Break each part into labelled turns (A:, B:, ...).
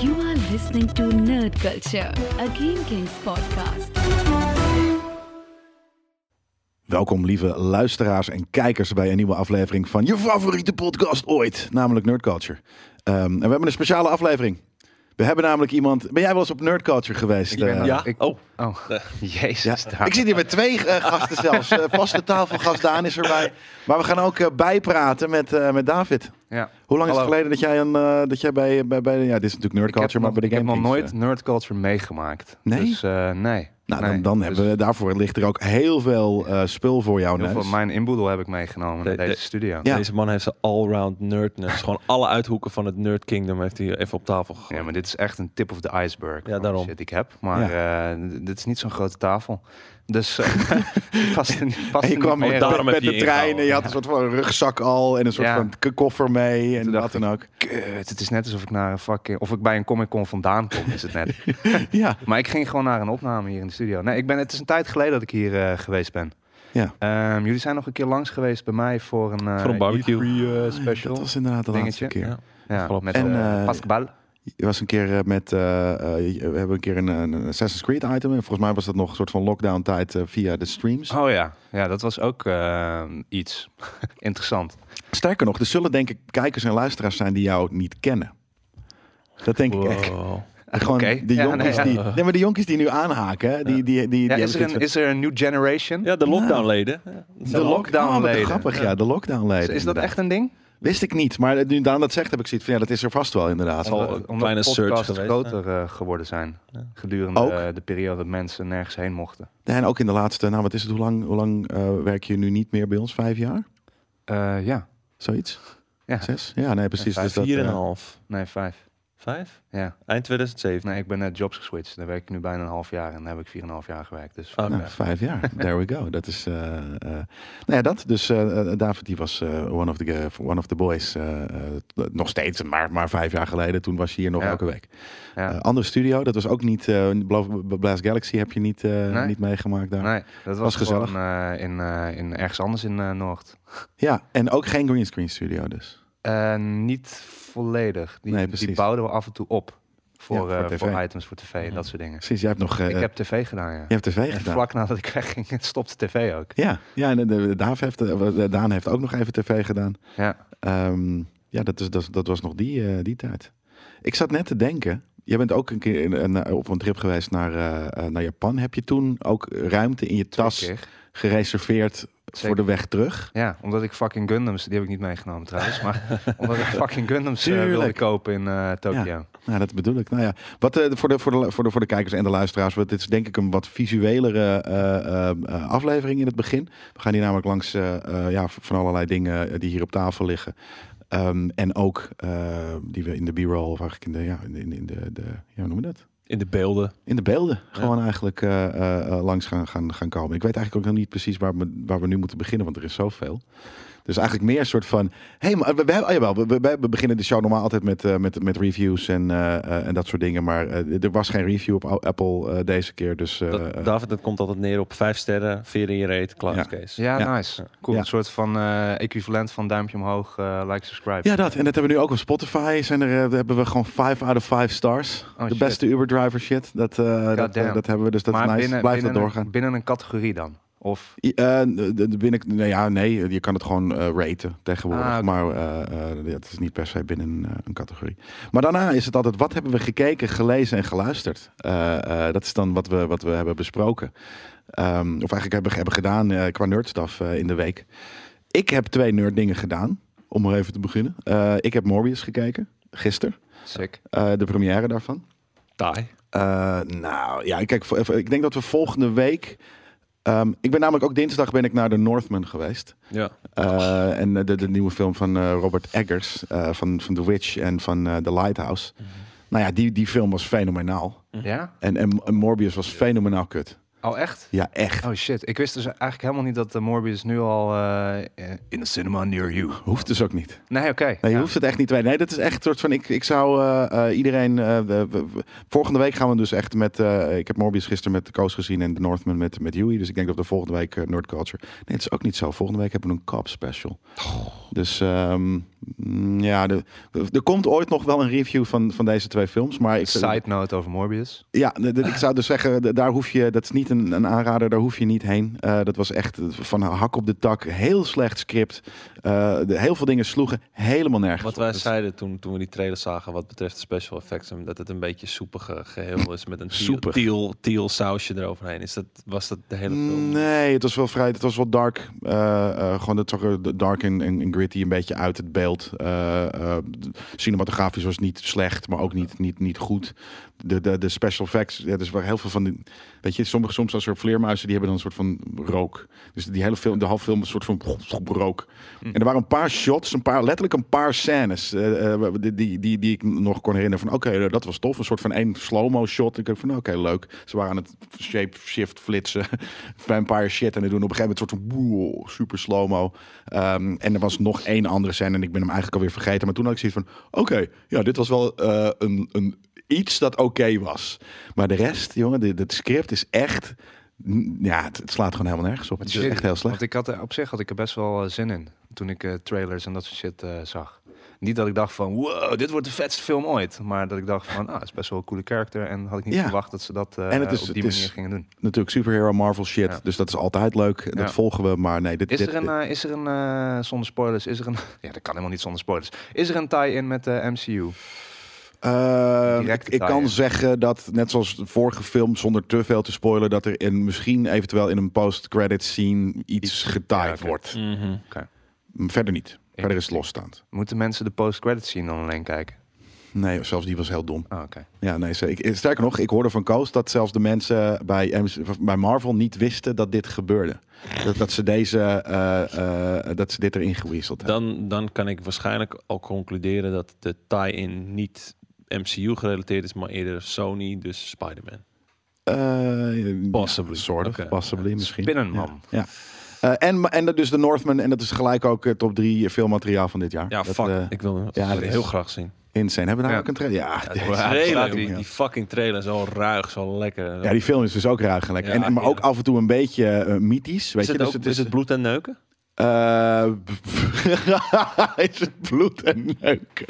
A: You are listening to Nerd Culture, a Game Kings podcast.
B: Welkom lieve luisteraars en kijkers bij een nieuwe aflevering van je favoriete podcast ooit, namelijk Nerd Culture. Ehm, en we hebben een speciale aflevering. We hebben namelijk iemand. Ben jij wel eens op Nerd Culture geweest? eh?
C: ja.
D: Ik-
C: oh,
D: Oh,
B: Ja.
D: jezus.
B: Ik zit hier met twee eh, gasten zelfs. Eh, vaste tafelgast Daan is erbij. Maar we gaan ook eh, bijpraten met, eh, met David.
D: Ja.
B: Hoe lang is
C: Hallo.
B: het geleden dat jij, een, eh, dat jij bij, bij, bij- Ja, dit is natuurlijk Nerd
D: Ik heb,
B: Culture,
D: nog,
B: maar bij de
D: ik heb
B: Game
D: nog
B: Kings,
D: nooit
B: eh.
D: nerd culture meegemaakt.
B: Nee?
D: Dus eh, nee.
B: Nou,
D: Nee.
B: dan, dan
D: Dus
B: hebben we, daarvoor ligt er ook heel veel eh, spul voor jou.
D: heel veel
B: Neus.
D: mijn inboedel heb ik meegenomen
C: De-
D: naar deze
C: de-
D: studio.
B: Ja.
C: Deze man heeft zijn allround nerdness. Gewoon alle uithoeken van het nerd kingdom heeft hij even op tafel gegooid.
D: Ja, maar dit is echt een tip of the iceberg.
C: Ja,
D: van
C: daarom.
D: Shit, ik heb, maar eh, d- dit is niet zo'n grote tafel. Dus eh, het past, er- past
B: En
D: er
B: je
D: niet
B: kwam
D: meer
B: met,
D: in.
C: Oh, daarom
B: met,
C: heb
B: met
C: je
B: de
C: je
B: trein en
C: ingehouden.
B: je had een soort van rugzak al en een soort
D: Ja.
B: van k- koffer mee en
D: Toen
B: dat
D: dacht
B: dan ook.
D: Oh, Kut, het is net alsof ik naar een fucking... Of ik bij een Comic-Con vandaan kom, is het net.
B: Ja,
D: Maar ik ging gewoon naar een opname hier in de studio. Nee, ik ben, het is een tijd geleden dat ik hier eh, geweest ben.
B: Ja.
D: Ehm, jullie zijn nog een keer langs geweest bij mij voor een... eh,
C: Voor een barbecue.
D: E3, eh, special.
B: dat was inderdaad de laatste
D: Dingetje.
B: keer.
C: Ja.
D: Ja,
C: Klopt.
D: met
B: En,
D: eh,
B: eh,
D: Pascal.
B: Je was een keer eh, met, eh, eh, je- we hebben een keer een, een Assassin's Creed item. En volgens mij was dat nog een soort van lockdown tijd eh, via de streams.
D: Oh ja, ja dat was ook eh, iets interessant.
B: Sterker nog, er zullen denk ik kijkers en luisteraars zijn die jou niet kennen. Dat denk ik echt.
C: Wow.
B: Gewoon
D: Oké.
B: de
D: Ja,
B: jonkies
D: nee, ja.
B: die, nee, maar de jonkies die nu aanhaken, hè, die, die, die, die
D: Ja,
B: hebben
D: is, er
B: zoiets
D: een,
B: van-
D: is er een new generation?
C: Ja, de lockdownleden. Ja, dat zijn
B: de
C: ook-
D: lockdown
B: Oh, wat
D: leden.
B: grappig, ja, de lockdown
D: is,
B: leden.
D: is dat
B: inderdaad.
D: echt een ding?
B: Wist ik niet, maar nu Daan dat zegt, heb ik zoiets van ja, dat is er vast wel inderdaad. Eh,
C: Zal- Omdat-
D: Omdat
C: kleine
D: podcasts
C: surge geweest,
D: groter eh, geworden zijn gedurende
B: Ook?
D: eh, de periode dat mensen nergens heen mochten.
B: Ja, en ook in de laatste, nou wat is het, hoe lang, hoe lang eh, werk je nu niet meer bij ons? Vijf jaar?
D: Eh, ja,
B: Zoiets?
D: Ja.
B: Zes? Ja, nee, precies.
D: Ja,
B: dus dat,
C: Vier en
B: eh,
C: een half.
D: nee, vijf.
C: Vijf?
D: Ja.
C: Eind 2017.
D: Nee, ik ben net jobs geswitcht. Daar werk ik nu bijna een half jaar en daar heb ik vier en een half jaar gewerkt. Dus
C: Oké.
B: nou, vijf jaar. There we go. Dat is. eh eh, nou ja, dat. Dus eh, eh, David die was eh, one, of the, eh, one of the boys. eh, eh, t- nog steeds, maar, maar vijf jaar geleden. Toen was je hier nog
D: Ja.
B: elke week.
D: ja.
B: Eh, andere studio, dat was ook niet. eh, beloof- B- Blast Galaxy heb je niet, eh,
D: Nee.
B: niet meegemaakt daar.
D: nee, dat was,
B: was gezellig.
D: gewoon, eh, in, eh, in ergens anders in eh, Noord.
B: Ja, en ook geen greenscreen studio dus.
D: Eh, niet volledig. Die,
B: Nee,
D: die
B: precies.
D: bouwden we af en toe op voor,
B: Ja, voor
D: eh,
B: tv.
D: voor items voor tv en dat soort dingen.
B: Precies, jij hebt nog. eh,
D: ik heb tv gedaan, ja.
B: je hebt tv
D: En
B: gedaan.
D: vlak nadat ik wegging, stopte tv ook.
B: Ja, ja en de, de- Daaf heeft, eh, de- Daan heeft ook nog even tv gedaan.
D: Ja.
B: Ehm, ja, dat, is, dat, dat was nog die, eh, die tijd. Ik zat net te denken. Jij bent ook een keer in- een- eh, op een trip geweest naar, eh, eh, naar Japan. Heb je toen ook ruimte in je tas
D: Twee keer.
B: gereserveerd voor de weg terug?
D: Ja, omdat ik fucking Gundams, die heb ik niet meegenomen trouwens, maar omdat ik fucking Gundams eh, wilde
B: Tuurlijk.
D: kopen in eh Tokio.
B: Nou, dat bedoel ik. Nou ja, wat, eh, voor, de, voor, de, voor, de, voor de kijkers en de luisteraars. Want dit is denk ik een wat visuelere eh, eh, eh, aflevering in het begin. We gaan hier namelijk langs eh, eh, ja, van allerlei dingen eh, die hier op tafel liggen. Ehm, en ook eh, die we in de b-roll, of eigenlijk in de, ja, in de, in de, de ja, hoe noem je dat?
C: In de beelden.
B: In de beelden gewoon eigenlijk eh, eh, eh, langs gaan, gaan, gaan komen. Ik weet eigenlijk ook nog niet precies waar we, waar we nu moeten beginnen, want er is zoveel. Dus eigenlijk meer een soort van. Hé, maar we, we, oh jawel, we, we, we beginnen de show normaal altijd met, eh, met, met reviews en, eh, eh, en dat soort dingen. Maar eh, er was geen review op Au- Apple eh, deze keer. Dus eh,
C: Dat, David, dat komt altijd neer op vijf sterren, veer in je reet, klaar
B: Ja.
C: is Kees.
D: Ja,
B: Ja.
D: nice. Cool.
B: Ja.
D: Een soort van eh, equivalent van duimpje omhoog, eh, like, subscribe.
B: ja, dat. En dat hebben we nu ook op Spotify. Zijn er, eh, hebben we gewoon 5 out of 5 stars.
D: Oh,
B: de
D: shit.
B: beste Uber driver shit. Dat, eh, dat, eh,
D: damn.
B: dat hebben we. Dus dat is
D: maar
B: nice.
D: binnen,
B: Blijf
D: binnen,
B: dat
D: een-
B: doorgaan.
D: binnen een categorie dan? Of
B: I- eh, de- de- binnen, nee, ja, nee, je kan het gewoon eh, raten tegenwoordig.
D: Ah, oké.
B: Maar eh, eh, het is niet per se binnen een, eh, een categorie. Maar daarna is het altijd, wat hebben we gekeken, gelezen en geluisterd? Eh, eh, dat is dan wat we, wat we hebben besproken. Ehm, of eigenlijk hebben, hebben gedaan eh, qua nerdstaf eh, in de week. Ik heb twee nerddingen gedaan, om maar even te beginnen. Eh, ik heb Morbius gekeken, gisteren.
D: sick.
B: eh, de première daarvan.
C: Taai.
B: Eh, nou ja, kijk, vo- even- ik denk dat we volgende week. ehm, ik ben namelijk ook dinsdag ben ik naar de Northman geweest.
C: Ja.
B: Eh, En eh, de, de nieuwe film van eh, Robert Eggers, eh, van, van The Witch en van eh, The Lighthouse. Nou ja, die, die film was fenomenaal.
D: Ja?
B: En, en, en Morbius was fenomenaal kut.
D: Oh, echt?
B: Ja, echt.
D: Oh shit, ik wist dus eigenlijk helemaal niet dat de Morbius nu al eh, in de cinema near you.
B: Hoeft dus ook niet.
D: Nee, oké.
B: Nee, je
D: Ja.
B: hoeft het echt niet te weten. Nee, dat is echt een soort van. Ik, ik zou eh, eh, iedereen. eh, we- we- we- volgende week gaan we dus echt met. eh, ik heb Morbius gisteren met de Koos gezien en de Northman met, met Huey. Dus ik denk dat we volgende week eh, Nerd Culture. Nee, het is ook niet zo. Volgende week hebben we een Cop special. Dus ehm, mm, ja, de- er komt ooit nog wel een review van, van deze twee films. Maar ik,
D: Side note over Morbius.
B: ja, d- d- ik zou dus zeggen, d- daar hoef je, dat is niet een, een aanrader, daar hoef je niet heen. Eh, dat was echt van hak op de tak, heel slecht script. Eh, de, heel veel dingen sloegen helemaal nergens.
C: Wat
B: op.
C: wij
B: Dus-
C: zeiden toen, toen we die trailer zagen wat betreft de special effects, en dat het een beetje soepige geheel is met een teal,
B: Soepig.
C: teal, teal sausje eroverheen. Is dat, was dat de hele film?
B: Nee, het was wel vrij, het was wel dark. Eh, eh, gewoon het zag er dark en, en, en gritty een beetje uit het beeld. Eh, eh, d- cinematografisch was niet slecht, maar ook niet, niet, niet goed. De, de, de special effects, ja, dus waar heel veel van die, weet je, sommige soms als er vleermuizen die hebben dan een soort van rook. Dus die hele film, de halve film, een soort van rook.
C: Hm.
B: En er waren een paar shots, een paar, letterlijk een paar scènes eh, eh, die, die, die, die ik nog kon herinneren. Van oké, dat was tof. Een soort van één slow-mo shot. Ik dacht van oké, leuk. Ze waren aan het shape shift flitsen. Vampire shit. En die doen op een gegeven moment een soort van wow, super slow-mo. Ehm, en er was nog één andere scène en ik ben hem eigenlijk alweer vergeten. Maar toen had ik zoiets van oké, ja, dit was wel eh, een, een, iets dat oké was. Maar de rest, jongen, dit- het script is echt... Ja, het, het slaat gewoon helemaal nergens op. Het is
D: Shit.
B: echt heel slecht.
D: Want ik had er, op zich had ik er best wel eh, zin in toen ik eh, trailers en dat soort shit eh, zag. Niet dat ik dacht van, wow, dit wordt de vetste film ooit. Maar dat ik dacht van, ah, het is best wel een coole karakter. En had ik niet
B: Ja.
D: verwacht dat ze dat eh,
B: En het is-
D: op die
B: het is-
D: manier gingen doen.
B: natuurlijk superhero Marvel shit.
D: Ja.
B: Dus dat is altijd leuk. Dat
D: Ja.
B: volgen we. Maar nee, dit
D: Is
B: dit-
D: er een,
B: dit-
D: eh, is er een eh, zonder spoilers, is er een... ja, dat kan helemaal niet zonder spoilers. Is er een tie-in met de MCU?
B: Eh,
D: directe
B: ik, ik
D: tie-in?
B: kan zeggen dat, net zoals de vorige film, zonder te veel te spoilen, dat er in, misschien eventueel in een post-credit scene iets, getaaid
D: ja, oké.
B: wordt.
C: Mhm.
B: Verder niet. Verder is het losstaand.
D: Moeten mensen de post-credits zien dan alleen kijken?
B: Nee, zelfs die was heel dom.
D: Ah, oké.
B: Ja, nee, ze- ik, sterker nog, ik hoorde van Koos dat zelfs de mensen bij, MC bij Marvel niet wisten dat dit gebeurde. Dat, dat ze deze, eh, eh, dat ze dit erin gewisseld hebben.
C: Dan, dan kan ik waarschijnlijk al concluderen dat de tie-in niet MCU gerelateerd is, maar eerder Sony, dus Spider-Man.
B: Eh,
C: Possibly.
B: ja, sort of,
C: Oké.
B: possibly misschien.
D: Spinnenman.
B: Ja. ja. Eh, en, en dus de Northman, en dat is gelijk ook het top drie filmmateriaal van dit jaar.
C: Ja,
B: dat,
C: fuck.
B: eh,
C: ik wil hem
B: ja, dat is-
C: heel graag zien.
B: insane. Hebben we daar
D: Ja.
B: ook een trailer? Ja,
C: Ja,
B: dit-
C: die,
D: Ja,
C: trailer,
D: laat
C: die,
B: die-
C: die fucking trailer, zo ruig, zo lekker.
B: ja, die film is dus ook ruig en lekker.
C: Ja,
B: en, en, maar ook
C: heerlijk.
B: af en toe een beetje eh, mythisch. Weet
C: is, het
B: je?
C: ook-
B: dus
C: is het
B: het
C: bloed en neuken?
B: Eh, is het bloed en neuken?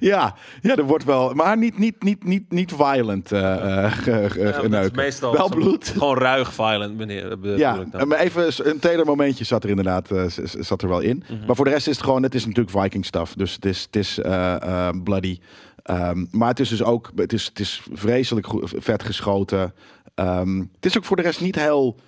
B: ja, ja, er wordt wel. Maar niet, niet, niet, niet, niet violent eh eh, ge- ge-
C: Ja, dat is
B: geneuken.
C: meestal
B: wel
C: zo-
B: bloed.
C: Gewoon ruig, violent, meneer. eh, bedoel
B: Ja,
C: ik dan.
B: maar even een teder momentje zat er inderdaad eh, z- z- zat er wel in. Maar voor de rest is het gewoon, het is natuurlijk Viking stuff. Dus het is, het is eh, eh, bloody. Ehm, maar het is dus ook, het is, het is vreselijk goed- vet geschoten. Ehm, het is ook voor de rest niet heel...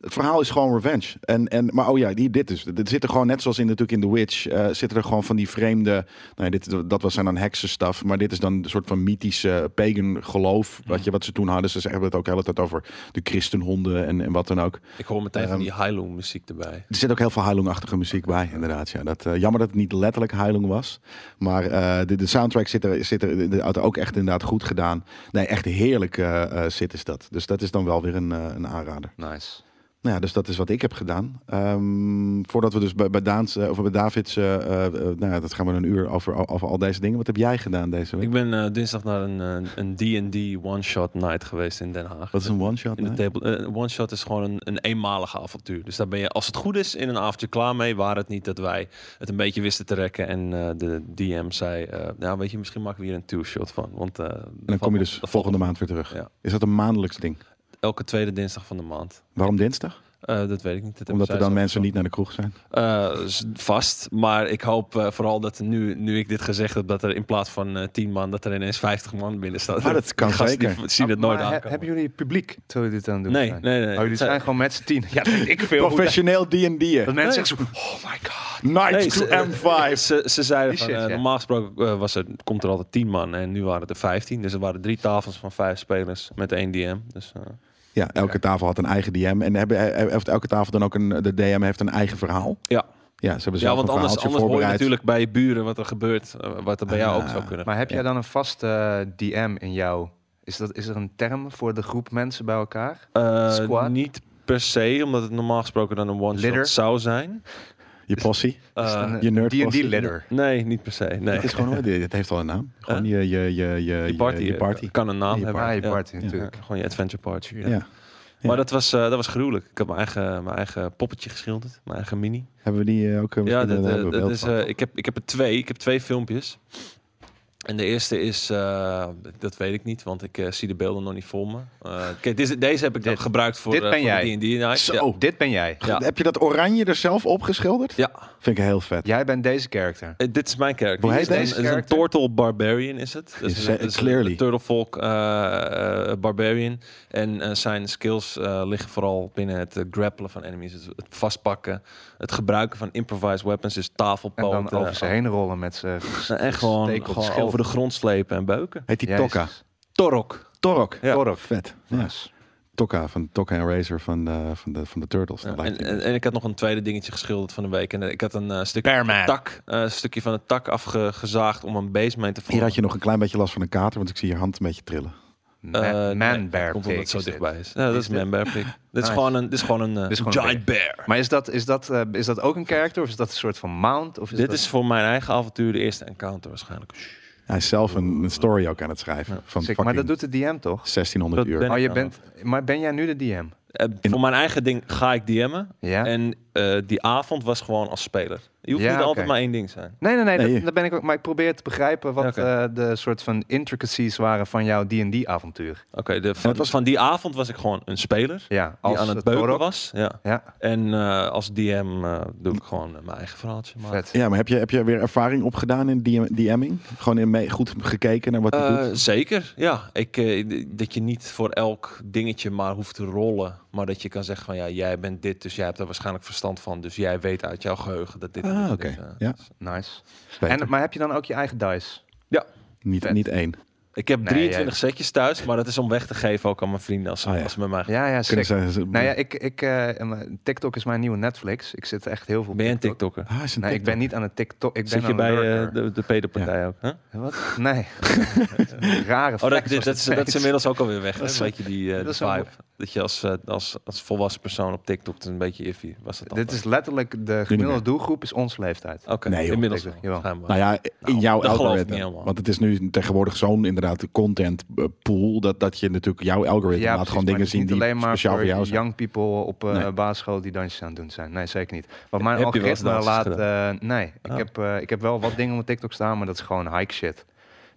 B: Het verhaal is gewoon revenge. En, en, maar oh ja, die, dit is. Dit zit er gewoon, net zoals in, natuurlijk in The Witch, eh, zitten er gewoon van die vreemde. Nou ja, dit, dat was zijn dan heksenstaf. Maar dit is dan een soort van mythische pagan geloof. Wat, je, wat ze toen hadden. Ze hebben het ook de hele tijd over de christenhonden en, en wat dan ook.
C: Ik hoor meteen
B: Ehm,
C: van die Heilung muziek erbij.
B: Er zit ook heel veel Heilung-achtige muziek bij, inderdaad. Ja. Dat, eh, jammer dat het niet letterlijk Heilung was. Maar eh, de, de soundtrack zit er, zit er inderdaad ook echt inderdaad goed gedaan. Nee, echt heerlijk eh, eh, zit is dat. Dus dat is dan wel weer een, eh, een aanrader.
D: Nice.
B: Nou ja, dus dat is wat ik heb gedaan. Ehm, voordat we dus bij, bij, Daans, eh, of bij Davids... eh, eh, eh, nou ja, dat gaan we een uur over, over al deze dingen. Wat heb jij gedaan deze week?
C: Ik ben eh, dinsdag naar een, eh, een D&D one-shot night geweest in Den Haag.
B: Wat is een one-shot?
C: In de
B: nee?
C: table. eh, Een one-shot is gewoon een, een eenmalige avontuur. Dus daar ben je, als het goed is, in een avondje klaar mee. Waar het niet dat wij het een beetje wisten te rekken. En eh, de DM zei, eh, nou weet je, misschien maken we hier een two-shot van. Want, eh,
B: En dan kom je dus volgende maand weer terug.
C: Ja.
B: Is dat een maandelijks ding?
C: Elke tweede dinsdag van de maand.
B: Waarom dinsdag?
C: Eh, dat weet ik niet. Dat hebben
B: Omdat
C: zij
B: er dan
C: zelf
B: mensen
C: besloten.
B: niet naar de kroeg zijn?
C: Eh, s- vast. Maar ik hoop eh, vooral dat nu, nu ik dit gezegd heb, dat er in plaats van eh 10 man, dat er ineens 50 man binnen staat.
B: Maar dat kan
C: Die gasten
B: zeker.
C: Die zien het nooit
D: Maar he-
C: aan.
D: hebben jullie publiek terwijl jullie dit aan het doen
C: Nee,
D: zijn?
C: nee, nee.
D: Oh, jullie
C: Het
D: zijn
C: zijn-
D: gewoon met z'n tien. Ja, dat weet ik veel. hoe dat-
B: Professioneel D&D'er.
D: Dat mensen zeggen zo, oh my god.
B: Night
C: Nee,
B: to
C: ze- eh,
B: M5.
C: Ze, ze zeiden
D: Die
C: van,
D: shit,
C: eh,
D: ja.
C: normaal gesproken eh, was er, komt er altijd 10 man en nu waren het er 15. Dus er waren drie tafels van vijf spelers met één DM. Dus, eh,
B: Ja, elke tafel had een eigen DM. En hebben, eh, heeft elke tafel dan ook een... De DM heeft een eigen verhaal.
C: ja.
B: Ja, ze hebben zelf
C: ja, want
B: Dus een
C: anders,
B: verhaaltje
C: anders hoor je
B: voorbereid. Ah,
C: natuurlijk bij je buren wat er gebeurt, eh, wat er bij jou ook zou kunnen.
D: Maar heb jij dan een vaste eh, DM in jouw Is, dat, is er een term voor de groep mensen bij elkaar?
C: Eh,
D: Squad?
C: Niet per se, omdat het normaal gesproken dan een
D: Lidder?
C: one-shot zou zijn.
B: Je possie.
D: Is het
C: Eh,
D: een,
B: je nerd
D: die
B: posse.
D: letter.
C: nee, niet per se. Nee.
B: Het is gewoon, het heeft al een naam. Gewoon je, je, je, je,
C: Je party,
B: Je party.
C: eh, kan een naam
B: Je
C: hebben.
D: Ah, je
C: Ja.
D: party
B: Ja.
D: natuurlijk.
C: Ja, gewoon je adventure party.
B: Ja.
C: ja. Maar dat was, eh, dat was gruwelijk. Ik heb mijn eigen, mijn eigen poppetje geschilderd. Mijn eigen mini.
B: Hebben we die eh, ook? eh,
C: Ja,
B: misschien,
C: dat,
B: eh,
C: eh,
B: hebben we
C: dat
B: beeld
C: is,
B: van.
C: eh, ik, heb, ik heb er twee. Ik heb twee filmpjes. En de eerste is, eh, dat weet ik niet, want ik eh, zie de beelden nog niet voor me. Eh, kijk, deze, deze heb ik dan
D: Dit-
C: gebruikt voor,
D: dit
C: eh,
D: ben
C: voor
D: jij.
C: de D&D night.
B: Zo.
C: Ja.
B: Oh.
D: Dit ben jij.
C: Ja.
B: Heb je dat oranje er zelf op geschilderd?
C: Ja.
B: Vind ik heel vet.
D: Jij bent deze character.
C: Eh, dit is mijn karakter.
B: Hoe
C: Dit
B: heet
C: is een-
D: deze
C: het is een
D: character?
C: Turtle Barbarian is het. Dus
B: Is-
C: een- het is een
B: clearly.
C: Turtlefolk eh, eh, Barbarian. En eh, zijn skills eh, liggen vooral binnen het eh, grappelen van enemies. Het, het vastpakken, het gebruiken van improvised weapons. Dus
D: En
C: tafelpoten.
D: dan over ze heen rollen met zijn
C: Nou, en gewoon,
D: steek op
C: gewoon
D: schild.
C: over de grond slepen en beuken.
B: Heet die
D: Jezus.
B: Tokka?
C: Torok.
B: Torok.
C: Ja.
D: Torok.
B: Vet. Ja.
D: Nice.
B: Tokka van Tokka en Razor van, eh, van, de, van de Turtles. Dat
C: Ja,
B: lijkt
C: en,
B: het.
C: en, en ik had nog een tweede dingetje geschilderd van de week. En eh, ik had een eh, stukje,
D: Bearman.
C: tak, eh, stukje van het tak afgezaagd om een basement te
B: Hier
C: vormen.
B: had je nog een klein beetje last van een kater, want ik zie je hand een beetje trillen.
D: Ma-
C: Eh, nee,
D: man
C: dat
D: bear
C: Komt omdat
D: pig
C: het zo
D: is dit.
C: dichtbij is. Ja, dat
D: Is
C: is
D: dit?
C: man bear pig. Dit is
D: Nice.
C: gewoon een, dit is gewoon een, eh,
D: Dit is gewoon een
C: giant bear.
D: Maar is dat, is, dat, eh, is dat ook een character of is dat een soort van mount? Of is
C: Dit
D: dat...
C: is voor mijn eigen avontuur de eerste encounter waarschijnlijk.
B: Hij is zelf een, een story ook aan het schrijven. Van
D: Sick,
B: fucking
D: Maar dat doet de DM toch?
B: 1600
C: Dat
B: uur.
C: ben-
D: Oh, je
C: ik
D: bent, maar ben jij nu de DM?
C: Eh, voor mijn eigen ding ga ik DM'en.
D: Ja?
C: En eh, die avond was gewoon als speler. Je hoeft
D: Ja,
C: niet
D: oké.
C: altijd maar één ding te zijn.
D: Nee, nee, nee,
B: Nee.
D: Dat, dat ben ik ook. Maar ik probeer te begrijpen wat
C: Oké.
D: eh, de soort van intricacies waren van jouw D&D-avontuur.
C: Oké, de- van,
B: het was-
C: van die avond was ik gewoon een speler.
D: Ja,
C: Die aan het beuken
D: Torok.
C: was. Ja.
D: Ja,
C: En eh, als DM eh, doe ik gewoon eh, mijn eigen verhaaltje. Maar,
D: vet.
B: Ja, maar heb je, heb je weer ervaring opgedaan in DM DM'ing? Gewoon in mee, goed gekeken naar wat hij
C: Eh,
B: doet?
C: zeker, ja. Ik, eh, d- dat je niet voor elk dingetje maar hoeft te rollen. Maar dat je kan zeggen van ja, jij bent dit, dus jij hebt er waarschijnlijk verstand van. Dus jij weet uit jouw geheugen dat dit... en
B: Ah,
C: dit en
B: oké.
C: dit, eh,
B: Ja.
C: is.
D: Nice.
B: Beter.
D: En, maar heb je dan ook je eigen dice?
B: niet,
D: vet.
B: niet één.
C: Ik heb
D: Nee,
C: 23 setjes thuis, maar dat is om weg te geven ook aan mijn vrienden als, ze-
B: Ah, ja.
C: als ze met mij...
D: Ja, ja,
B: Kunnen
D: sick.
B: ze, ze-
D: Nou ja, ik, ik, eh, m- TikTok is mijn nieuwe Netflix. Ik zit echt heel veel op
C: Ben je een
D: TikTok.
C: Tiktoker?
B: Ah, is een
D: Nee, ik ben
B: TikTok.
D: niet aan het TikTok. Ik
C: Zit
D: ben
C: je
D: aan
C: bij
D: een
C: eh,
D: lurker.
C: de, de pedopartij ook? Hè?
D: Wat? Nee. Rare
C: Oh, dat, dat,
D: flex was
C: dat, is,
D: het
C: dat is
D: steeds.
C: inmiddels ook alweer weg. hè?
D: Dat is
C: Een beetje die, eh,
D: dat
C: die
D: is wel
C: vibe. Dat je als, eh, als, als volwassen persoon op TikTok het is een beetje iffy was. Dat
D: Dit is letterlijk de gemiddelde doelgroep is onze leeftijd.
C: Oké,
B: Nee, joh.
C: inmiddels
D: Zeker,
C: wel,
D: jawel.
C: schijnbaar.
B: Nou ja, in
C: Nou,
B: jouw
C: dat geloof ik
B: algoritme.
C: niet helemaal.
B: Want het is nu tegenwoordig zo'n inderdaad content eh, pool. Dat, dat je natuurlijk jouw algoritme laat
D: precies,
B: gewoon
D: maar
B: dingen
D: het is
B: zien
D: niet
B: die
D: alleen maar
B: speciaal voor jou zijn.
D: young people op eh
B: Nee.
D: basisschool die dansjes aan het doen zijn. Nee, zeker niet. Wat
C: Heb
D: mijn
C: je wel eens
D: algoritme laat...
C: dansjes
D: eh, nee, ik,
C: Oh.
D: heb, eh, ik heb wel wat dingen op mijn TikTok staan, maar dat is gewoon hike shit.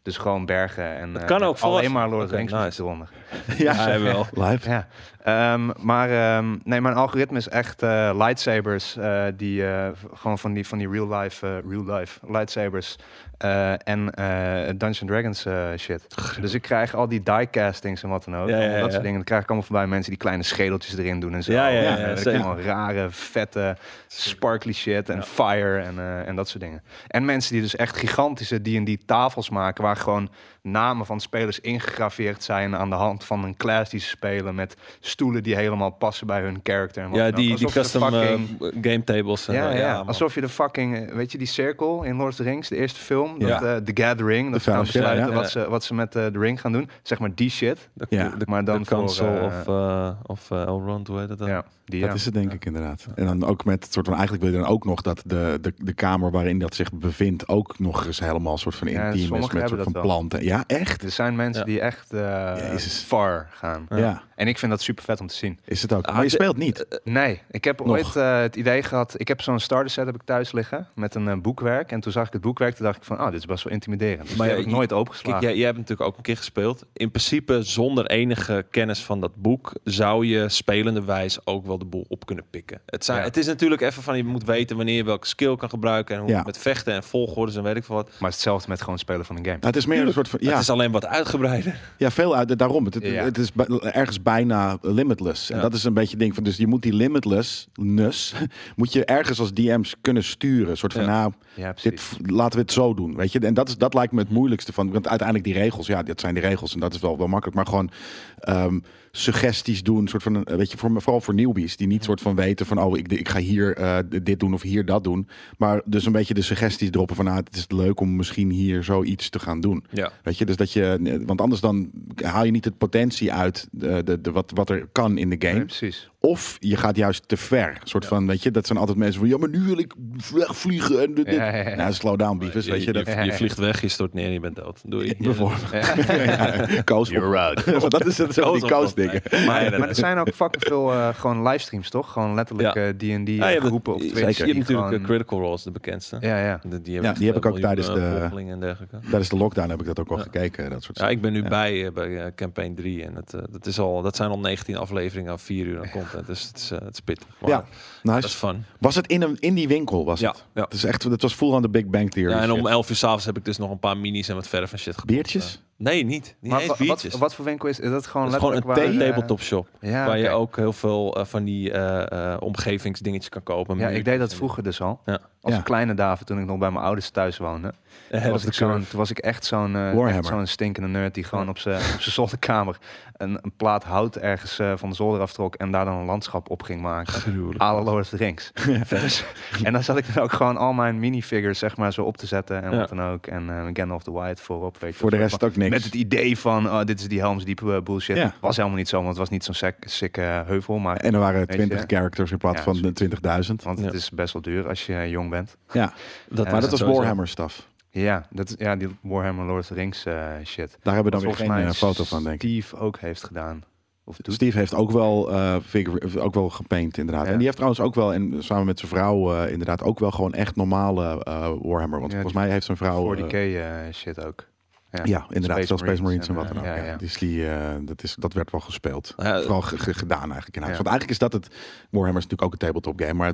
D: Dus gewoon bergen en eh,
C: kan
D: met
C: ook voor
D: alleen
C: wat.
D: maar Lord of
C: Oké,
D: the Rings
C: nice.
D: muziek eronder.
C: Ja, hij wel.
B: Live.
D: Ja, ehm, maar ehm, nee, mijn algoritme is echt eh, lightsabers, eh, die eh, v- gewoon van die, van die real life, eh, real life lightsabers eh, en eh Dungeons and Dragons eh, shit. Dus ik krijg al die diecastings en wat dan ook,
C: Ja, ja,
D: allemaal dat
C: ja.
D: soort dingen. Dat krijg ik allemaal voorbij mensen die kleine schedeltjes erin doen en zo.
C: Ja, ja,
B: ja,
D: En, eh,
C: ja,
D: dat
C: zeker.
D: allemaal rare, vette, sparkly shit en fire en, eh, en dat soort dingen. En mensen die dus echt gigantische D&D tafels maken waar gewoon namen van spelers ingegraveerd zijn aan de hand van een class die ze spelen met stoelen die helemaal passen bij hun character. En wat
C: Ja,
D: dan ook.
C: die, die
D: Alsof ze
C: custom eh,
D: fucking-
C: game tables. en,
D: ja,
C: eh,
D: ja,
C: man.
D: alsof je de fucking, eh, weet je, die cirkel in Lord of the Rings, de eerste film,
B: Ja.
D: dat, eh, The Gathering, dat ze gaan
B: vuile shit,
D: besluiten
C: ja.
D: wat, ze, wat ze met eh, de ring gaan doen. Zeg maar die shit.
C: De,
B: Ja.
C: de,
D: Maar dan
C: de console
D: voor, eh,
C: of, eh, of eh, Elrond, hoe heet dat dan?
D: Ja, die
B: Dat
D: ja.
B: is het denk ik inderdaad. En dan ook met het soort van, eigenlijk wil je dan ook nog dat de, de, de kamer waarin dat zich bevindt ook nog eens helemaal soort van
D: Ja,
B: intiem is
D: sommigen
B: met soort
D: hebben
B: van
D: dat wel.
B: planten. Ja, echt?
D: Er zijn mensen
C: Ja.
D: die echt eh,
B: Jezus.
D: far gaan.
B: Ja.
D: En ik vind dat super vet om te zien. Eh,
B: is het ook.
C: Ah,
B: Maar je
C: de-
B: speelt niet.
D: Nee, ik heb ooit eh, het idee gehad. Ik heb zo'n starter set heb ik thuis liggen met een eh, boekwerk. En toen zag ik het boekwerk, toen dacht ik van, ah, dit is best wel intimiderend. Dus
C: Maar
D: maar
C: ja,
D: heb ik
C: je-
D: nooit
C: Kijk,
D: opengeslagen.
C: jij, jij hebt natuurlijk ook een keer gespeeld. In principe, zonder enige kennis van dat boek, zou je spelende wijs ook wel de boel op kunnen pikken. Het, zijn,
D: Ja.
C: het is natuurlijk even van je moet weten wanneer je welke skill kan gebruiken en hoe
B: Ja.
C: het met vechten en volgordes en weet ik veel wat.
D: Maar hetzelfde met gewoon spelen van een game.
B: Nou, het is meer een soort van,
C: Het
B: ja,
C: is alleen wat uitgebreider.
B: ja veel uit, daarom. Het, het-
D: Ja.
B: het is bij- ergens bijna limitless. En
C: Ja.
B: dat is een beetje het ding van, dus je moet die limitlessness, moet je ergens als DM's kunnen sturen. Een soort van,
C: Ja.
B: nou,
D: Ja,
B: dit,
D: precies.
B: laten we het zo doen, weet je. En dat, is, dat lijkt me het moeilijkste van, want uiteindelijk die regels, ja, dat zijn die regels en dat is wel, wel makkelijk. Maar gewoon ehm, suggesties doen, soort van, eh, weet je, voor, vooral voor newbies die niet soort van weten van, oh, ik, ik ga hier eh, dit doen of hier dat doen. Maar dus een beetje de suggesties ah, droppen van, nou, het is leuk om misschien hier zoiets te gaan doen.
C: Ja.
B: Weet je, dus dat je, want anders dan haal je niet het potentie uit eh, de, de, de, wat, wat er kan in de game.
D: Nee, precies.
B: Of je gaat juist te ver. Een soort van, weet je, dat zijn altijd mensen van... ja, maar nu wil ik vlieg- vliegen en dit. dit.
D: Ja, ja, ja.
B: Nou, slow down, beavers, weet je. Dat,
C: je, vliegt weg, je stort neer en je bent dood. Doe je.
B: bijvoorbeeld. Ja, Koos op.
C: out.
B: Want dat is het zo, die koos dingen.
C: Maar,
D: Maar er zijn ook fucking veel eh, gewoon livestreams, toch? Gewoon letterlijk
C: Ja.
D: eh, D&D
C: Ja, je hebt,
D: groepen op
C: je
D: Twitch.
C: hebt
D: die
C: natuurlijk
D: gewoon-
C: eh, Critical Roles, de bekendste.
D: Ja, ja.
C: Die,
B: Ja,
C: die, echt,
B: die heb
C: eh,
B: ik ook
C: miljoenen,
B: tijdens de-
C: eh, volgelingen en dergelijke.
B: Tijdens de lockdown heb ik dat ook al
C: Ja.
B: gekeken, dat soort
C: Ja, ik ben nu
B: Ja.
C: bij, eh, bij eh, campaign 3 en het, eh, dat, is al, dat zijn al 19 afleveringen aan 4 uur aan content. Dus het is, eh, het is pittig. Maar
B: Ja,
C: dat is
B: nice.
C: fun.
B: Was het in, een, in die winkel, was
C: Ja,
B: het?
C: ja.
B: Het, is echt, het was full aan de Big Bang Theory.
C: ja, en om
B: shit.
C: 11 uur s'avonds heb ik dus nog een paar minis en wat verf en shit gekocht.
B: Biertjes?
C: Eh, nee, niet. Niet
D: Maar
C: eens
D: wa- wat,
C: biertjes.
D: wat, voor winkel is, is dat gewoon
C: dat is gewoon een
D: letterlijk waar,
C: ta-
D: eh,
C: tabletop shop.
D: ja,
C: waar je
D: oké.
C: ook heel veel eh, van die eh, eh, omgevingsdingetjes kan kopen.
D: Ja, ik deed dat
C: En-
D: vroeger dus al.
C: Ja.
D: Als
B: Ja.
D: kleine David, toen ik nog bij mijn ouders thuis woonde.
C: Ahead
D: Toen
C: of
D: was,
C: the
D: ik zo'n,
C: curve.
D: toen was ik echt zo'n, eh,
B: Warhammer.
D: echt zo'n stinkende nerd die gewoon op zijn op zijn zolderkamer een, een plaat hout ergens eh, van de zolder aftrok en daar dan een landschap op ging maken.
C: Gruwelijk.
D: Alle Lord of the Rings. Dus- en dan zat ik dan ook gewoon al mijn minifigures zeg maar zo op te zetten en
C: Ja.
D: wat dan ook. En eh Gandalf the White voorop. Weet je,
B: Voor de
D: wel.
B: rest ook niks.
D: Met het idee van, oh, dit is die Helms Deep eh, bullshit.
B: Ja.
D: Was helemaal niet zo, want het was niet zo'n sick, sick, eh, heuvel. Maar,
B: En er waren
D: je,
B: 20
D: hè?
B: characters in plaats
D: Ja,
B: van de 20.000.
D: want het
C: Ja.
D: is best wel duur als je eh, jong bent.
B: Ja,
C: Dat,
B: maar dat was
C: sowieso.
B: Warhammer stuff.
D: Ja, dat, is- ja die Warhammer Lord of the Rings eh, shit.
B: Daar hebben we
D: Wat
B: dan weer geen eh, foto van, denk ik. Oh, Dus
D: Steve ook heeft gedaan. Of doet.
B: Steve heeft ook wel, eh figure- ook wel gepaint, inderdaad.
D: Ja.
B: En die heeft trouwens ook wel, en samen met zijn vrouw, eh, inderdaad ook wel gewoon echt normale eh, Warhammer. Want
D: Ja,
B: volgens mij heeft zijn vrouw.
D: 40k
B: eh,
D: eh, shit ook. Ja,
B: ja, inderdaad.
D: Space
B: Zelfs Space Marines
D: Marines
B: en wat dan
D: en, eh,
B: ook.
D: ja,
B: ja.
D: ja. Eh,
B: Die is die, eh, dat, is, dat werd wel gespeeld.
C: Nou ja,
B: Vooral ge- ge- gedaan eigenlijk in huis.
D: Ja.
B: Want eigenlijk is dat het. Warhammer is natuurlijk ook een tabletop game. Maar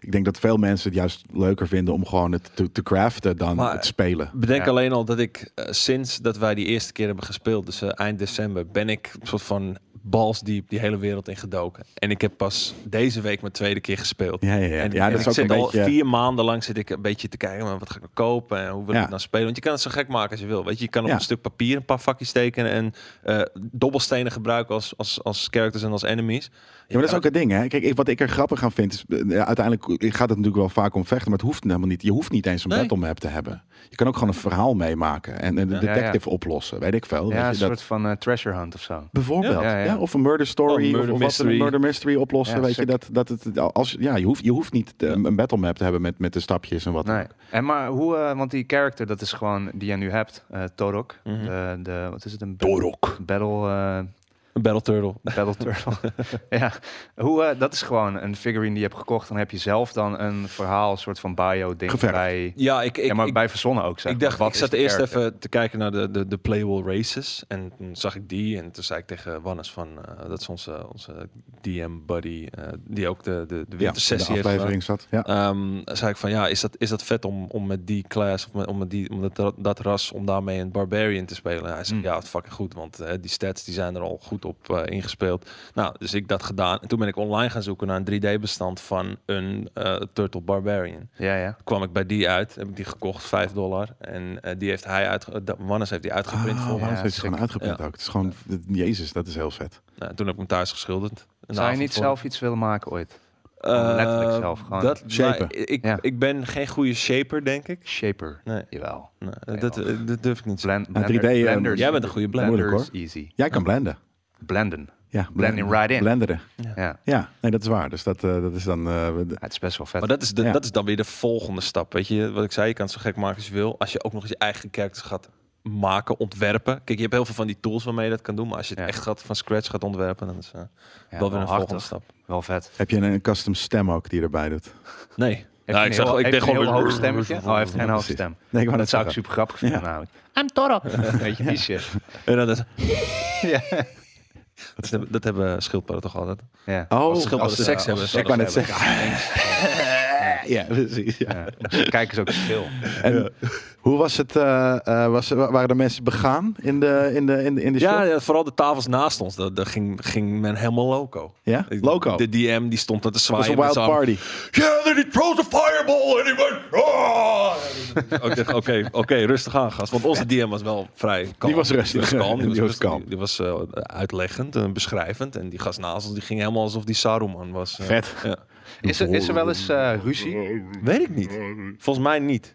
B: ik denk dat veel mensen het juist leuker vinden om gewoon het te, te craften dan
C: Maar-
B: het spelen.
C: Bedenk
D: Ja.
C: alleen al dat ik eh, sinds dat wij die eerste keer hebben gespeeld, dus eh, eind december, ben ik een soort van balsdiep die hele wereld in gedoken. En ik heb pas deze week mijn tweede keer gespeeld.
B: Ja, ja, ja.
C: En,
B: ja
C: en
B: dat
C: ik
B: is ook
C: zit
B: een
C: al
B: beetje.
C: vier maanden lang zit ik een beetje te kijken, maar wat ga ik nou kopen en hoe wil
B: Ja.
C: ik het nou spelen? Want je kan het zo gek maken als je wil. Weet je, je kan op
B: Ja.
C: een stuk papier een paar vakjes tekenen en eh, dobbelstenen gebruiken als, als, als characters en als enemies.
B: Ja, maar dat is ook het ding, hè? Kijk, ik, wat ik er grappig aan vind, is eh, ja, uiteindelijk gaat het natuurlijk wel vaak om vechten, maar het hoeft helemaal niet. Je hoeft niet eens een
C: Nee.
B: battle map te hebben. Je kan ook gewoon een verhaal meemaken en een detective oplossen, weet ik veel.
D: Ja,
B: weet
D: een
B: je,
D: soort
B: dat,
D: van eh, treasure hunt of zo.
B: bijvoorbeeld, ja,
D: Ja, ja.
B: of een murder story,
C: Of een
B: of-
C: murder
B: of, wat, een
C: mystery.
B: murder mystery oplossen,
D: Ja,
B: weet je. Dat, dat het, als, ja, je hoeft, je hoeft niet eh, een battle map te hebben met, met de stapjes en wat. dan
D: Nee.
B: ook.
D: En maar hoe, eh, want die character, dat is gewoon die jij nu hebt, eh, Torok.
C: Mhm.
D: de, de, wat is het? Een
B: Torok.
D: Battle, eh,
C: Een battle turtle.
D: Battle Turtle. ja, hoe, eh, dat is gewoon een figurine die je hebt gekocht. Dan heb je zelf dan een verhaal, een soort van bio-ding
B: Geverfd.
D: bij.
C: Ja, ik, ik,
D: ja, maar
C: ik-
D: bij verzonnen ook. Zeg.
C: Ik
D: maar.
C: dacht,
D: Wat
C: ik
D: is
C: zat
D: die
C: eerst
D: character?
C: even te kijken naar de, de, de Playable Races. En toen zag ik die. En toen zei ik tegen Wannes van, eh, dat is onze, onze DM-buddy, eh, die ook de, de, de
B: Ja, in de
C: wintersessie heeft gedaan.
B: aflevering zat. Ja.
C: Ehm, zei ik van, ja, is dat, is dat vet om, om met die class, of met, om met die, om dat, dat ras, om daarmee een Barbarian te spelen? hij zei,
D: Mm.
C: ja, het is fucking goed, want eh, die stats die zijn er al goed op eh, ingespeeld. Nou, dus ik dat gedaan. En toen ben ik online gaan zoeken naar een 3D-bestand van een eh, Turtle Barbarian
D: Ja, ja.
C: kwam ik bij die uit. Heb ik die gekocht, 5 dollar. En eh, die heeft hij uit, Wannes heeft die uitgeprint
B: Ah,
C: voor me.
B: ja,
D: ja,
B: ze heeft het gewoon
D: sick.
B: uitgeprint
C: Ja.
B: ook. Het is gewoon, jezus, dat is heel vet.
C: Nou, toen heb ik hem thuis geschilderd. Een
D: Zou je
C: avond
D: niet
C: voor-
D: zelf iets willen maken ooit?
C: Eh,
D: letterlijk zelf gewoon
C: Dat,
B: shapen?
C: maar ik,
D: Ja.
C: ik ben geen goede shaper, denk ik.
D: Shaper.
C: Nee,
D: Jawel.
C: nee,
D: Nee,
C: dat,
D: wel.
C: eh, dat durf ik niet. te
D: Blend,
B: 3D, eh,
D: blenders.
C: jij bent een goede blender.
D: Blenders
B: Moeilijk,
D: easy.
B: Jij kan blenden.
D: Blenden.
B: Ja,
D: Blending right in.
B: Blenderen.
D: Ja.
B: Ja, nee, dat is waar. Dus dat, eh, dat is dan... eh, de-
D: Ja, het is best wel vet.
C: Maar dat is, de,
B: Ja.
C: dat is dan weer de volgende stap. Weet je, wat ik zei, je kan het zo gek maken als je wil. Als je ook nog eens je eigen characters gaat maken, ontwerpen. Kijk, je hebt heel veel van die tools waarmee je dat kan doen. Maar als je het
D: Ja.
C: echt gaat, van scratch gaat ontwerpen, dan is eh,
D: Ja,
C: wel weer een
D: hard,
C: volgende
D: toch?
C: stap.
D: Wel vet.
B: Heb je een custom stem ook die je erbij doet?
C: Nee.
D: Heeft
C: Ja,
D: hij
C: ik
D: een
C: zag,
D: heel-
C: ik
D: heeft
C: ben
D: hij een
C: gewoon...
D: heel hoog stemmetje. Oh, hij heeft geen hoog
B: precies.
D: stem.
B: Nee, ik wou
D: Dat
B: net
D: zou ik
B: zeggen.
D: super grappig vinden
B: Ja.
D: namelijk. I'm Torok. Weet je, die shit.
C: En dan dat,
D: Ja.
C: dat, hebben- dat hebben schildpadden toch altijd?
D: Ja.
B: Oh,
C: Als schildpadden
D: ze-
C: seks
D: als
C: hebben.
D: ze
B: ik
D: seks
B: wou
C: zouden
B: net
C: ze
B: zeggen. ja, precies. ja.
D: Ja. Kijk eens ook stil.
B: En hoe was het? eh, eh, was, wa- waren de mensen begaan in de, in de, in de, in de
C: hebben.
B: shop?
C: Ja, ja, vooral de tafels naast ons. Daar daar ging, ging men helemaal loco.
B: Ja?
C: Ik-
B: Loco.
C: De DM die stond aan te
B: was
C: zwaaien.
B: een
C: met
B: wild
C: z'n allen.
B: party.
C: Yeah, then he throws a fireball and he went... "Ah!" Ik dacht, Oké, oké, rustig aan, gast. Want onze DM was wel vrij kalm.
B: Die was rustig.
C: Die was kalm. Die was,
B: Die was
C: rustig.
B: kalm.
C: Die, die was eh, uitleggend en beschrijvend. En die gast naast ons die ging helemaal alsof die Saruman was. eh.
B: Vet.
C: Ja.
D: Is er, is er wel eens eh, ruzie?
C: Weet ik niet. Volgens mij niet.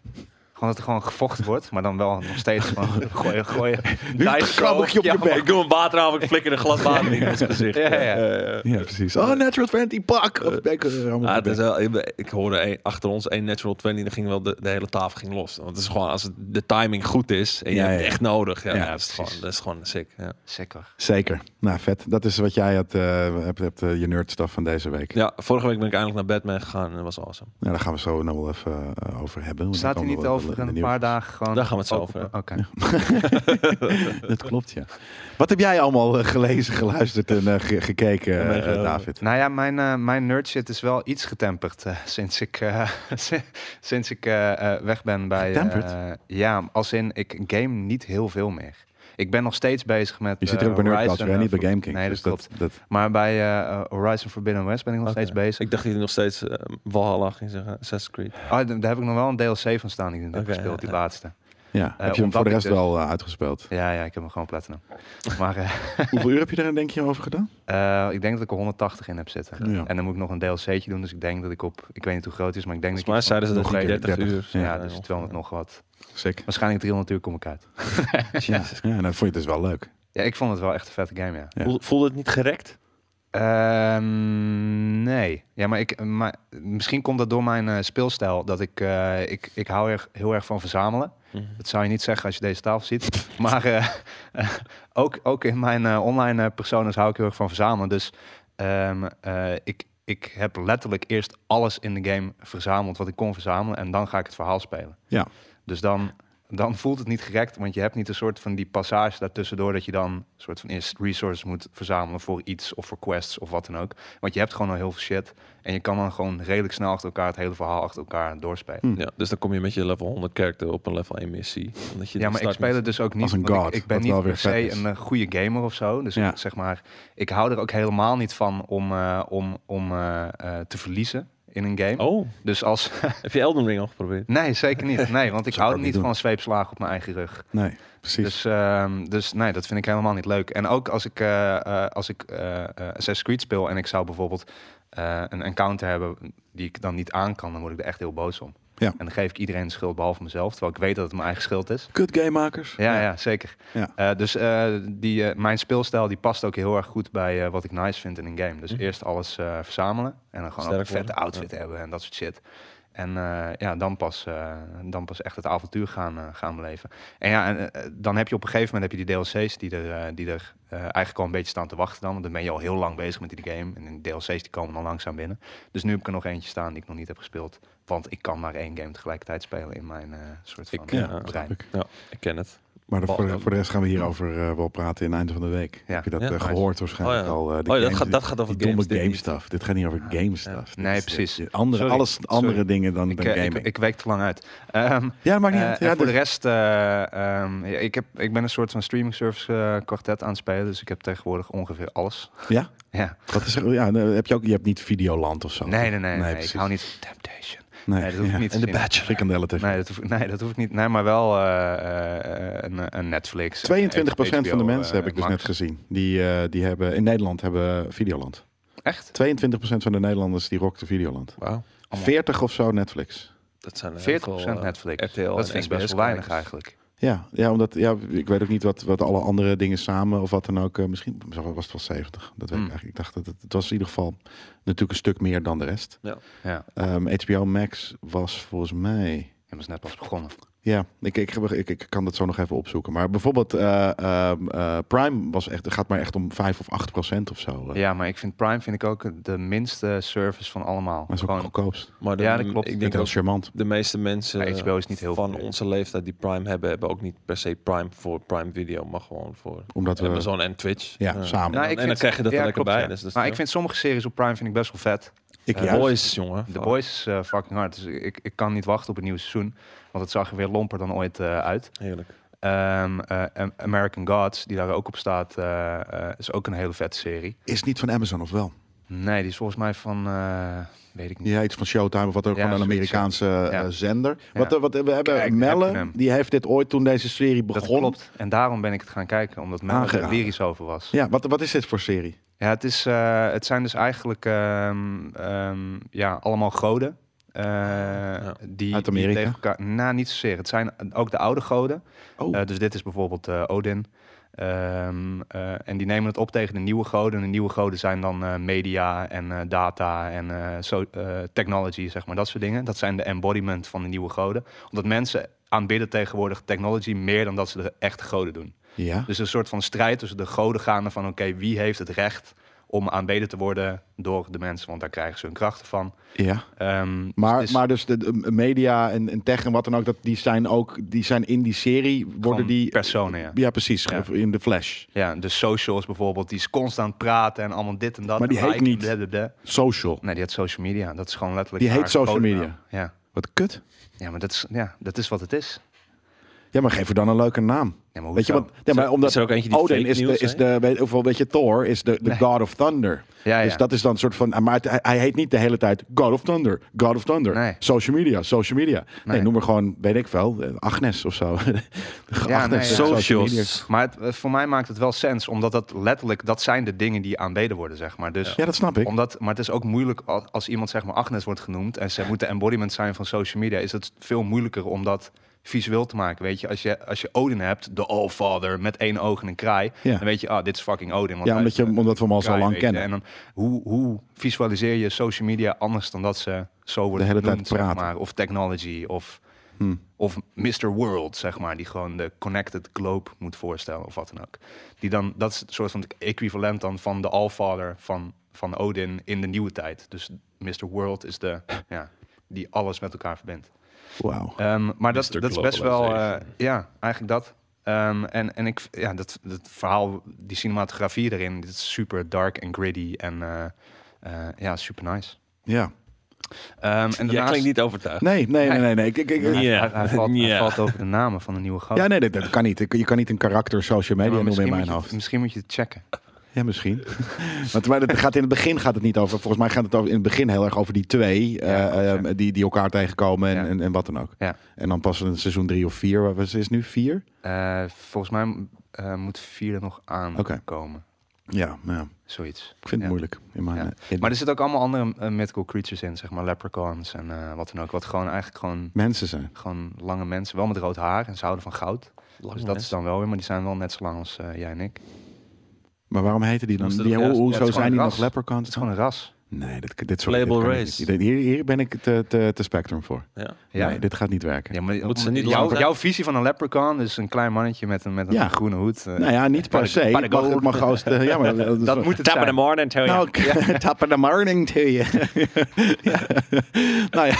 D: Gewoon dat er gewoon gevochten wordt, maar dan wel nog steeds gewoon gooien, gooien.
B: Nu
D: dice
B: krab ik je op
D: throw.
B: je
D: Ja,
B: bek.
C: Ik doe een water aan, ik flikker een glas water in ons gezicht.
D: Ja, ja, ja.
C: Eh, eh.
B: Ja, precies. Oh, Natural 20, pak! Of bek, eh, allemaal
C: Ah,
B: op
C: het
B: je
C: is
B: bek.
C: wel, ik, ik hoorde een- achter ons één natural 20 en ging wel de, de hele tafel ging los. Want het is gewoon als het, de timing goed is en je
B: Ja,
C: hebt
B: ja.
C: het echt nodig. Ja,
B: Ja,
C: dat, is gewoon,
D: precies.
C: dat is gewoon sick. Ja.
D: Zeker.
B: Zeker. Nou, vet. Dat is wat jij had, eh, hebt, hebt eh, je nerdstaf van deze week.
C: ja, vorige week ben ik eindelijk naar Batman gegaan en dat was awesome.
B: Nou, daar gaan we zo nog wel even eh, over hebben. want dan
D: Staat hij
B: komen
D: niet
B: we wel
D: over
B: in de
D: een
B: nieuwe-
D: paar dagen gewoon...
C: Daar gaan we het zo
D: ook
C: over
D: op- Oké.
C: hebben.
B: Dat klopt, ja. Wat heb jij allemaal eh, gelezen, geluisterd en eh, ge- gekeken, eh,
C: ben ik, eh,
B: David?
D: Nou ja, mijn, eh mijn nerdshit is wel iets getemperd eh, sinds ik, eh, sinds ik eh, eh, weg ben bij... eh,
B: Getemperd?
D: ja, als in, ik game niet heel veel meer. Ik ben nog steeds bezig met...
B: Je zit
D: eh,
B: er ook bij Nerd
D: Horizon,
B: Culture, hè, niet
D: eh,
B: bij
D: voor-
B: Game King.
D: Nee,
B: dus
D: dat klopt.
B: dat, dat,
D: Maar bij eh, eh, Horizon Forbidden West ben ik nog
C: Oké.
D: steeds bezig.
C: Ik dacht dat je nog steeds eh, Valhalla ging zeggen, Assassin's Creed.
D: Ah, d- daar heb ik nog wel een DLC van staan die ik net heb
C: Oké, ja,
D: gespeeld, die
C: ja.
D: laatste.
B: ja. heb je hem
D: omdat
B: voor de
D: ik
B: rest
D: dus-
B: wel eh, uitgespeeld?
D: Ja, ja, ik heb hem gewoon platinum. Maar eh,
B: Hoeveel uur heb je daar denk je over gedaan?
D: eh, ik denk dat ik er 180 in heb zitten.
B: Ja.
D: En dan moet ik nog een DLC'tje doen, dus ik denk dat ik op... Ik weet niet hoe groot het is, maar ik denk
C: Volgens
D: dat
C: mij zeiden
D: ik...
C: ze dat
B: nog
C: die
B: een keer
C: 30,
B: 30,
C: uur.
D: ja,
C: zijn,
D: dus
C: ongeveer.
D: 200 nog wat.
B: Sick.
D: Waarschijnlijk 300 uur kom ik uit.
B: Ja, ja nou, vond je het dus wel leuk.
D: Ja, ik vond het wel echt een vette game, ja.
B: Ja.
C: Voel- Voelde het niet gerekt?
D: Ehm, nee. Ja, maar, ik, maar misschien komt dat door mijn eh, speelstijl. Dat ik, eh, ik, ik hou erg, heel erg van verzamelen. Dat zou je niet zeggen als je deze tafel ziet. Maar eh, eh, ook, ook in mijn eh, online eh, personas hou ik heel erg van verzamelen. Dus ehm, eh, ik, ik heb letterlijk eerst alles in de game verzameld wat ik kon verzamelen. En dan ga ik het verhaal spelen.
B: Ja.
D: Dus dan, dan voelt het niet gerekt, want je hebt niet een soort van die passage daartussendoor dat je dan een soort van eerst resources moet verzamelen voor iets of voor quests of wat dan ook. Want je hebt gewoon al heel veel shit en je kan dan gewoon redelijk snel achter elkaar het hele verhaal achter elkaar doorspelen.
C: Ja, dus dan kom je met je level 100 character op een level 1 missie. Omdat je
D: Ja,
C: de
D: maar ik
C: start
D: speel het dus ook niet.
B: Als een
D: want
B: god,
D: ik, ik ben
B: wat
D: niet
B: wel weer
D: per se
B: vet is.
D: een eh, goede gamer of zo. Dus
B: Ja.
D: ik, zeg maar, ik hou er ook helemaal niet van om, eh, om, om eh, eh, te verliezen in een game.
C: mist. Oh,
D: Dus als...
C: heb je Elden Ring al geprobeerd?
D: nee, zeker niet. Nee, want
B: Zou
D: ik
B: ik
D: hou er
B: ook
D: niet
B: niet
D: van zweepslagen op mijn eigen rug.
B: Nee, precies.
D: Dus, ehm, dus nee, dat vind ik helemaal niet leuk. En ook als ik, eh, eh, als ik eh, eh, Assassin's Creed speel en ik zou bijvoorbeeld eh, een encounter hebben die ik dan niet aan kan, dan word ik er echt heel boos om.
B: Ja.
D: En dan geef ik iedereen de schuld behalve mezelf, terwijl ik weet dat het mijn eigen schuld is.
B: Kut gamemakers.
D: Ja, ja. zeker.
B: Ja.
D: Eh, dus eh, die, eh, mijn speelstijl die past ook heel erg goed bij eh, wat ik nice vind in een game. Dus
C: Mhm. eerst
D: eerst alles verzamelen en
C: gewoon
D: dan gewoon
C: ook
D: een
C: een Sterk
D: vette
C: vette worden,
D: outfit
C: outfit ja.
D: hebben en dat soort shit. En eh, ja, dan pas, dan pas echt het avontuur gaan, eh, gaan beleven. En ja, en, eh, eh, dan heb je op een gegeven moment heb je die DLC's die er, eh, die er eh, eigenlijk al een beetje staan te wachten dan. Want dan ben je al heel lang bezig met die game. En de DLC's die komen dan langzaam binnen. Dus nu heb ik er nog eentje staan die ik nog niet heb gespeeld. Want ik kan maar één game tegelijkertijd spelen in mijn eh, soort van
C: Ik,
D: eh,
C: ja, snap
D: brein.
B: ik.
C: Ja, ik ken het.
B: Maar
C: Bal-
B: voor de, voor de rest gaan we hierover eh, wel praten in het einde van de week.
D: Oh, Ja.
B: Heb je dat
C: Ja,
B: eh,
C: nice.
B: gehoord waarschijnlijk
C: Oh ja.
B: al? eh, de
C: Oh ja, dat
B: games
C: gaat,
B: die-
C: dat gaat over
B: die domme
C: games. dit
B: game
C: niet.
B: stuff. Dit gaat niet over game stuff.
D: Nee,
B: Dit is-
D: precies.
B: dit- Andere,
D: Sorry.
B: alles andere
D: Sorry.
B: dingen dan,
D: Ik,
B: dan
D: eh, ik,
B: gaming.
D: ik week te lang uit. Ehm,
B: ja, maar niet
D: Eh,
B: uit.
D: en
B: Ja, dus-
D: voor de
B: dit-
D: rest, eh, ehm, ja, ik, heb, ik ben een soort van streaming service eh, kwartet aan het spelen. Dus ik heb tegenwoordig ongeveer alles.
B: ja?
D: Ja.
B: Wat is er, ja, nee, heb je, ook, je hebt niet Videoland of zo.
D: Nee, nee, nee. Oh, nee, ik
B: precies.
D: hou niet van Temptation.
B: Nee,
D: Nee, dat hoef ik
B: ja.
D: niet te
C: En de
D: zien.
C: Bachelor.
B: Frikandellen TV.
D: Nee dat, hoef, nee, dat hoef ik niet. Nee, maar wel eh, eh, een, een
B: 22%
D: Netflix.
B: van de
D: HBO,
B: mensen heb
D: eh,
B: ik dus
D: Max.
B: net gezien. Die, eh, die hebben in Nederland hebben Videoland. 22%
D: Echt?
B: van de Nederlanders die rockte Videoland.
C: Wauw.
D: Allemaal.
B: 40 of zo Netflix.
C: Dat zijn er
D: 40%
C: heel veel, eh,
D: Netflix.
C: RTL en
D: dat vind ik
C: SBS
D: best wel weinig
C: kijkers.
D: eigenlijk.
B: Ja, ja, omdat ja, ik weet ook niet wat, wat alle andere dingen samen of wat dan ook. eh, misschien was het wel 70. Dat weet
D: Hmm.
B: ik eigenlijk. Ik dacht dat het, het was in ieder geval natuurlijk een stuk meer dan de rest.
D: Ja,
B: Ehm, HBO Max was volgens mij.
D: dat is net pas begonnen.
B: Ja, ik, ik, ik, ik kan dat zo nog even opzoeken. Maar bijvoorbeeld eh, ehm, eh, Prime was echt, gaat maar echt om 5 of 8 procent of zo. eh.
D: Ja, maar ik vind Prime vind ik ook de minste service van allemaal.
B: Maar dat is ook het
D: Gewoon,
B: goedkoopst.
C: eh, Maar de,
D: Ja, dat klopt.
C: Ik
B: Ik vind
C: denk
B: het
C: ook
B: heel charmant.
C: de meeste mensen
D: HBO is niet heel
C: van
D: populair.
C: onze leeftijd die Prime hebben, hebben ook niet per se Prime voor Prime Video, maar gewoon voor
B: Omdat we...
C: Amazon en Twitch.
B: Ja,
C: Eh,
B: samen.
C: En,
D: Nou,
C: dan-
D: ik
C: en dan
D: vind-
C: krijg je dat
D: ja,
C: er lekker
D: klopt,
C: bij.
D: ja.
C: Dus dat is
D: maar ik
C: chill.
D: vind sommige series op Prime vind ik best wel vet.
B: ik
D: eh,
B: juist.
C: Boys, jongen.
D: The Boys is eh, fucking hard. Dus ik, ik kan niet wachten op het nieuwe seizoen. Want het zag er weer lomper dan ooit eh, uit.
C: Heerlijk.
D: Ehm, eh, Am- American Gods, die daar ook op staat, eh, eh, is ook een hele vette serie.
B: Is niet van Amazon of wel?
D: Nee, die is volgens mij van, eh, weet ik niet.
B: Ja, iets van Showtime of wat ook
D: Ja,
B: gewoon een
D: zoiets, ja.
B: Amerikaanse eh,
D: Ja.
B: zender.
D: Ja.
B: Wat, eh, wat, eh, we hebben
D: Kijk, daar heb je
B: Melle,
D: hem.
B: die heeft dit ooit toen deze serie
D: Dat
B: begon.
D: klopt. En daarom ben ik het gaan kijken, omdat men er
B: Aangeraden.
D: lyrisch over was.
B: Ja, wat, wat is dit voor serie?
D: Ja, het, is, eh, het zijn dus eigenlijk ehm, ehm, ja, allemaal goden. eh, die,
B: Uit
D: die
B: Amerika?
D: tegen elkaar. Nou, niet zozeer. Het zijn ook de oude goden.
B: Oh.
D: Eh, dus dit is bijvoorbeeld eh, Odin. Ehm, eh, en die nemen het op tegen de nieuwe goden. En de nieuwe goden zijn dan eh, media en eh, data en eh, so- eh, technology, zeg maar, dat soort dingen. Dat zijn de embodiment van de nieuwe goden. Omdat mensen aanbidden tegenwoordig technology meer dan dat ze de echte goden doen.
B: ja.
D: Dus een soort van strijd tussen de goden gaande van... oké, wie heeft het recht om aanbeden te worden door de mensen? Want daar krijgen ze hun krachten van.
B: ja.
D: Ehm, dus
B: Maar,
D: het is-
B: maar dus de, de media en, en tech en wat dan ook, dat, die zijn ook die zijn in die serie, worden
D: Gewoon
B: die...
D: personen, ja.
B: Ja, precies.
D: Ja.
B: In de flash.
D: Ja, de socials bijvoorbeeld, die is constant praten en allemaal dit en dat.
B: Maar die
D: en
B: heet
D: liken,
B: niet-
D: blablabla.
B: Social.
D: Nee, die had social media. Dat is gewoon letterlijk...
B: Die
D: haar
B: heet social
D: codenaam.
B: media.
D: Ja.
B: Wat kut.
D: ja, maar dat is, ja, dat is wat het is.
B: Ja, maar geef er dan een leuke naam.
D: Ja, maar
B: Weet je,
D: hoezo?
B: want, ja, maar
C: Zo-
B: omdat
C: is er ook eentje die
B: Odin
C: fake
B: is de,
C: news
B: is
C: heet?
B: de weet, of wel, weet je, Thor is de, de God of Thunder.
D: Ja, ja.
B: Dus dat is dan een soort van, maar het- hij, hij heet niet de hele tijd God of Thunder, God of Thunder.
D: Nee.
B: Social media, social media. Nee,
D: Nee.
B: noem maar gewoon, weet ik wel, eh, Agnes of zo.
D: Ja, nee, ja.
B: social media.
C: Socials.
D: Maar het, eh, voor mij maakt het wel sens, omdat dat letterlijk... dat zijn de dingen die aanbeden worden, zeg maar. Dus
B: Ja, dat snap ik.
D: Omdat, maar het is ook moeilijk al- als iemand zeg maar Agnes wordt genoemd en ze moet de embodiment zijn van social media, is het veel moeilijker om dat visueel te maken. Weet je, als je, als je Odin hebt, de Allfather met één oog en een kraai,
B: Ja.
D: dan weet je, ah, dit is fucking Odin. Want
B: Ja,
D: hij
B: omdat, je,
D: heeft een
B: omdat we hem al zo
D: kraai,
B: lang
D: weet je.
B: kennen.
D: En dan, hoe, hoe visualiseer je social media anders dan dat ze zo worden
B: hele tijd
D: genoemd, zeg
B: praten. Hmm.
D: maar, of technology, of, of Mr. World, zeg maar, die gewoon de connected globe moet voorstellen, of wat dan ook. Die dan, dat is een soort van het equivalent dan van de Allfather van, van Odin in de nieuwe tijd. Dus Mr. World is de, ja, die alles met elkaar verbindt.
B: Wauw.
D: Ehm, maar dat,
C: Mr.
D: dat is best wel, eh,
C: Globalization.
D: ja, eigenlijk dat. Ehm, en en ik, ja, dat, dat verhaal, die cinematografie erin, dit is super dark en gritty en eh, eh, ja, super nice.
B: Ja.
D: Ehm, en
C: Jij
D: daarnaast-
C: klinkt niet overtuigd.
B: Nee, nee, nee, nee. nee. Ik, ik, ik-
D: Hij-
C: Ja.
D: hij, hij valt, hij
C: Ja.
D: valt over de namen van de nieuwe gast.
B: ja, nee, dat, dat kan niet. Ik- Je kan niet een karakter social media noemen in
D: misschien,
B: mijn
D: moet
B: hoofd.
D: je, misschien moet je het checken.
B: Ja, misschien. Want maar het gaat in het begin gaat het niet over. Volgens mij gaat het over, in het begin heel erg over die twee eh, eh, die, die elkaar tegenkomen en,
D: Ja.
B: en, en wat dan ook.
D: Ja.
B: En dan pas in het seizoen drie of vier. Wat is het nu? Vier?
D: Eh, volgens mij eh, moet vier er nog aankomen.
B: Ja, nou ja. ik
D: Zoiets.
B: vind het
D: Ja.
B: moeilijk. In mijn,
D: Ja.
B: in-
D: Maar er zitten ook allemaal andere eh, mythical creatures in, zeg maar leprechauns en eh, wat dan ook. Wat gewoon eigenlijk gewoon,
B: mensen zijn.
D: gewoon lange mensen, wel met rood haar en ze houden van goud. dus dat is dan wel weer, maar die zijn wel net zo lang als eh, jij en ik. Het
B: Maar waarom heten die dan?
C: Moesten
B: Die,
C: er-
B: hoe,
C: ja,
B: hoezo
D: het is gewoon
B: zijn die
D: een
B: nog
D: ras.
B: leprechauns?
D: is gewoon een ras.
B: Nee, dit, dit soort
C: Label
B: dit kan ik
C: race.
B: niet. Dit- Hier, hier ben ik te, te, te spectrum voor.
C: Ja.
D: Ja.
B: Nee, dit gaat niet werken.
D: Ja, maar
C: Moeten ze niet lang
D: jouw,
C: zijn?
D: jouw visie van een leprechaun is een klein mannetje met een, met een
B: Ja.
D: groene hoed. eh,
B: nou ja, niet per
D: Park-
B: se. Maar,
D: Parkgoed.
B: maar gauwst, eh, ja, maar, dat is
D: dat
B: wel-
D: moet het zijn.
C: morning
D: Oh,
C: tell
B: Nou, top of the morning to you. ja. Nou ja,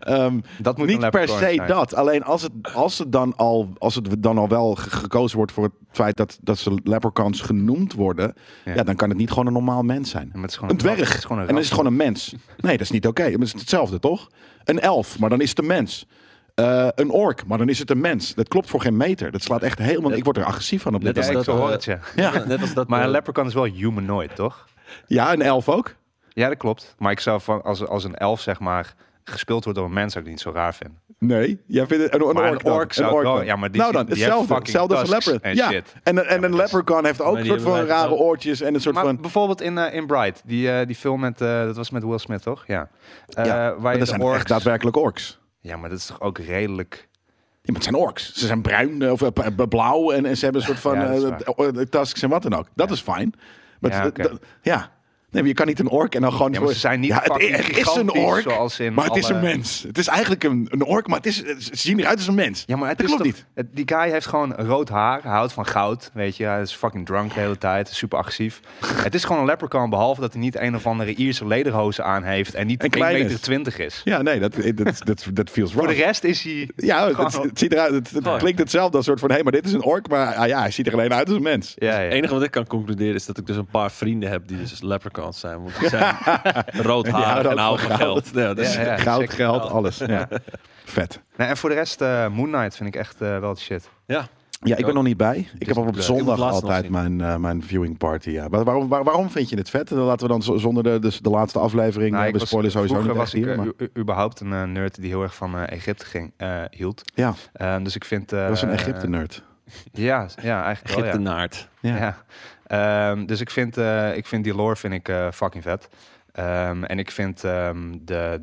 B: ehm,
D: Dat moet
B: niet
D: een
B: per
D: leprechaun
B: se
D: zijn.
B: dat. Alleen als het, als het, dan, al, als het dan al wel ge- gekozen wordt voor het feit dat, dat ze leprechauns genoemd worden, ja.
D: Ja.
B: dan kan het niet gewoon een normaal mens zijn.
D: Ja, maar het is gewoon
B: Een
D: een ras.
B: dwerg.
D: Het is gewoon een
B: en dan is
D: ras.
B: het gewoon een mens. Nee, dat is niet oké. Maar Het is hetzelfde, toch? Een elf, maar dan is het een mens. Eh, een ork, maar dan is het een mens. Dat klopt voor geen meter. Dat slaat echt helemaal... Ik word er agressief van op dit
C: Net als
D: Ja, ik
B: moment.
C: dat,
D: hoor
C: eh,
D: het, ja.
B: Ja.
C: Net als dat.
D: Maar
C: eh,
D: een leprechaun is wel humanoid, toch?
B: ja, een elf ook.
D: Ja, dat klopt. Maar ik zou van als, als een elf, zeg maar, gespeeld wordt door een mens, zou ik niet zo raar vinden.
B: Nee, jij vindt het een, een
D: Maar een
B: ork, dan.
D: ork zou ik wel-
B: dan.
D: ja, maar die
B: nou
D: zit-
B: dan,
D: die heeft
B: hetzelfde,
D: fucking
B: hetzelfde als een
D: tusks
B: leprechaun.
D: en
B: Ja.
D: shit.
B: En, een- en
D: maar
B: een
D: dat is-
B: leprechaun heeft ook
C: maar
B: een
C: die
B: soort van
C: hebben wij
B: rare
C: wel.
B: oortjes en een soort
D: Maar
B: van...
D: bijvoorbeeld in, eh, in Bright, die, eh, die film met, eh, dat was met Will Smith, toch? Ja. Eh,
B: Ja,
D: waar
B: maar
D: je
B: dat
D: de
B: zijn
D: orks-
B: echt daadwerkelijk orks.
D: Ja, maar dat is toch ook redelijk...
B: Ja, maar het zijn orks. Ze zijn bruin eh, of eh, b- blauw en, en ze hebben een soort van
D: Ja, dat is
B: eh,
D: waar.
B: eh, eh, tusks en wat dan ook. Dat is fijn. Maar
D: Ja,
B: het-
D: oké.
B: dat- ja. nee, maar je kan niet een ork en dan gewoon...
D: Ja, maar ze zijn niet
B: Ja, het,
D: fucking
B: het is een
D: gigantisch
B: ork,
D: zoals in
B: maar het is
D: alle-
B: een mens. Het is eigenlijk een, een ork, maar het is, ze zien eruit als een mens.
D: Ja, maar het
B: dat
D: is
B: klopt
D: toch-
B: niet.
D: het- die guy heeft gewoon rood haar, hij houdt van goud, weet je. Hij is fucking drunk de hele tijd, super agressief. het is gewoon een leprechaun, behalve dat hij niet een of andere Ierse lederhozen aan heeft en niet
B: En
D: 1,20
B: klein is.
D: meter twintig is.
B: Ja, nee, dat, eh, dat, dat, dat feels wrong.
D: Voor de rest is hij...
B: Ja, het,
D: Gewoon-
B: het ziet eruit. Het, het
C: Gewoon.
B: klinkt hetzelfde als soort van: hé, maar dit is een ork, maar ah, ja, hij ziet er alleen uit als een mens.
D: Ja,
C: Het
D: ja.
C: enige wat ik kan concluderen is dat ik dus een paar vrienden heb die dus leprechauns zijn. Want die zijn rood
B: Die
C: haar
B: houden
C: en
B: ook
C: houden
B: van
C: van geld. Ja, dus,
D: Ja, ja.
B: Goud,
D: zeker.
B: geld, alles. Ja. Vet.
D: Nee, en voor de rest, eh, Moon Knight vind ik echt eh, wel de shit.
C: ja.
B: Ja, ik ben
C: ook.
B: nog niet bij. Ik heb op, op
C: leuk. Ik
B: zondag
C: moet het laatst
B: altijd
C: nog
B: mijn, eh, mijn viewing party. Ja. Waar- waarom, waar- waarom vind je het vet? Dan Laten we dan zo- zonder de, dus de laatste aflevering.
D: Nou,
B: Nou,
D: ik
B: we
D: was-
B: spoilen sowieso niet
D: vroeger
B: echt
D: was ik
B: hier.
D: eh,
B: Maar,
D: u- u- überhaupt een eh, nerd die heel erg van eh, Egypte ging, eh, hield.
B: ja,
D: Eh, dus ik vind...
B: dat was een
D: Egyptenaar.
B: Egypte-nerd.
D: Ja, s- ja, eigenlijk wel, ja.
C: Egyptenaard.
B: Ja.
D: Ja. Ehm, dus ik vind, eh, ik vind die lore vind ik, eh, fucking vet. Ehm, en ik vind ehm, de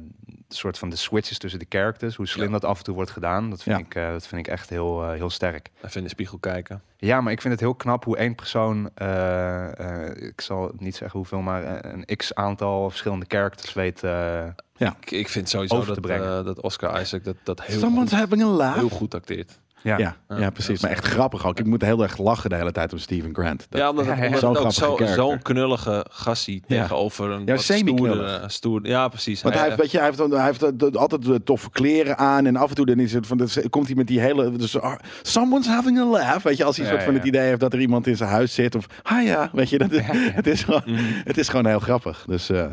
D: de soort van de switches tussen de characters, hoe slim
C: Ja.
D: dat af en toe wordt gedaan, dat vind,
B: Ja.
D: ik, eh, dat vind ik echt heel, eh, heel sterk.
C: Even in de spiegel kijken.
D: Ja, maar ik vind het heel knap hoe één persoon, eh, eh, ik zal niet zeggen hoeveel, maar eh, een x aantal verschillende characters weet. eh,
C: Ik, ik vind sowieso
D: Over te
C: dat,
D: brengen.
C: eh, dat Oscar Isaac dat, dat heel,
B: Someone's
C: goed,
B: having a
C: heel
B: laugh.
C: goed acteert.
D: ja.
B: Ja, ja,
C: Ja,
B: precies. Maar echt grappig ook. Ik moet heel erg lachen de hele tijd om Steven Grant. Dat-
C: ja, omdat het,
D: Ja, ja.
C: omdat
B: Zo'n
C: het ook
B: grappige
C: zo- zo'n
B: character.
C: knullige gassie
B: Ja.
C: tegenover een
B: Ja,
C: wat
B: semi-knullig.
C: stoerdere- stoer. Ja, precies.
B: Want hij heeft, weet je, hij heeft, dan- hij heeft eh, dat- altijd eh, toffe kleren aan en af en toe dan is het van, dat komt hij met die hele, dus, ah, someone's having a laugh, weet je, als hij
D: Ja,
B: soort van
D: ja.
B: het idee heeft dat er iemand in zijn huis zit of, ah ja, weet je, dat, Het, is gewoon, het is gewoon heel grappig. Dus, eh, nee,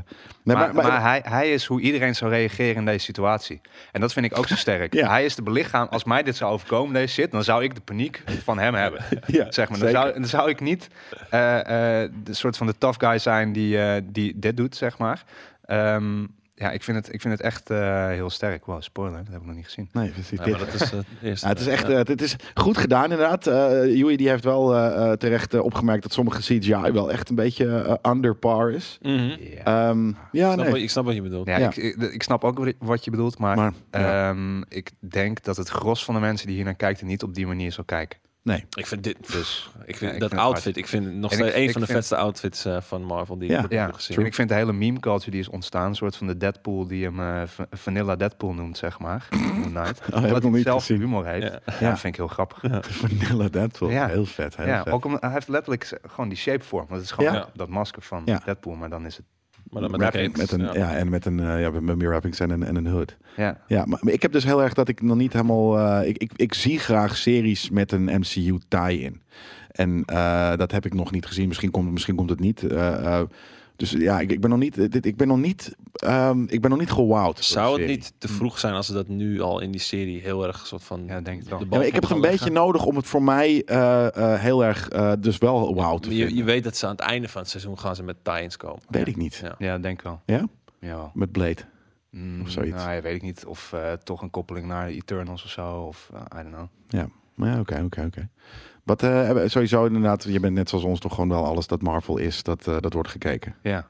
D: Mhm. maar, maar, hij, hij is hoe iedereen zou reageren in deze situatie. En dat vind ik ook zo sterk.
B: Ja.
D: Hij is de belichaam. Als mij dit zou overkomen, deze shit, dan zou ik de paniek van hem hebben.
B: ja,
D: Zeg maar. Dan,
B: zeker.
D: zou, dan zou ik niet eh, eh, de soort van de tough guy zijn die, eh, die dit doet, zeg maar. Ehm, ja, ik vind het, ik vind het echt eh, heel sterk. Wow, spoiler, dat heb ik nog niet gezien.
B: Nee, precies.
C: Ja,
B: dit-
C: maar dat is eh, het eerste.
B: Ja, het is echt
C: Ja.
B: eh, het is goed gedaan, inderdaad. Eh Joey die heeft wel eh, eh, terecht eh, opgemerkt dat sommige CGI wel echt een beetje eh, under par is.
C: Mhm. Ik
D: Ja.
B: Ehm, ja,
C: snap
B: nee.
C: wat- Ik snap wat je bedoelt.
D: Eh, Ja,
B: Ja.
D: Ik, ik, ik snap ook wat- wat je bedoelt, maar,
B: Maar, ja.
D: ehm, ik denk dat het gros van de mensen die hier naar kijkt er niet op die manier zal kijken.
B: Nee.
C: Ik vind dit dus. Ik vind
D: ik
C: dat
D: vind het
C: outfit. Ik vind het nog
D: En
C: steeds
D: ik-
C: een
D: ik
C: van de
D: vind-
C: vetste outfits eh, van Marvel die
B: Ja.
C: ik
D: Ja,
C: heb gezien.
D: en ik vind de hele meme culture die is ontstaan, een soort van de Deadpool die hem eh, va- Vanilla Deadpool noemt, zeg maar. Moon Knight.
B: Oh, ik nog
D: Omdat hij
B: niet
D: zelf
B: gezien.
D: humor heeft. Ja.
C: Ja.
B: Ja.
D: dat vind ik heel grappig.
B: Vanilla Deadpool.
D: Ja.
B: Heel vet. Heel
D: Ja,
B: vet.
D: ook om, hij heeft letterlijk z- gewoon die shape vorm. Dat is gewoon
C: Ja.
D: dat masker van
B: Ja.
D: Deadpool, maar dan is het.
C: Maar dan met,
B: Wrapping,
C: een
B: met een, ja.
C: cape. Ja.
B: en met een eh, ja, met meer wrappings en een, en een hood.
D: Ja,
B: Ja, maar, maar ik heb dus heel erg dat ik nog niet helemaal. eh, ik, ik, ik zie graag series met een MCU tie-in. En eh, dat heb ik nog niet gezien. Misschien komt, misschien komt het niet. Eh, eh, dus ja, ik, ik ben nog niet. Dit, ik ben nog niet. ehm, ik ben nog niet gewowd. door de
C: Zou het
B: serie.
C: niet te vroeg zijn als ze dat nu al in die serie heel erg soort van.
D: ja denk ik
C: de
D: dan.
B: Ja,
C: bal
B: maar ik heb het
C: voor
B: een
C: gaan
B: beetje
C: leggen?
B: nodig om het voor mij eh, eh, heel erg. eh, dus wel wow te
C: Je,
B: vinden.
C: je weet dat ze aan het einde van het seizoen gaan ze met tie-ins komen.
B: Weet ik niet.
C: Ja.
D: Ja, denk wel.
B: Ja?
D: Jawel.
B: Met Blade.
D: Mm,
B: Of zoiets.
D: Nou, ja, weet ik niet. Of eh, toch een koppeling naar de Eternals of zo. Of eh, I don't know.
B: Maar ja, oké, oké, oké. Wat eh, hebben- sowieso inderdaad, je bent net zoals ons toch gewoon wel alles dat Marvel is, dat, eh, dat wordt gekeken.
D: Ja.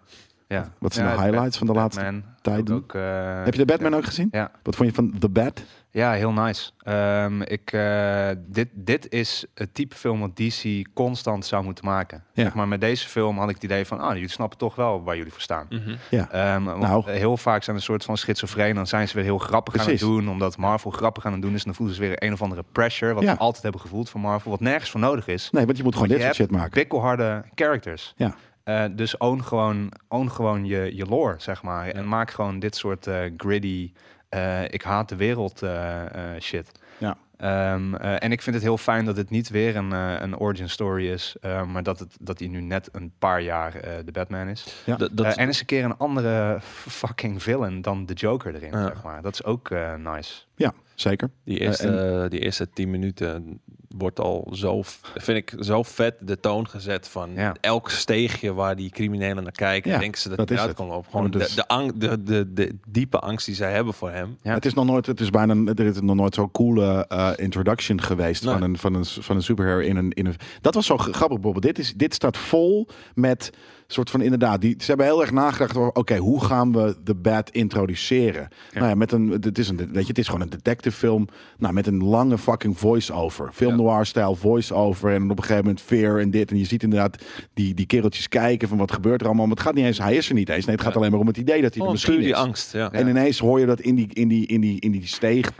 D: ja.
B: Wat zijn
D: Ja,
B: de
D: Bat-
B: highlights van de laatste
D: Batman.
B: tijd?
D: Ook, eh,
B: Heb je de Batman ook gezien?
D: Ja.
B: Wat vond je van The Bat?
D: Ja, heel nice. Ehm, ik, eh, dit, dit is het type film wat DC constant zou moeten maken.
B: Ja.
D: Zeg maar met deze film had ik het idee van, ah, jullie snappen toch wel waar jullie voor staan.
C: Mhm.
D: Ehm, want
B: Nou.
D: Heel vaak zijn een soort van schizofreen. Dan zijn ze weer heel grappig
B: Precies.
D: aan het doen. Omdat Marvel grappig aan het doen is. En dan voelen ze weer een of andere pressure. Wat
B: Ja.
D: we altijd hebben gevoeld van Marvel. Wat nergens voor nodig is.
B: Nee, want je moet gewoon dit
D: je
B: soort shit maken.
D: Pikkelharde characters.
B: Ja.
D: Eh, dus own gewoon, own gewoon je, je lore, zeg maar. En maak gewoon dit soort eh, gritty, eh, ik haat de wereld eh, eh, shit.
B: Ja.
D: Ehm, eh, en ik vind het heel fijn dat het niet weer een, eh, een origin story is, eh, maar dat, het, dat hij nu net een paar jaar eh, de Batman is.
B: Ja.
C: Dat, dat,
D: Eh, en eens een keer een andere f- fucking villain dan de Joker erin,
C: Ja.
D: zeg maar. Dat is ook eh, nice.
B: Ja, zeker.
C: Die
B: Eh,
C: eerste, die eerste tien minuten wordt al zo, v- vind ik, zo vet de toon gezet van
D: Ja.
C: elk steegje waar die criminelen naar kijken.
B: Ja,
C: denken ze dat,
B: dat
C: hij
B: is
C: eruit
B: het.
C: kan lopen. Gewoon
B: Ja, maar dus-
C: de, de, ang- de, de, de diepe angst die zij hebben voor hem.
D: Ja.
B: Het is nog nooit, het is bijna, er is nog nooit zo'n coole eh, introduction geweest
C: Nee.
B: van een van een van een superhero in een in een. Dat was zo g- grappig, Bob. Dit is dit staat vol met soort van inderdaad. Die, ze hebben heel erg nagedacht over. Oké, hoe gaan we de Bat introduceren? Nou ja, met een, het is een, weet je, het is gewoon een detective film. Nou, met een lange fucking voice-over, film noir stijl voice-over en op een gegeven moment fear en dit en je ziet inderdaad die die kereltjes kijken van wat gebeurt er allemaal. Maar het gaat niet eens, hij is er niet eens. Nee, het gaat alleen maar om het idee dat hij er
C: Gewoon
B: misschien
C: puur die
B: is.
C: angst. Ja.
B: En ineens hoor je dat in die, in die, in die, in die steeg.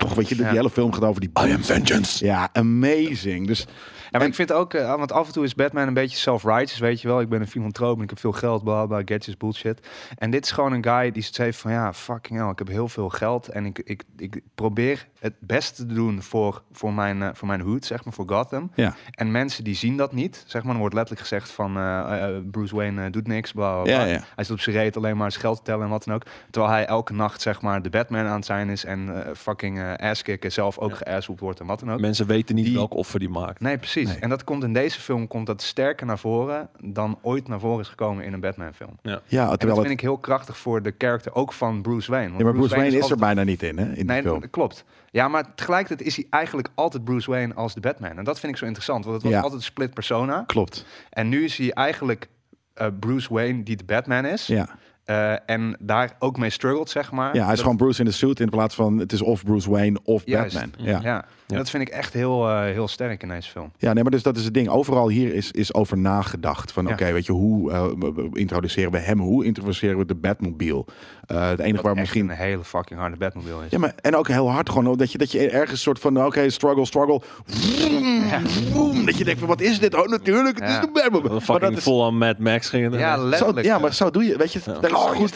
B: Toch, weet je, die
D: Ja.
B: hele film gaat over die... I am vengeance. Ja, amazing. Dus
D: Ja, maar ik vind ook, eh, want af en toe is Batman een beetje self-righteous, weet je wel. Ik ben een filantroop en ik heb veel geld, bla bla, gadgets, bullshit. En dit is gewoon een guy die zoiets heeft van, ja, fucking hell, ik heb heel veel geld. En ik, ik, ik probeer het beste te doen voor, voor, mijn, eh, voor mijn hoed, zeg maar, voor Gotham.
B: ja,
D: En mensen die zien dat niet, zeg maar, dan wordt letterlijk gezegd van, eh, eh, Bruce Wayne eh, doet niks, bla bla, bla.
B: Ja, ja.
D: Hij zit op zijn reet alleen maar zijn geld te tellen en wat dan ook. Terwijl hij elke nacht, zeg maar, de Batman aan het zijn is en eh, fucking eh asskicken zelf ook geasshoed wordt en wat dan ook.
C: Mensen weten niet
D: Die-
C: welk offer die maakt.
D: Nee, precies.
B: Nee.
D: En dat komt in deze film komt dat sterker naar voren dan ooit naar voren is gekomen in een Batman-film.
B: ja
D: En dat
B: terwijl
D: vind
B: het...
D: ik heel krachtig voor de karakter ook van Bruce Wayne. Want
B: Ja, maar Bruce Wayne is er
D: altijd-
B: bijna niet in, hè, in die
D: Nee,
B: film.
D: dat klopt. Ja, maar tegelijkertijd is hij eigenlijk altijd Bruce Wayne als de Batman. En dat vind ik zo interessant, want het was
B: Ja.
D: altijd een split persona.
B: Klopt,
D: En nu is hij eigenlijk eh, Bruce Wayne die de Batman is.
B: ja.
D: eh, en daar ook mee struggelt, zeg maar.
B: Ja, hij is
D: Dat-
B: gewoon Bruce in de suit in plaats van het is of Bruce Wayne of
D: Juist. Mm,
B: Batman. Ja.
D: Ja. En dat vind ik echt heel, eh, heel sterk in deze film.
B: Ja, nee, maar dus dat is het ding. Overal hier is, is over nagedacht. Van
D: Ja.
B: oké, weet je, hoe eh, b- b- introduceren we hem? Hoe introduceren we de Batmobile? Eh het enige waar
D: Echt
B: misschien...
D: een hele fucking harde Batmobile is.
B: Ja, maar en ook heel hard gewoon. Dat je, dat je ergens soort van, oké, struggle, struggle. Vroom, vroom. dat je denkt van, wat is dit? Oh, natuurlijk, het
D: Ja.
B: is de Batmobile.
C: Een
B: Maar
C: fucking
B: dat is-
C: full on Mad Max ging het.
D: Ja,
B: eh, zo,
D: letterlijk. eh,
B: ja, maar zo doe je, weet je. Dat is
D: Oh, je
B: goed.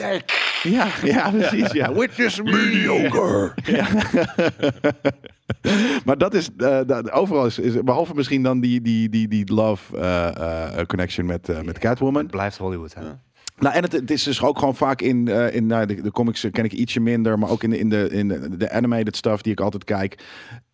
B: Ja, ja, precies. Ja. Which is mediocre. Ja. maar dat is, eh, dat- overal is, is- behalve misschien dan die, die, die, die love eh, eh, connection met, eh, met Catwoman.
D: Het blijft Hollywood, hè? Ja.
B: Nou, en het, het is dus ook gewoon vaak in, eh, in nou, de, de comics eh, ken ik ietsje minder, maar ook in de, in de, in de, de animated stuff die ik altijd kijk.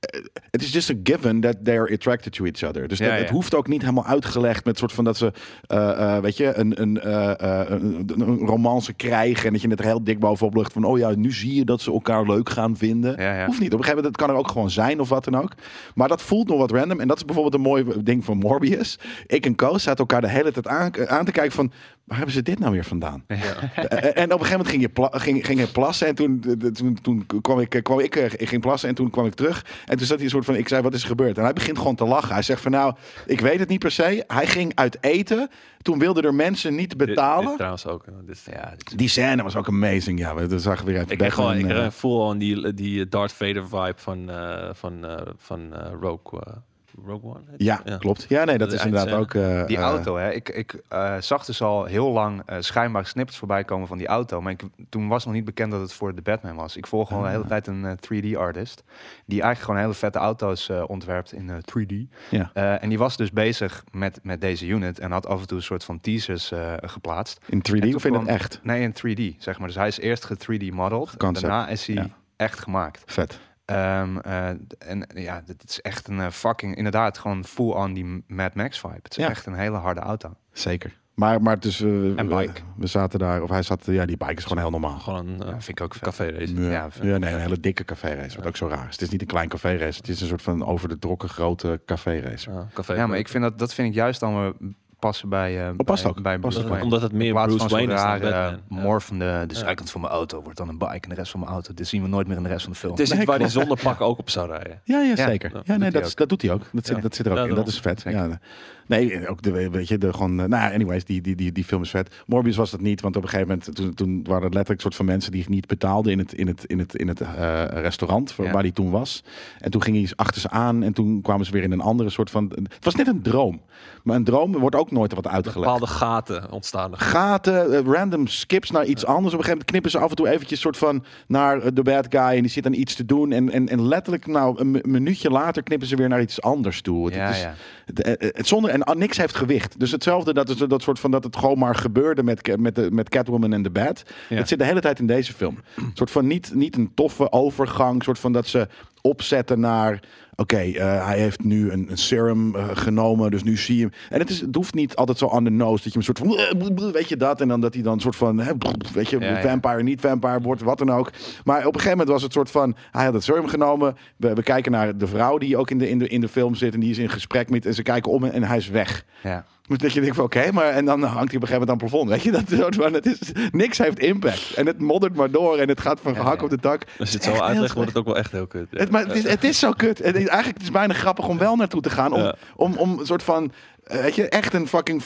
B: Eh, Het is just a given that they are attracted to each other. Dus
D: Ja,
B: dat,
D: ja.
B: het hoeft ook niet helemaal uitgelegd met soort van dat ze, eh, eh, weet je, een, een, eh, eh, een, een romance krijgen. En dat je net er heel dik bovenop ligt van, oh ja, nu zie je dat ze elkaar leuk gaan vinden.
D: Ja, ja.
B: Hoeft niet. Op een gegeven moment, het kan er ook gewoon zijn of wat dan ook. Maar dat voelt nog wat random. En dat is bijvoorbeeld een mooi ding van Morbius. Ik en Koos zaten elkaar de hele tijd aan, eh, aan te kijken van... waar hebben ze dit nou weer vandaan? Eh, En op een gegeven moment ging, je pla- ging, ging hij plassen. En toen, eh, toen, toen kwam ik, kwam ik, eh, ik ging plassen en toen kwam ik terug. En toen zat hij een soort van... Ik zei, wat is er gebeurd? En hij begint gewoon te lachen. Hij zegt van, nou, ik weet het niet per se. Hij ging uit eten. Toen wilden er mensen niet
C: Dit- Dit,
B: betalen.
C: trouwens ook. eh, Dit,
D: dit is-
B: Die scène was ook amazing. Ja, we we zagen weer even...
C: Ik
B: Batman,
C: heb gewoon ik
B: eh,
C: heb een full on die, die Darth Vader vibe van, eh, van, eh, van eh, Rogue, eh, Rogue One. heet die?
B: ja, klopt. Ja, nee, dat
C: De
B: is inderdaad ook...
C: eindscène.
B: eh,
D: Dus Die
B: eh,
D: auto, hè. Ik, ik eh, zag dus al heel lang eh, schijnbaar snippets voorbij komen van die auto. Maar ik, toen was nog niet bekend dat het voor de Batman was. Ik volg
B: Ah.
D: gewoon de hele tijd een eh, 3D-artist. Die eigenlijk gewoon hele vette auto's eh, ontwerpt in eh, 3D.
B: Ja.
D: Eh, en die was dus bezig met, met deze unit. En had af en toe een soort van teasers eh, geplaatst.
B: In 3D
D: En
B: of in
D: toen
B: het
D: kwam-
B: echt?
D: Nee, in 3D, zeg maar. Dus hij is eerst ge-3D-modelled.
B: Concept,
D: Daarna is hij
B: ja.
D: echt gemaakt.
B: Vet.
D: Ehm, eh, d- en eh, ja, dit is echt een eh, fucking... Inderdaad, gewoon full on die Mad Max vibe. Het is
B: Ja.
D: echt een hele harde auto.
B: Zeker. Maar, maar dus, eh,
D: En
B: we-
D: bike.
B: We zaten daar, of hij zat, ja, die bike is gewoon heel normaal.
C: Gewoon een eh,
D: Ja, vind ik ook vet.
C: café race.
B: Ja, ja,
D: Ja,
B: nee, een hele dikke café race, wat ook zo raar is. Het is niet een klein café race, het is een soort van over de drokke grote café race.
C: Ja, café
D: Ja, maar ik vind dat, dat vind ik juist dan weer passen bij, eh bij,
B: Oh, past ook.
D: bij
B: Past
D: Bruce
B: ook.
D: Wayne.
C: omdat het meer
D: In plaats
C: Bruce
D: van zo'n
C: Wayne is dan
D: rare,
C: Batman.
D: eh,
C: Ja.
D: morfende, de zijkant van mijn auto wordt dan een bike en de rest van mijn auto. Dit zien we nooit meer in de rest van de film.
C: Het is
B: Nee,
C: niet waar die
B: klopt.
C: zonder pak ook op zou rijden.
B: Ja, ja,
D: Ja,
B: zeker.
C: dat
B: Ja, nee,
D: doet
B: dat,
D: hij
B: is- dat doet hij ook. Dat zit,
D: Ja.
B: dat zit er ook
C: Ja,
B: in. Dat
C: daarom.
B: is vet.
D: Zeker.
B: Ja. Nee, ook de, weet je, de gewoon. eh, Nou, ja, anyways, die, die, die, die film is vet. Morbius was dat niet, want op een gegeven moment toen, toen waren het letterlijk soort van mensen die niet betaalden in het, in het, in het, in het eh, restaurant waar
D: Ja.
B: waar hij toen was. En toen ging hij achter ze aan en toen kwamen ze weer in een andere soort van. Het was net een droom, maar een droom wordt ook nooit wat uitgelegd
C: Bepaalde gaten ontstaan er.
B: gaten, eh, random skips naar iets anders. Op een gegeven moment knippen ze af en toe eventjes soort van naar eh, de bad guy en die zit aan iets te doen. En, en, en letterlijk nou een mi- minuutje later knippen ze weer naar iets anders toe. Het,
D: Ja,
B: het is,
D: ja.
B: het- eh, eh, het zonder, en ah, niks heeft gewicht. Dus hetzelfde dat, het- dat soort van dat het gewoon maar gebeurde met, Ca- met, de, met Catwoman en de Bat.
D: Ja.
B: Het zit de hele tijd in deze film. Een soort van niet, niet een toffe overgang, soort van dat ze opzetten naar... Oké, eh, hij heeft nu een, een serum eh, genomen, dus nu zie je hem. En het, is, het hoeft niet altijd zo on the nose, dat je hem soort van... eh, Weet je dat? En dan dat hij dan een soort van... hè, Weet je,
D: Ja, ja.
B: vampire, niet vampire, wordt wat dan ook. Maar op een gegeven moment was het soort van... Hij had het serum genomen. We, we kijken naar de vrouw die ook in de, in, de, in de film zit. En die is in gesprek met... En ze kijken om en, en hij is weg.
D: Ja.
B: Moet Dat je denkt van oké, maar en dan hangt hij op een gegeven moment aan het plafond. Weet je, dat is soort van, het is, niks heeft impact. En het moddert maar door en het gaat van gehak
D: ja.
B: op de tak.
C: Als je
B: Echt
C: het zo
B: heel
C: uitlegt,
B: slecht.
C: wordt het ook wel echt heel kut. ja.
B: Het, maar het, is, het is zo kut. Het is, eigenlijk het is bijna grappig om wel naartoe te gaan. Om,
C: Ja.
B: om, om een soort van. eh, Weet je, echt een fucking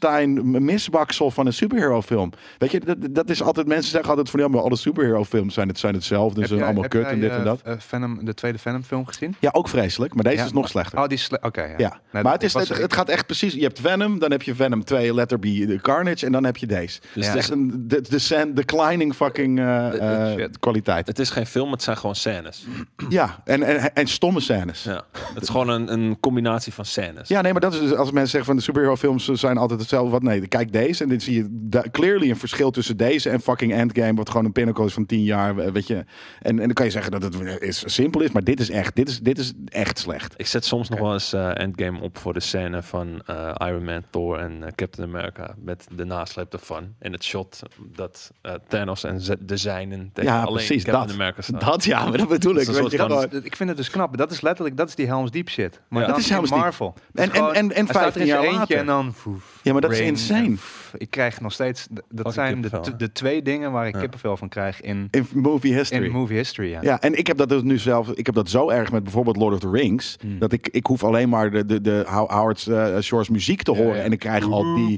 B: Frankenstein misbaksel van een superhero film. Weet je, dat, dat is altijd. Mensen zeggen altijd van ja, maar alle superhero films zijn, het, zijn hetzelfde. En ze zijn Dus, eh, allemaal kut en dit
D: eh,
B: en dat.
D: Venom, de tweede Venom film gezien?
B: Ja, ook vreselijk. Maar deze
D: Ja,
B: is nog
D: maar-
B: slechter.
D: Oh, die is sle- Oké, ja.
B: Ja,
D: Nee, dat-
B: maar het,
D: ik
B: is,
D: was
B: het,
D: er-
B: het gaat echt precies. Je hebt Venom, dan heb je Venom 2, letter B, de Carnage, en dan heb je deze. Dus
C: Ja.
B: het is een de, descend- declining fucking eh, eh,
D: shit.
B: kwaliteit.
C: Het is geen film, het zijn gewoon scènes.
B: Ja, en, en, en stomme scènes. Ja.
C: Ja. Het is gewoon een, een combinatie van scènes.
B: nee, maar dat is dus als mensen zeggen van de superhero films zijn altijd hetzelfde. Wat nee, kijk deze en dit zie je da- clearly een verschil tussen deze en fucking Endgame, wat gewoon een pinnacle is van 10 jaar, eh, weet je. En, en dan kan je zeggen dat het is, simpel is, maar dit is echt, dit is, dit is echt slecht.
C: Ik zet soms nog wel eens eh, Endgame op voor de scène van eh, Iron Man, Thor en eh, Captain America. Met de nasleep ervan. En het shot dat eh, Thanos en z- de zijnen tegen
B: Ja,
C: alleen
B: precies,
C: Captain
B: dat.
C: America staan.
B: Dat ja, maar dat bedoel ik.
C: een
B: weet
C: soort
B: je,
C: van-
B: gewoon-
D: ik vind het dus knap. Dat is letterlijk dat is die Helms Deep shit. Maar
C: Ja.
D: dat
B: Het is
D: is
B: Helm's
D: Helms
B: Deep.
D: Marvel.
B: En, en, en, en
D: vijf staat er
B: 15
D: eens
B: jaar
D: eentje
B: later.
D: en dan... voef,
B: Ja, maar dat is
D: rain
B: insane.
D: en voef. Ik krijg nog steeds... d- Dat
C: Fucking
D: zijn de,
C: kippenvel, hè?
D: de twee dingen waar ik
C: Ja.
D: kippenvel van krijg in,
B: In movie history.
D: in movie history. Ja.
B: Ja, en ik heb dat dus nu zelf. Ik heb dat zo erg met bijvoorbeeld Lord of the Rings. Dat ik, ik hoef alleen maar de, de, de How- Howard eh, Shore's muziek te
D: Ja,
B: horen.
D: ja.
B: En ik krijg al die.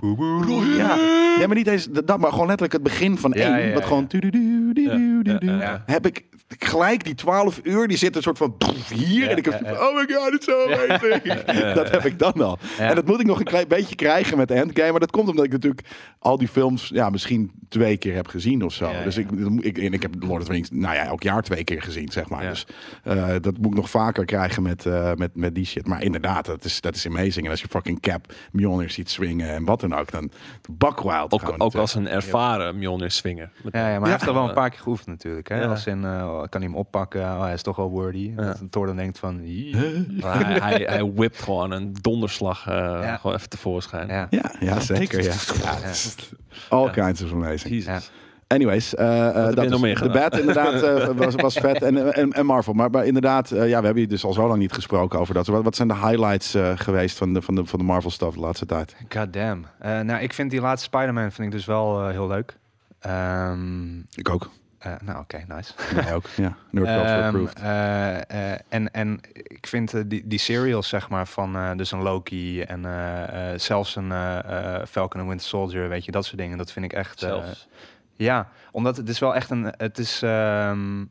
B: Ja. Nee, maar niet eens dat, maar gewoon letterlijk het begin van
D: Ja,
B: één.
D: ja, ja,
B: wat gewoon.
D: ja.
B: tududu, tududu,
C: Ja, ja,
B: tududu,
C: ja.
B: Heb ik gelijk die 12 uur. Die zit een soort van. pff, hier.
D: Ja,
B: en ik heb.
D: ja, ja.
B: Oh my god, het is zo amazing. Dat heb ik dan al.
D: Ja.
B: En dat moet ik nog een klein beetje krijgen met de Endgame. Maar dat komt omdat ik natuurlijk al die films. Ja, misschien twee keer heb gezien of zo.
D: Ja,
B: dus
D: ja.
B: ik ik, en ik heb Lord of the Rings, nou ja, elk jaar twee keer gezien, zeg maar.
D: Ja.
B: Dus eh, dat moet ik nog vaker krijgen met, eh, met, met die shit. Maar inderdaad, dat is, dat is amazing. En als je fucking Cap Mjolnir ziet swingen en wat dan ook, dan bak wild.
C: Ook, ook als een ervaren Mjolnir swinger. Met-
D: Ja, ja, maar hij heeft er wel een paar keer geoefend natuurlijk. Hè?
C: Ja.
D: Als in, eh, kan hij hem oppakken, oh, hij is toch al wordy. Dat Thor dan denkt van... "Jee."
C: Maar hij, hij, hij whipt gewoon een donderslag eh,
D: Ah. Ja.
C: gewoon even tevoorschijn.
D: Ja.
B: Ja, ja zeker. Ja. Ja, het is All kinds of amazing.
C: Jezus.
B: Anyways, eh, eh,
C: je
B: dat
C: nog
B: is-
C: meer
B: de
C: gedaan?
B: bad inderdaad eh, was, was vet en, en, en Marvel. Maar, maar inderdaad, eh, ja, we hebben hier dus al zo lang niet gesproken over dat. Wat, wat zijn de highlights eh, geweest van de, van de, van de Marvel stuff de laatste tijd?
D: God damn. Eh, nou, ik vind die laatste Spider-Man vind ik dus wel eh, heel leuk. Ehm,
B: Ik ook.
D: eh, nou, oké, nice.
B: Jij ook. Ja, nerd culture
D: Ehm,
B: approved.
D: eh, eh, en, en ik vind eh, die, die serials, zeg maar, van eh, dus een Loki en eh, eh, zelfs een eh, eh, Falcon en Winter Soldier, weet je, dat soort dingen. Dat vind ik echt... eh,
C: Zelfs.
D: ja, omdat het is wel echt een... Het is, ehm,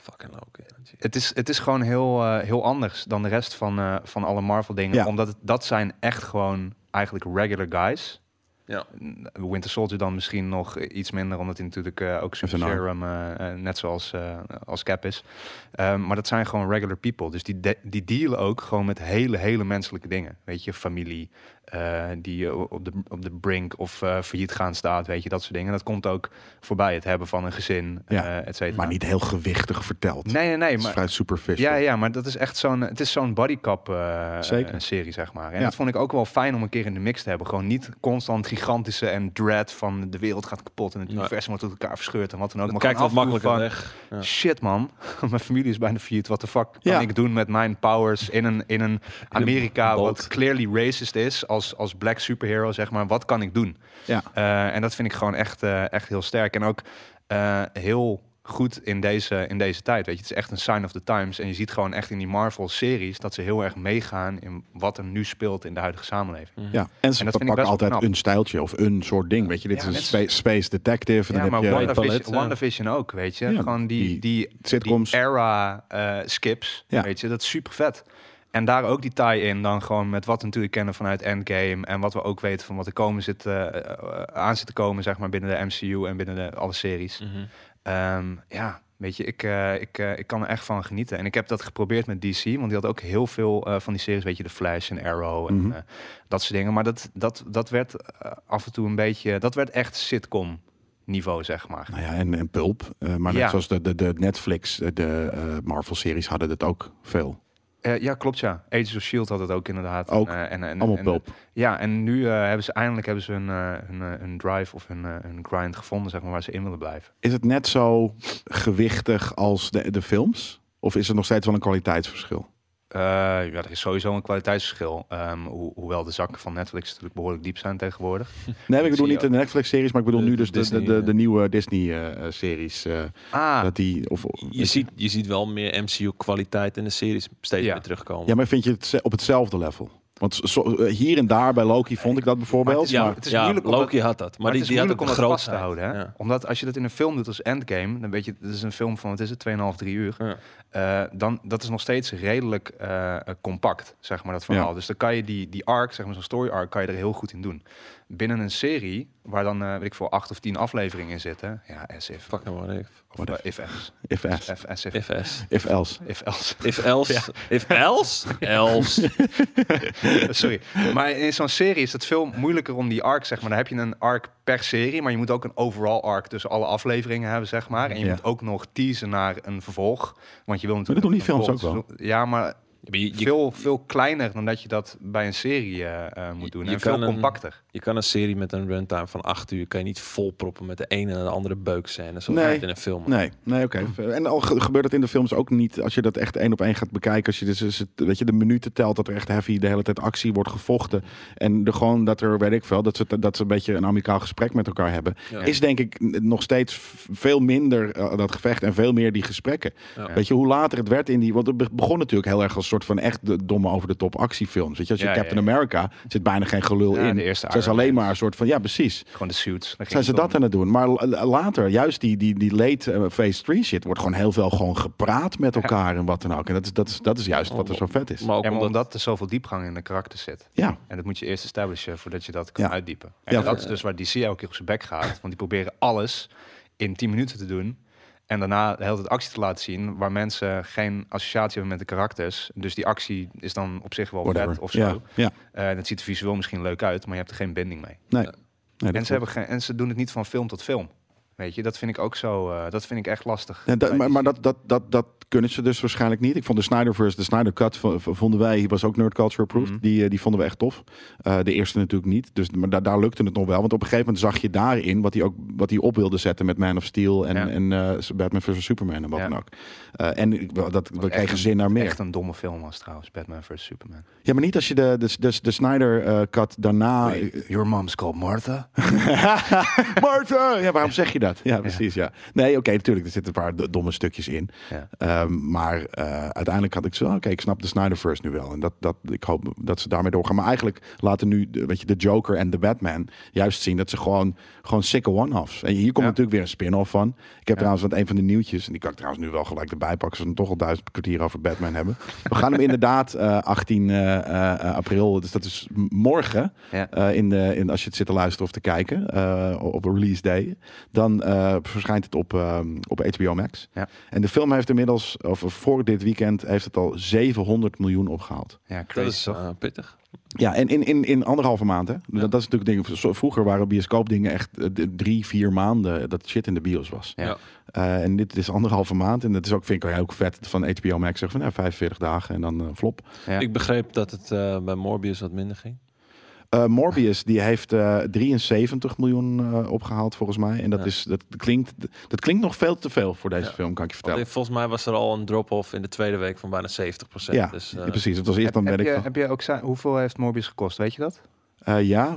C: Fucking ook. ja.
D: het is, het is gewoon heel, eh, heel anders dan de rest van, eh, van alle Marvel dingen.
B: Ja.
D: Omdat het, dat zijn echt gewoon eigenlijk regular guys.
C: Ja.
D: Winter Soldier dan misschien nog iets minder, omdat hij natuurlijk eh, ook Super
B: Even een
D: Serum, eh, eh, net zoals eh, als Cap is. Ehm, maar dat zijn gewoon regular people. Dus die, de- die dealen ook gewoon met hele, hele menselijke dingen. Weet je, familie eh, die eh, op de, op de brink of eh, failliet gaan staat, weet je, dat soort dingen. Dat komt ook voorbij, het hebben van een gezin,
B: Ja,
D: eh, et cetera.
B: Maar niet heel gewichtig verteld.
D: Nee, nee, nee.
B: Het is
D: Maar,
B: vrij superficial.
D: ja, ja, maar dat is echt zo'n, het is zo'n bodycap eh,
B: Zeker.
D: eh, serie, zeg maar. En
B: Ja.
D: dat vond ik ook wel fijn om een keer in de mix te hebben. Gewoon niet constant gigantische en dread van de wereld gaat kapot en het
C: Nee.
D: universum wordt uit elkaar verscheurd en wat dan ook.
C: Het
D: Maar
C: kijkt wat
D: gewoon
C: makkelijker
D: afvoer van,
C: weg. ja.
D: Shit man, mijn familie is bijna failliet. Wat de fuck kan
B: Ja.
D: ik doen met mijn powers in een, in een Amerika
C: boot.
D: wat clearly racist is als, als black superhero, zeg maar. Wat kan ik doen?
B: Ja.
D: Eh, en dat vind ik gewoon echt, eh, echt heel sterk. En ook eh, heel goed in deze, in deze tijd. Weet je, het is echt een sign of the times. En je ziet gewoon echt in die Marvel-series dat ze heel erg meegaan in wat er nu speelt in de huidige samenleving.
B: Ja, en ze
D: Hm. En dat vind ik
B: pakken
D: best wel
B: altijd
D: knap.
B: een stijltje of een soort ding. Weet je, dit
D: Ja,
B: is een
D: net
B: spa- space detective. en
D: Ja,
B: dan
D: maar
B: heb je,
C: Wonder-
D: WandaVision,
C: palet, ja.
D: WandaVision ook, weet je.
B: Ja,
D: Gewoon die, die,
B: sitcoms.
D: die era eh, skips,
B: Ja.
D: weet je. Dat is super vet. En daar ook die tie in dan gewoon met wat we natuurlijk kennen vanuit Endgame... en wat we ook weten van wat er komen zit, eh, eh, aan zit te komen, zeg maar, binnen de MCU en binnen de, alle series.
C: Mhm.
D: Ehm, ja, weet je, ik, eh, ik, eh, ik kan er echt van genieten. En ik heb dat geprobeerd met DC, want die had ook heel veel eh, van die series, weet je, The Flash en Arrow en
B: Mhm.
D: eh, dat soort dingen. Maar dat, dat, dat werd eh, af en toe een beetje, dat werd echt sitcom niveau, zeg maar.
B: Nou ja, en, en Pulp. eh, maar net
D: Ja.
B: zoals de, de, de Netflix, eh, de eh, Marvel-series hadden dat ook veel.
D: Eh, ja, klopt ja. Agents of S.H.I.E.L.D. E had het ook inderdaad.
B: Ook.
D: En, eh, en, en,
B: Allemaal
D: en-
B: Pulp.
D: Ja, en nu eh, hebben ze eindelijk hebben ze hun, eh, hun, eh, hun drive of hun, eh, hun grind gevonden, zeg maar, waar ze in willen blijven.
B: Is het net zo gewichtig als de, de films? Of is er nog steeds wel een kwaliteitsverschil?
D: Eh, ja, er is sowieso een kwaliteitsverschil. Ehm, ho- hoewel de zakken van Netflix natuurlijk behoorlijk diep zijn tegenwoordig.
B: Nee, ik bedoel
D: zie
B: niet de Netflix-series, maar ik bedoel
C: De-
B: nu
C: de
B: dus de, de,
C: Disney,
B: de,
C: eh.
B: de nieuwe eh, Disney-series.
D: Ah,
B: Dat die... Of,
C: Je, ziet, je ziet wel meer MCU-kwaliteit in de series steeds
D: Ja.
C: meer terugkomen.
B: Ja, maar vind je het ze- op hetzelfde level? Want zo- eh, hier en daar bij Loki vond ik dat bijvoorbeeld.
D: Maar het is-
B: maar-
D: ja, het is moeilijk om dat-
C: Loki had dat. Maar,
D: Maar,
C: die,
D: het is
C: die had ook
D: moeilijk
C: een
D: om dat vast te
C: grootheid.
D: houden. Hè?
C: Ja.
D: Omdat als je dat in een film doet als Endgame, dan weet je, het is een film van, wat is het, 2,5, 3 uur.
C: Ja.
D: Eh, dan, dat is nog steeds redelijk eh, compact, zeg maar, dat verhaal.
B: Ja.
D: Dus dan kan je die, die arc, zeg maar zo'n story arc, kan je er heel goed in doen. Binnen een serie, waar dan, eh, weet ik veel, acht of tien afleveringen in zitten. Ja, SF.
C: Fuck nou maar. If,
D: Of eh, if else.
B: If else.
D: F, SF.
C: if else.
B: If else.
D: If else.
C: If else. If else. Else.
D: Sorry. Maar in zo'n serie is het veel moeilijker om die arc, zeg maar. Dan heb je een arc per serie, maar je moet ook een overall arc tussen alle afleveringen hebben, zeg maar. En je
B: Ja.
D: moet ook nog teasen naar een vervolg. Want je wil natuurlijk.
B: dat doen die
D: een
B: films ook
D: volgend seizoen- Ja, maar
C: Je, je,
D: veel, veel kleiner dan dat je dat bij een serie eh, eh, moet doen.
C: Je
D: en veel
C: kan een-
D: compacter.
C: je kan een serie met een runtime van acht uur kan je niet volproppen met de ene en de andere beukscène zoals
B: Nee.
C: je het in een film. hebt.
B: Nee, nee oké. En al ge- gebeurt dat in de films ook niet. Als je dat echt één op één gaat bekijken. Als je dus, dus het- weet je, de minuten telt dat er echt heavy de hele tijd actie wordt gevochten. En de, gewoon dat er, weet ik veel, dat ze, dat ze een beetje een amicaal gesprek met elkaar hebben.
C: Ja.
B: Is denk ik n- nog steeds v- veel minder eh, dat gevecht en veel meer die gesprekken.
C: Ja.
B: Weet je, hoe later het werd in die... Want het be- begon natuurlijk heel erg als een soort van echt de domme over de top actiefilms. Weet je, als je
D: Ja, ja,
B: Captain America zit bijna geen gelul
D: Ja,
B: in.
D: de eerste
B: Het is
D: Iron
B: alleen
D: Man.
B: maar een soort van, ja precies.
D: Gewoon de suits. Daar ging
B: Zijn ze
D: het om.
B: dat aan het doen? Maar l- later, juist die, die, die late eh, phase 3 shit, wordt gewoon heel veel gewoon gepraat met elkaar en wat dan ook. En dat is, dat is, dat is juist wat er zo vet is.
C: Maar ook
D: Ja, maar
C: omdat,
D: omdat er zoveel diepgang in de karakter zit.
B: Ja,
D: En dat moet je eerst establishen voordat je dat kan
B: Ja.
D: uitdiepen. En
B: Ja,
D: dat
B: eh,
D: is dus waar DC elke keer op zijn bek gaat. Want die proberen alles in 10 minuten te doen. En daarna de hele tijd actie te laten zien waar mensen geen associatie hebben met de karakters. Dus die actie is dan op zich wel
B: whatever.
D: vet of zo.
B: Ja, ja.
D: Eh, en het ziet er visueel misschien leuk uit, maar je hebt er geen binding mee.
B: Nee. Nee, dat
D: Eh, En ze,
B: klopt.
D: hebben geen, en ze doen het niet van film tot film. Weet je, dat vind ik ook zo. eh, dat vind ik echt lastig.
B: Ja, dat-
D: bij
B: maar
D: DC.
B: maar dat, dat, dat, dat kunnen ze dus waarschijnlijk niet. Ik vond de Snyderverse, de Snyder Cut v- v- vonden wij, hier was ook Nerd Culture Approved.
D: Mhm.
B: Die, eh, die vonden we echt tof. Eh, de eerste natuurlijk niet. Dus, maar daar daar lukte het nog wel. Want op een gegeven moment zag je daarin wat hij ook wat hij op wilde zetten met Man of Steel en,
D: Ja.
B: en eh, Batman vs. Superman en wat
D: Ja.
B: dan ook. Eh, en ik- dat, we
D: echt
B: kregen
D: een-
B: zin naar meer.
D: Echt een domme film was trouwens, Batman vs. Superman.
B: Ja, maar niet als je de, de, de, de Snyder-cut daarna...
D: Your mom's called Martha.
B: Martha! Ja, waarom zeg je dat? Ja, precies, ja. Nee, oké, natuurlijk, er zitten een paar d- domme stukjes in.
D: Ja.
B: Ehm, maar eh, uiteindelijk had ik zo, oké, ik snap de Snyderverse nu wel. En dat, dat, ik hoop dat ze daarmee doorgaan. Maar eigenlijk laten nu, de- weet je, de Joker en de Batman juist zien dat ze gewoon, gewoon sikke one-offs. En hier komt
D: Ja.
B: natuurlijk weer een spin-off van. Ik heb trouwens wat een van de nieuwtjes, en die kan ik trouwens nu wel gelijk erbij pakken, ze we toch al duizend kwartier over Batman hebben. We gaan hem inderdaad eh, 18 eh, eh, april, dus dat is m- morgen,
D: Ja.
B: eh, in de, in, als je het zit te luisteren of te kijken eh, op release day, dan eh, verschijnt het op, eh, op HBO Max.
D: Ja.
B: En de film heeft inmiddels, of voor dit weekend, heeft het al 700 miljoen opgehaald.
D: Ja,
C: dat
D: crazy
C: is
D: toch?
C: eh, pittig.
B: Ja, en in, in, in anderhalve maand. Hè? Dat, dat is natuurlijk ding. Zo- Vroeger waren bioscoopdingen echt eh, d- drie, vier maanden dat shit in de bios was.
D: Ja.
C: Ja.
B: Eh, en dit is anderhalve maand. En dat is ook, vind ik ook vet van HBO Max. Zeg van nou, 45 dagen en dan eh, flop.
D: Ja.
C: Ik begreep dat het eh, bij Morbius wat minder ging.
B: Eh, Morbius die heeft eh 73 miljoen eh, opgehaald volgens mij. En dat,
C: Ja.
B: is, dat, klinkt, dat klinkt nog veel te veel voor deze
C: Ja.
B: film, kan ik je
C: Want
B: vertellen.
C: eh, volgens mij was er al een drop-off in de tweede week van bijna 70
B: Ja,
C: Dus, eh,
B: ja, precies. Het was eerst
D: Heb-
B: dan
D: heb,
B: weet ik
D: je,
B: wel.
D: heb je ook zijn, hoeveel heeft Morbius gekost? Weet je dat?
B: Eh, ja,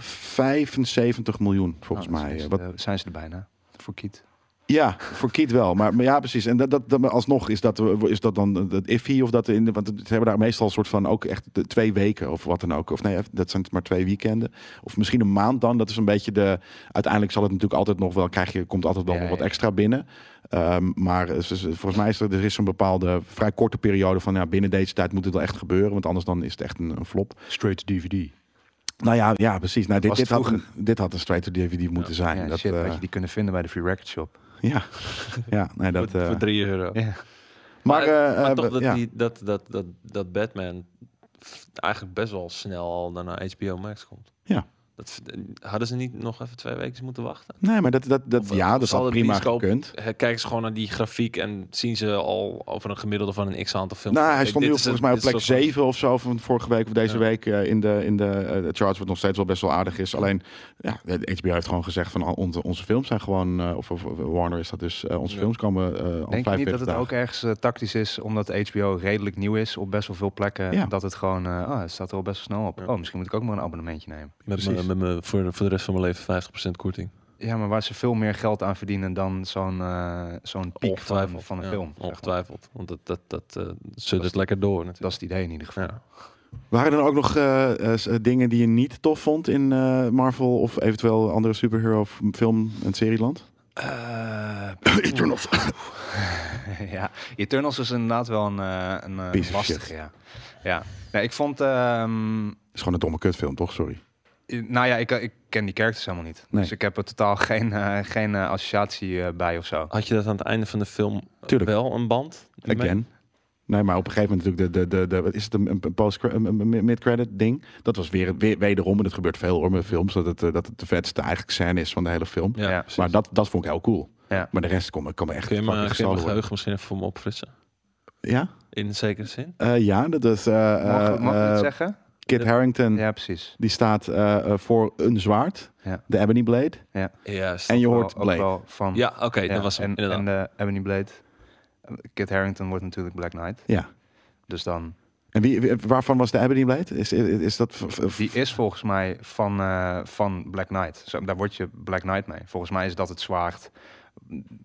B: 75 miljoen volgens
D: Oh, dan
B: mij.
D: Zijn ze,
B: Eh, wat-
D: eh, zijn ze er bijna? Voor Kiet.
B: ja, voor Kiet wel. Maar, maar ja, precies. En dat, dat, dat- maar alsnog is dat, eh, is dat dan eh, dat iffy of dat in de, want ze hebben daar meestal een soort van ook echt de twee weken of wat dan ook. Of nee, dat zijn maar twee weekenden. Of misschien een maand dan. Dat is een beetje de. Uiteindelijk zal het natuurlijk altijd nog wel. Krijg je komt altijd wel
D: Ja,
B: nog wat
D: ja.
B: extra binnen. Ehm, maar eh, ze- ze- volgens mij is er, er is een bepaalde vrij korte periode van ja, binnen deze tijd moet het wel echt gebeuren. Want anders dan is het echt een, een flop.
D: Straight DVD.
B: Nou ja, ja precies. Nou, dit,
D: Was
B: dit,
D: het
B: had een, dit had een straight-to-DVD moeten zijn.
D: Ah, Ja,
B: dat,
D: shit,
B: eh,
D: had je die kunnen vinden bij de Free Record Shop.
B: ja. ja, nee, dat...
C: voor,
B: eh,
C: voor 3 euro.
D: Ja.
B: maar eh,
C: maar
B: eh,
C: toch dat,
B: ja.
C: die, dat, dat, dat, dat Batman f- eigenlijk best wel snel al naar- naar HBO Max komt.
B: Ja.
C: Dat, v- hadden ze niet nog even twee weken moeten wachten?
B: Nee, maar dat, dat, dat,
C: Of,
B: ja,
C: of
B: dat
C: zal
B: had
C: het
B: prima
C: bioscoop-
B: gekund.
C: Eh, Kijken ze gewoon naar die grafiek en zien ze al over een gemiddelde van een x-aantal films.
B: Nou, hij
C: Kijk,
B: stond nu
C: dit is
B: volgens
C: het-
B: mij op
C: dit is
B: plek
C: soort
B: 7
C: van-
B: of zo van vorige week of deze
C: Ja.
B: week eh, in de, in de eh, de charts, wat nog steeds wel best wel aardig is. Alleen, ja, de HBO heeft gewoon gezegd van al onze, onze films zijn gewoon, eh, of, of Warner is dat dus, eh, onze
C: Ja.
B: films komen eh, al
D: Denk je niet
B: 45
D: dat het
B: dagen.
D: ook ergens eh, tactisch is, omdat HBO redelijk nieuw is op best wel veel plekken,
B: Ja.
D: dat het gewoon, eh, ah, het staat er al best wel snel op.
C: Ja.
D: Oh, misschien moet ik ook maar een abonnementje nemen.
C: Met
B: Precies.
C: me, met me, voor, de- voor de rest van mijn leven 50% korting.
D: Ja, maar waar ze veel meer geld aan verdienen dan zo'n eh, zo'n piek van,
C: Ongetwijfeld.
D: van een
C: Ja,
D: film. zeg maar.
C: Ongetwijfeld. Want dat, dat, dat eh, suddert lekker door
D: Dat
C: natuurlijk.
D: is het idee in ieder geval.
C: Ja.
B: Waren er ook nog eh, eh, s- eh, dingen die je niet tof vond in eh, Marvel of eventueel andere superhero f- film en serieland?
C: Eh,
B: Eternals.
D: ja, Eternals is inderdaad wel een, eh, een eh,
B: Piece of
D: lastige.
B: shit.
D: Ja. Ja. Nee, ik vond. ehm,
B: is gewoon een domme kutfilm, toch? Sorry.
D: nou ja, ik, ik ken die characters helemaal niet.
B: Nee.
D: Dus ik heb er totaal geen, eh, geen eh, associatie eh, bij of zo.
C: Had je dat aan het einde van de film
B: Tuurlijk.
C: wel een band?
B: Again. Nee, maar op een gegeven moment natuurlijk de, de, de, wat is het een, een post een- een- een mid-credit ding? Dat was weer, weer wederom, en dat gebeurt veel hoor met films, dat het, eh, dat het de vetste eigenlijk scène is van de hele film.
C: Ja,
D: Ja.
C: precies.
B: maar dat, dat vond ik heel cool.
D: Ja.
B: Maar de rest kon, me- kan me echt
C: Kun je
B: fucking
C: mijn, kun je
B: gestolen worden.
C: mijn geheugen misschien even voor me opfrissen?
B: Ja,
C: in zekere zin.
B: Eh, ja dat is eh,
D: Mag,
B: eh,
D: mag ik
B: eh, mm.
D: dat zeggen?
B: Kit Harrington.
D: Ja, precies.
B: Die staat eh, eh, voor een zwaard,
D: Ja.
B: de Ebony Blade.
C: Juist.
B: En je hoort
D: Wel- ook
B: Blade.
D: wel van.
C: ja, oké,
D: Ja,
C: dat was hem,
D: en,
C: inderdaad.
D: en eh, de Ebony Blade. Kit Harrington wordt natuurlijk Black Knight.
B: Ja.
D: Dus dan.
B: En wie, wie- waarvan was de Ebony Blade? Is, is, is dat... v- v-
D: Die is volgens mij van, eh, van Black Knight. Zo, daar word je Black Knight mee. Volgens mij is dat het zwaard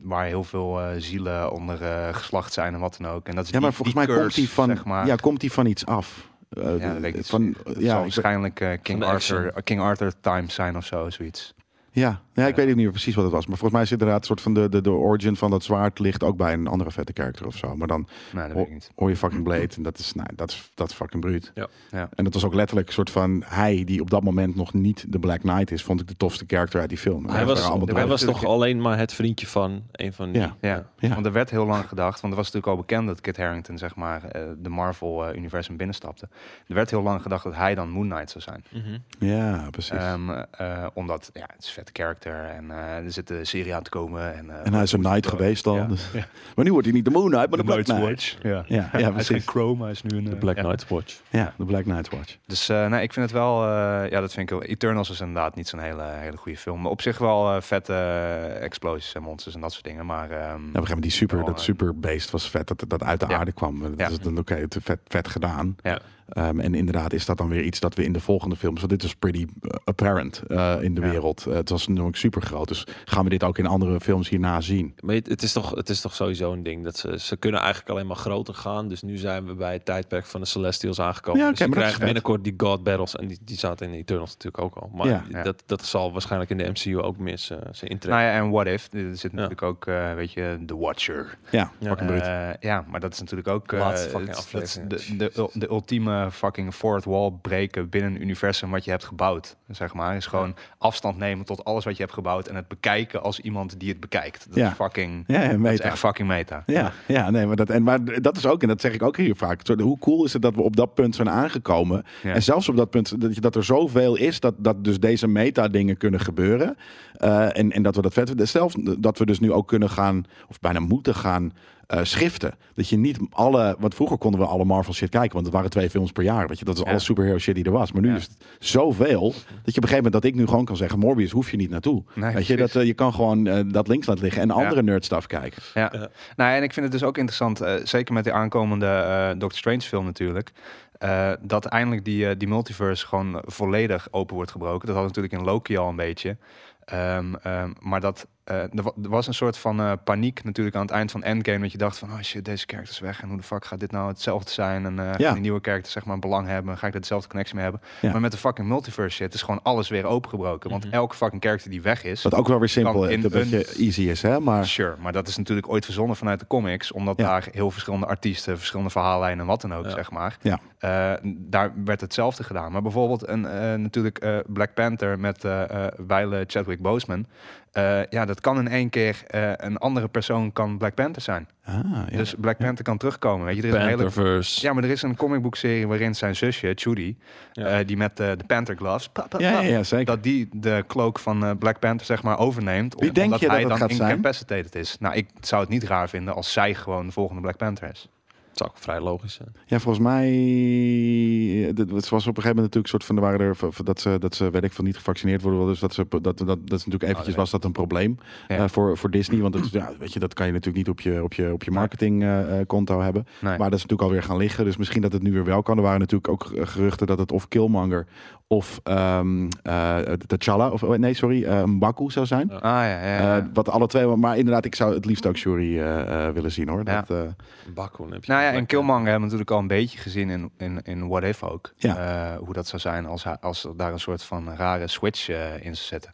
D: waar heel veel eh, zielen onder eh, geslacht zijn en wat dan ook. En dat is
B: ja, maar
D: die-
B: volgens mij
D: die
B: komt
D: curse,
B: die van,
D: zeg maar.
B: ja, komt die van iets af. Eh,
D: Ja, dat weet ik niet.
B: van,
D: Dat
B: ja,
D: zal
B: ik-
D: waarschijnlijk eh, King,
C: de action.
D: Arthur, King Arthur Time zijn of zo, zoiets.
B: ja. ja, ik
D: Ja.
B: weet ook niet meer precies wat het was. Maar volgens mij is inderdaad een soort van de, de, de origin van dat zwaard ligt ook bij een andere vette character of zo. Maar dan
D: Nee, dat weet ik niet.
B: hoor je fucking Blade en dat is, nou, dat is, dat is fucking bruut.
C: Ja.
D: Ja.
B: En dat was ook letterlijk een soort van hij die op dat moment nog niet de Black Knight is, vond ik de tofste character uit die film.
C: hij
B: Dat
C: was,
B: waren allemaal
C: hij
B: dood.
C: was toch alleen maar het vriendje van een van die.
B: Ja.
D: Ja,
B: Ja.
D: want er werd heel lang gedacht, want er was natuurlijk al bekend dat Kit Harrington zeg maar eh, de Marvel-universum binnenstapte. Er werd heel lang gedacht dat hij dan Moon Knight zou zijn.
C: Mhm.
B: Ja, precies.
D: Ehm, eh, omdat, ja, het is een vet character en eh, er zit een serie aan te komen. En, eh,
B: en hij is een Knight geweest al.
D: Ja.
B: dus- Maar nu wordt hij niet de Moon Knight, maar de, Black Knight.
D: Ja.
B: Ja, ja, precies.
D: Chrome, hij is nu een... eh,
C: De Black Knight Watch.
B: Ja, de Black Knight Watch.
D: Dus eh, nee, ik vind het wel... eh, ja, dat vind ik wel... Eternals is inderdaad niet zo'n hele, hele goede film. Maar op zich wel eh, vette eh, explosies en monsters en dat soort dingen. Maar ehm,
B: Ja, Nou, op een gegeven moment die super,
D: Ja,
B: dat
D: eh,
B: superbeest was vet, dat, dat uit de
D: Ja.
B: aarde kwam. Dat
D: Ja.
B: is dan oké, het is vet, vet gedaan.
D: Ja.
B: Ehm, en inderdaad is dat dan weer iets dat we in de volgende films, want dit is pretty eh, apparent eh, in de
D: Ja.
B: wereld. Eh, het was natuurlijk super groot, dus gaan we dit ook in andere films hierna zien?
C: Maar het, het is toch, het is toch sowieso een ding dat ze, ze kunnen eigenlijk alleen maar groter gaan. Dus nu zijn we bij het tijdperk van de Celestials aangekomen.
B: Ja,
C: Ja,
B: oké,
C: dus je
B: maar dat is
C: krijgt
B: vet.
C: binnenkort die God Battles. En die, die zaten in de Eternals natuurlijk ook al. Maar
B: Ja.
D: Ja.
C: Dat, dat zal waarschijnlijk in de MCU ook eh, meer zijn zijn intrede.
D: nou ja, en What If, er zit natuurlijk ook, eh, weet je, The Watcher.
B: Ja,
C: Ja.
B: fucking bruut.
D: Eh, ja, maar dat is natuurlijk ook
C: De
D: eh,
C: laatste fucking
D: het-
C: aflevering.
D: het- de, de, de ultieme fucking fourth wall breken binnen een universum wat je hebt gebouwd. Zeg maar is gewoon afstand nemen tot alles wat je hebt gebouwd en het bekijken als iemand die het bekijkt. Dat
B: Ja.
D: is fucking.
B: Ja, en
D: Dat is
B: meta.
D: echt fucking meta.
B: Ja, ja nee, maar dat, en, maar dat is ook, en dat zeg ik ook hier vaak. zo, Hoe cool is het dat we op dat punt zijn aangekomen?
D: Ja.
B: En zelfs op dat punt dat, je- dat er zoveel is dat, dat dus deze meta-dingen kunnen gebeuren. Eh, en, en dat we dat vet Zelfs dat we dus nu ook kunnen gaan, of bijna moeten gaan. eh, schiften. Dat je niet alle. Want vroeger konden we alle Marvel shit kijken. Want het waren twee films per jaar. Weet je, dat is
D: Ja.
B: alle superhero shit die er was. Maar nu
D: Ja.
B: is het zoveel. Dat je op een gegeven moment dat ik nu gewoon kan zeggen. Morbius hoef je niet naartoe.
D: Nee,
B: weet je, dat,
D: precies.
B: eh, je kan gewoon eh, dat links laten liggen. En andere nerdstuff kijken.
D: Ja.
C: Ja.
D: Nou, en ik vind het dus ook interessant, eh, zeker met de aankomende eh Doctor Strange film natuurlijk, eh, dat eindelijk die, eh, die multiverse gewoon volledig open wordt gebroken. Dat had natuurlijk in Loki al een beetje. Ehm, ehm, maar dat, eh, er, wa- er was een soort van eh, paniek natuurlijk aan het eind van Endgame, dat je dacht van, oh shit, deze character is weg en hoe de fuck gaat dit nou hetzelfde zijn en eh gaan die nieuwe characters zeg maar belang hebben, ga ik daar dezelfde connectie mee hebben.
B: Ja.
D: Maar met de fucking multiverse shit is gewoon alles weer opengebroken, want
C: Mhm.
D: elke fucking character die weg is,
B: Wat ook wel weer simpel
D: Kan
B: en
D: in
B: een beetje
D: een-
B: easy is, hè? Maar
D: Sure, maar dat is natuurlijk ooit verzonnen vanuit de comics, omdat
B: Ja.
D: daar heel verschillende artiesten, verschillende verhaallijnen en wat dan ook,
C: Ja.
D: zeg maar.
B: Ja.
D: Eh, daar werd hetzelfde gedaan. Maar bijvoorbeeld een, eh, natuurlijk eh, Black Panther met eh eh, Wijle Chadwick Boseman. Eh, ja, dat kan in één keer eh, een andere persoon kan Black Panther zijn.
B: ah, ja.
D: Dus Black Panther kan terugkomen. Weet je, er is een hele
C: Pantherverse.
D: ja, maar er is een comicboekserie waarin zijn zusje, Judy,
C: Ja.
D: eh, die met eh, de Panther gloves, pa, pa,
B: ja, ja,
D: pa,
B: ja, zeker.
D: dat die de cloak van eh, Black Panther zeg maar overneemt.
B: Wie denk
D: omdat
B: je dat
D: hij
B: het
D: dan
B: gaat zijn?
D: incapacitated is. Nou, ik zou het niet raar vinden als zij gewoon de volgende Black Panther is.
C: Dat zou ook vrij logisch zijn.
B: Ja, volgens mij. dat- Het was op een gegeven moment natuurlijk een soort van. Er waren er v- v- dat ze, dat ze weet ik van niet gevaccineerd worden. Dus dat, ze, dat, dat, dat is natuurlijk eventjes
D: weet
B: was dat een probleem
D: Oh, Ja.
B: eh, voor, voor Disney. Want dat, ja, weet je, dat kan je natuurlijk niet op je, op je, op je marketingkonto hebben.
D: Nee.
B: Maar dat is natuurlijk alweer gaan liggen. Dus misschien dat het nu weer wel kan. Er waren natuurlijk ook eh, geruchten dat het of Killmonger of ehm eh, T'Challa. Of, oh, nee, sorry. eh, M'Baku zou zijn.
D: ah ja, ja, ja.
B: Eh, wat alle twee, maar inderdaad, ik zou het liefst ook Shuri eh, eh, willen zien hoor.
D: Ja.
B: Dat, eh,
C: Bakkoen heb je.
D: nou ja,
C: Black
D: en Killmonger hebben we natuurlijk al een beetje gezien in, in, in What If ook.
B: Ja.
D: Eh, hoe dat zou zijn als, hij- als er daar een soort van rare switch eh, in zou zetten.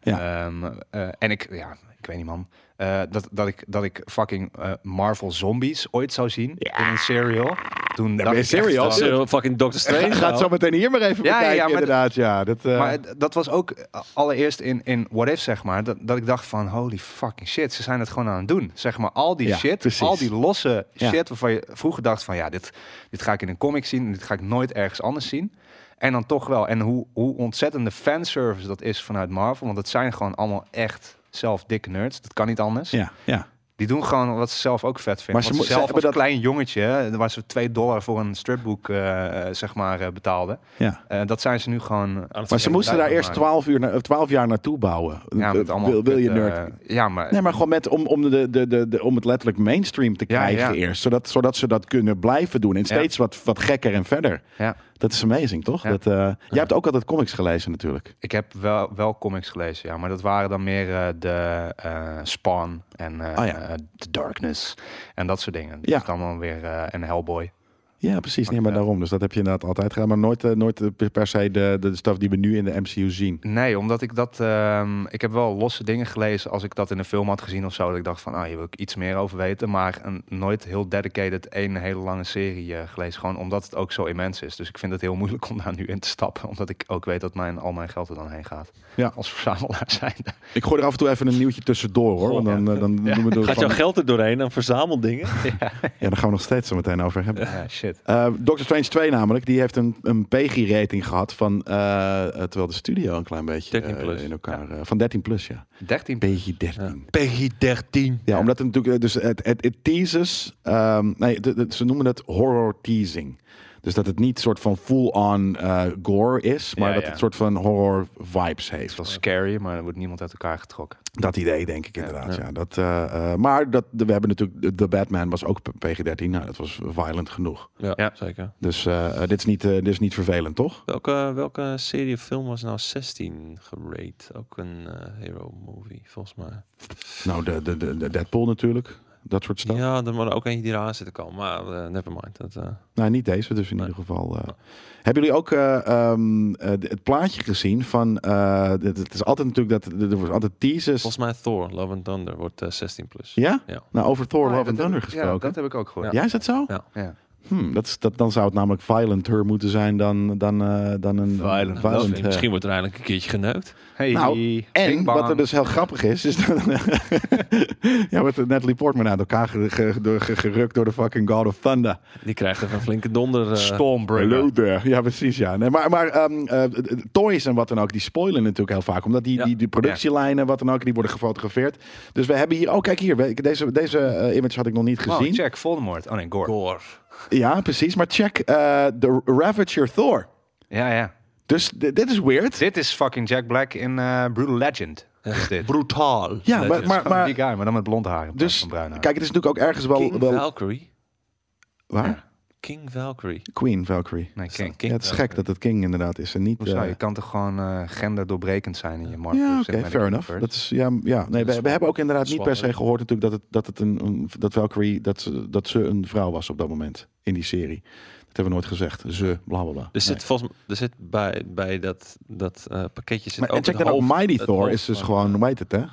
B: Ja.
D: Ehm, eh, en ik, ja, ik weet niet man. Eh, dat, dat, ik, dat ik fucking eh, Marvel Zombies ooit zou zien in een serial. Toen dacht
B: maar
D: ik echt
B: serial
C: Panther.
D: van-
C: Als er fucking Doctor Strange.
B: Ga het
C: nou.
B: zo meteen hier maar even
D: Ja, ja,
B: bekijken,
D: ja, maar-
B: inderdaad. Ja, dat, eh,
D: Maar het- dat was ook eh, allereerst in, in What If, zeg maar, dat, dat ik dacht van holy fucking shit, ze zijn het gewoon aan het doen. Zeg maar, al die
B: Ja,
D: shit,
B: precies.
D: al die losse
B: Ja.
D: shit waarvan je vroeger dacht van ja, dit, dit ga ik in een comic zien en dit ga ik nooit ergens anders zien. En dan toch wel, en hoe, hoe ontzettende fanservice dat is vanuit Marvel, want het zijn gewoon allemaal echt zelf dikke nerds, dat kan niet anders.
B: ja, ja.
D: Die doen gewoon wat ze zelf ook vet vinden.
B: Maar
D: Maar
B: ze
D: ze,
B: mo- ze
D: zelf
B: hebben
D: als
B: dat-
D: klein jongetje, hè, waar ze 2 dollar voor een stripboek eh, eh, zeg maar, eh, betaalden.
B: Ja.
D: Eh, dat zijn ze nu gewoon...
C: het
B: Maar ze moesten daar eerst
D: twaalf
B: 12, uur na, 12 jaar naartoe bouwen.
D: ja, met allemaal
B: wil, wil je
D: kut, eh,
B: nerd?
D: ja, maar...
B: Nee, maar gewoon met, om, om, de, de, de, de- om het letterlijk mainstream te
D: Ja,
B: krijgen
D: ja.
B: eerst. Zodat, zodat ze dat kunnen blijven doen. En
D: Ja.
B: steeds wat, wat gekker en verder.
D: Ja.
B: Dat is amazing, toch?
D: Ja.
B: Dat, eh, Jij hebt ook altijd comics gelezen natuurlijk.
D: Ik heb wel, wel comics gelezen, ja. Maar dat waren dan meer eh, de eh, Spawn en eh,
B: Oh ja.
D: eh, The Darkness en dat soort dingen.
B: Ja.
D: Dat is allemaal weer... eh en Hellboy.
B: Ja, precies. Nee, maar
D: Ja.
B: daarom. Dus dat heb je inderdaad altijd gedaan. Maar nooit, eh, nooit eh, per se de, de stuff die we nu in de MCU zien.
D: Nee, omdat ik dat... ehm, ik heb wel losse dingen gelezen als ik dat in een film had gezien of zo. Dat ik dacht van, ah, hier wil ik iets meer over weten. Maar een, nooit heel dedicated één hele lange serie eh, gelezen. Gewoon omdat het ook zo immens is. Dus ik vind het heel moeilijk om daar nu in te stappen. Omdat ik ook weet dat mijn, al mijn geld er dan heen gaat.
B: Ja.
D: Als verzamelaar zijn.
B: Ik gooi er af en toe even een nieuwtje tussendoor hoor. Want dan, eh, dan, doen we er
C: Gaat
B: gewoon-
C: jouw geld er doorheen en verzamel dingen?
B: ja, daar gaan we nog steeds zo meteen over hebben.
D: Ja, shit.
B: Eh, Doctor Strange 2 namelijk, die heeft een, een PG-rating gehad van, eh, eh, terwijl de studio een klein beetje
C: 13
B: eh,
C: plus.
B: in elkaar, eh, van 13 plus ja.
D: 13
B: PG-13. Ja.
C: PG 13.
B: omdat het natuurlijk, eh, dus het, het, het teases, ehm, nee, de- de- ze noemen het horror teasing. Dus dat het niet soort van full-on eh, gore is, maar
D: Ja,
B: dat
D: ja.
B: het soort van horror vibes heeft.
D: Het was scary, maar er wordt niemand uit elkaar getrokken.
B: Dat idee, denk ik inderdaad. Ja, Dat, eh, eh, maar dat, we hebben natuurlijk. de- De Batman was ook PG-13. Nou, dat was violent genoeg.
C: Ja,
D: Ja.
C: zeker.
B: Dus eh, eh, dit, is niet, eh, dit is niet vervelend, toch?
C: Welke, welke serie of film was nou 16 gerate? Ook een eh, hero movie, volgens mij.
B: Nou, de, de, de, de Deadpool natuurlijk. Dat soort stuff.
C: Ja, er waren ook eentje die eraan zit te komen. Maar eh, never mind. Dat, eh,
B: Nou, niet deze, dus in
C: Nee.
B: ieder geval. eh. Hebben jullie ook eh, ehm, eh, d- het plaatje gezien van. eh, dit- het is altijd natuurlijk dat. Er wordt altijd teasers.
C: volgens mij Thor, Love and Thunder, wordt eh, 16 plus.
B: Ja?
C: Ja.
B: Nou, over Thor, Love and Thunder
D: Ja,
B: gesproken.
D: dat heb ik ook gehoord.
B: Ja, is dat zo?
C: Ja.
D: Ja.
B: Hm, dat is, dat, dan zou het namelijk violenter moeten zijn dan, dan, eh, dan een.
D: Violent.
B: violent eh,
C: Nou, Misschien wordt er eindelijk een keertje geneukt.
D: Hey,
B: Nou, en
D: bing
B: wat
D: bang.
B: er dus heel grappig is, is dat ja, wordt Natalie Portman uit elkaar ge- ge- door- ge- gerukt door de fucking God of Thunder.
C: Die krijgt even een flinke donder. eh,
D: Stormbringer.
B: there. Ja, precies. Ja. Nee, maar maar ehm, eh, d- d- toys en wat dan ook, die spoilen natuurlijk heel vaak. Omdat die,
C: Ja.
B: die, die productielijnen, wat dan ook, die worden gefotografeerd. Dus we hebben hier, oh kijk hier, we- deze, deze eh, image had ik nog niet
D: Wow,
B: gezien.
D: check, Voldemort. Oh nee, Gore.
C: Gore.
B: ja, precies. Maar check eh, de Ravager Thor.
D: Ja, ja.
B: Dus d- dit is weird.
D: Dit is fucking Jack Black in eh, Brutal Legend. Is dit.
C: Brutaal.
B: Ja, maar,
C: Legends.
B: maar,
D: maar, die
B: maar
D: guy, maar dan met blond haar. in plaats
B: dus,
D: van bruin haar.
B: kijk, het is natuurlijk ook ergens wel,
C: King
B: wel
C: Valkyrie.
B: waar?
C: King Valkyrie.
B: Queen Valkyrie.
D: nee,
C: Is dat
D: King.
B: Ja, het is gek dat het King inderdaad is en niet.
D: Hoezo?
B: eh,
D: je kan toch gewoon eh gender doorbrekend zijn in je markt.
B: ja, oké, fair enough. Dat is, ja, ja. Nee, we, we hebben ook inderdaad niet per se gehoord natuurlijk dat het, dat het een, een- dat Valkyrie dat ze, dat ze een vrouw was op dat moment in die serie. Dat hebben we nooit gezegd. Ze, bla bla bla.
C: Er zit volgens mij, er zit bij, bij dat, dat eh, pakketje zit
B: Maar,
C: ook
B: en check
C: het
B: dan ook
C: hoofd-
B: Mighty
C: het
B: Thor
C: hoofd
B: is dus
C: van- eh,
B: gewoon, weet het hè?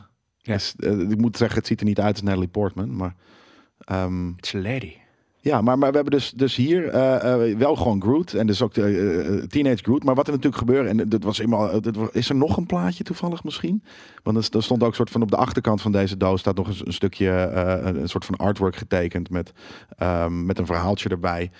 B: Is, eh, ik moet zeggen, het ziet er niet uit als Natalie Portman, maar. ehm,
D: It's a lady.
B: ja, maar, maar we hebben dus, dus hier eh, eh, wel gewoon Groot en dus ook de, eh, eh, Teenage Groot. Maar wat er natuurlijk gebeurde, en dit was eenmaal, dit wa- is er nog een plaatje toevallig misschien? Want er, st- er stond ook soort van op de achterkant van deze doos staat nog een, s- een stukje, eh, een, een soort van artwork getekend met, ehm, met een verhaaltje erbij.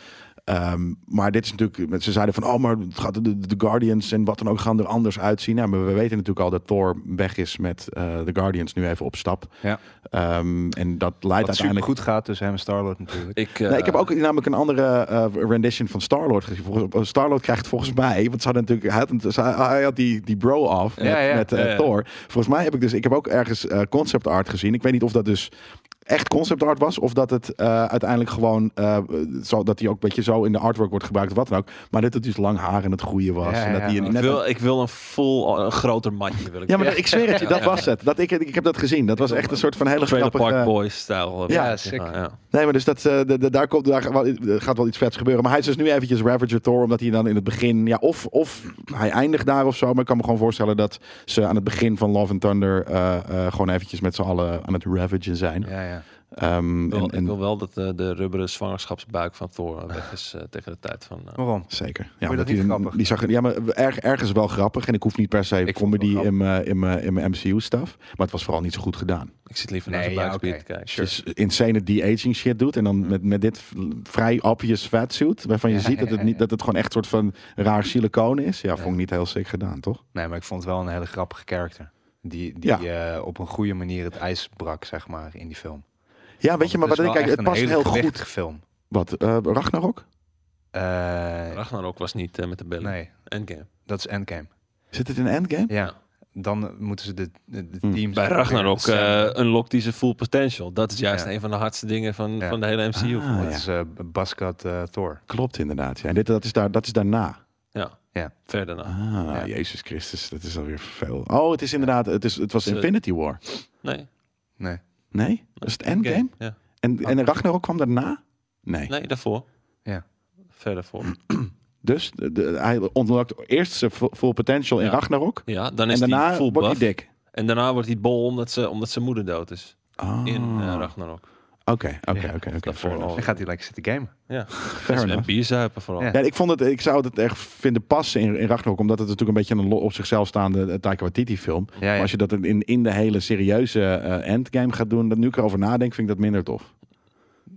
B: Ehm, maar dit is natuurlijk, ze zeiden van, oh maar het gaat, de, de Guardians en wat dan ook gaan er anders uitzien. Nou, maar we weten natuurlijk al dat Thor weg is met eh, de Guardians nu even op stap.
D: Ja.
B: Ehm, en dat leidt
D: Wat
B: uiteindelijk...
D: super goed gaat tussen hem en Starlord natuurlijk.
C: Ik, eh,
B: Nee, ik heb ook namelijk een andere eh, rendition van Starlord gezien. Volgens- eh, Starlord krijgt volgens mij, want ze hadden natuurlijk, hij had, een- ze- hij had die, die bro af met,
D: Ja, ja.
B: met eh,
C: Ja, ja.
B: Thor. Volgens mij heb ik dus, ik heb ook ergens eh, concept art gezien. Ik weet niet of dat dus echt concept art was of dat het eh, uiteindelijk gewoon eh, zo dat hij ook een beetje zo in de artwork wordt gebruikt of wat dan ook. Maar dat het dus lang haar en het groeien was
D: Ja, ja,
B: en dat
D: ja.
B: hij een-
D: Ik
C: ik
B: net
C: wil, ik wil een vol, een groter matje. Wil ik
B: ja, maar dat- ik zweer het je, dat was het. Dat, ik, ik heb dat gezien. Dat was echt een soort van hele
C: Trailer
B: grappige...
C: Park Boys-stijl. eh,
B: Ja,
C: matje.
D: sick.
C: ja.
B: Nee, maar dus dat, eh, de- de- daar, komt, daar wel- er gaat wel iets vets gebeuren. Maar hij is dus nu eventjes Ravager Thor, omdat hij dan in het begin... Ja, of, of hij eindigt daar of zo. Maar ik kan me gewoon voorstellen dat ze aan het begin van Love and Thunder... eh, eh, gewoon eventjes met z'n allen aan het ravagen zijn.
D: Ja, ja.
B: Ehm,
C: Ik wil,
B: en,
C: ik
B: en-
C: wil wel dat eh, de rubberen zwangerschapsbuik van Thor weg is eh, tegen de tijd van... eh,
B: Oh.
D: Waarom?
B: Zeker. Ja,
D: je dat
B: omdat
D: niet
B: hij-
D: grappig?
B: Die zag, ja, maar erg, ergens wel grappig. En ik hoef niet per se
D: het
B: comedy
D: wel
B: in mijn- in mijn- in mijn MCU-stuff. Maar het was vooral niet zo goed gedaan.
C: ik zit liever naar
D: Nee,
C: zijn
D: ja,
C: buikspier
D: oké.
C: te kijken. Dus
B: Als je Dus insane de-aging shit doet en dan met, met dit v- vrij obvious fatsuit, waarvan je ziet dat het, niet, dat het gewoon echt soort van raar siliconen is. Ja, vond ik niet heel sick gedaan, toch?
D: Nee, maar ik vond het wel een hele grappige karakter. Die, die eh, op een goede manier het ijs brak, zeg maar, in die film.
B: Ja, weet je, maar
D: Want
B: wat ik
D: het
B: kijk,
D: is
B: het
D: wel echt
B: past
D: een
B: heel
D: hele
B: goed.
D: gewichtige film.
B: Wat, eh, Ragnarok?
D: Eh,
C: Ragnarok was niet eh, met de billen.
D: nee,
C: Endgame.
D: dat is Endgame.
B: Zit het in Endgame?
D: Ja, dan moeten ze de, de, de
B: Hm.
D: teams...
C: Bij Ragnarok
D: Ja.
C: eh unlockt hij zijn full potential. Dat is juist
D: Ja.
C: een van de hardste dingen van,
D: Ja.
C: van de hele MCU.
B: Ah,
C: volgens mij.
D: dat
B: ja.
D: is eh Baskat eh, Thor.
B: Klopt inderdaad. Ja. En dit, dat, is daar, dat is daarna.
C: ja.
D: Ja.
C: Verder na.
B: Ah,
D: Ja.
B: Jezus Christus, dat is alweer veel. Oh, het is inderdaad, het, is, het was
C: Dus, eh,
B: Infinity War.
C: Nee.
D: Nee.
B: Nee? Was het Endgame?
C: Ja.
B: En, en Ragnarok kwam daarna? Nee.
C: Nee, daarvoor.
D: Ja.
C: Verder voor.
B: Dus de, de- hij ontlokt eerst zijn fu- full potential in
C: Ja.
B: Ragnarok.
C: Ja, dan
B: En
C: is hij
B: daarna
C: full
B: wordt hij
C: buff.
B: dik.
C: En daarna wordt hij bol omdat, ze, omdat zijn moeder dood is.
B: Ah.
C: In eh, Ragnarok.
B: Oké, oké,
D: Ja,
B: oké, oké.
C: daarvoor
B: fair enough.
C: al.
D: Dan gaat hij lekker zitten gamen.
C: Ja.
B: Fair
C: en
B: enough.
C: bier zuipen vooral.
D: Ja.
B: Ja, ik, vond het, ik zou het echt vinden passen in, in Ragnarok, omdat het natuurlijk een beetje een lo- op zichzelf staande eh, Taika Waititi film.
D: Ja,
B: Maar
D: ja.
B: als je dat in, in de hele serieuze eh, endgame gaat doen, dat nu ik erover nadenk, vind ik dat minder tof.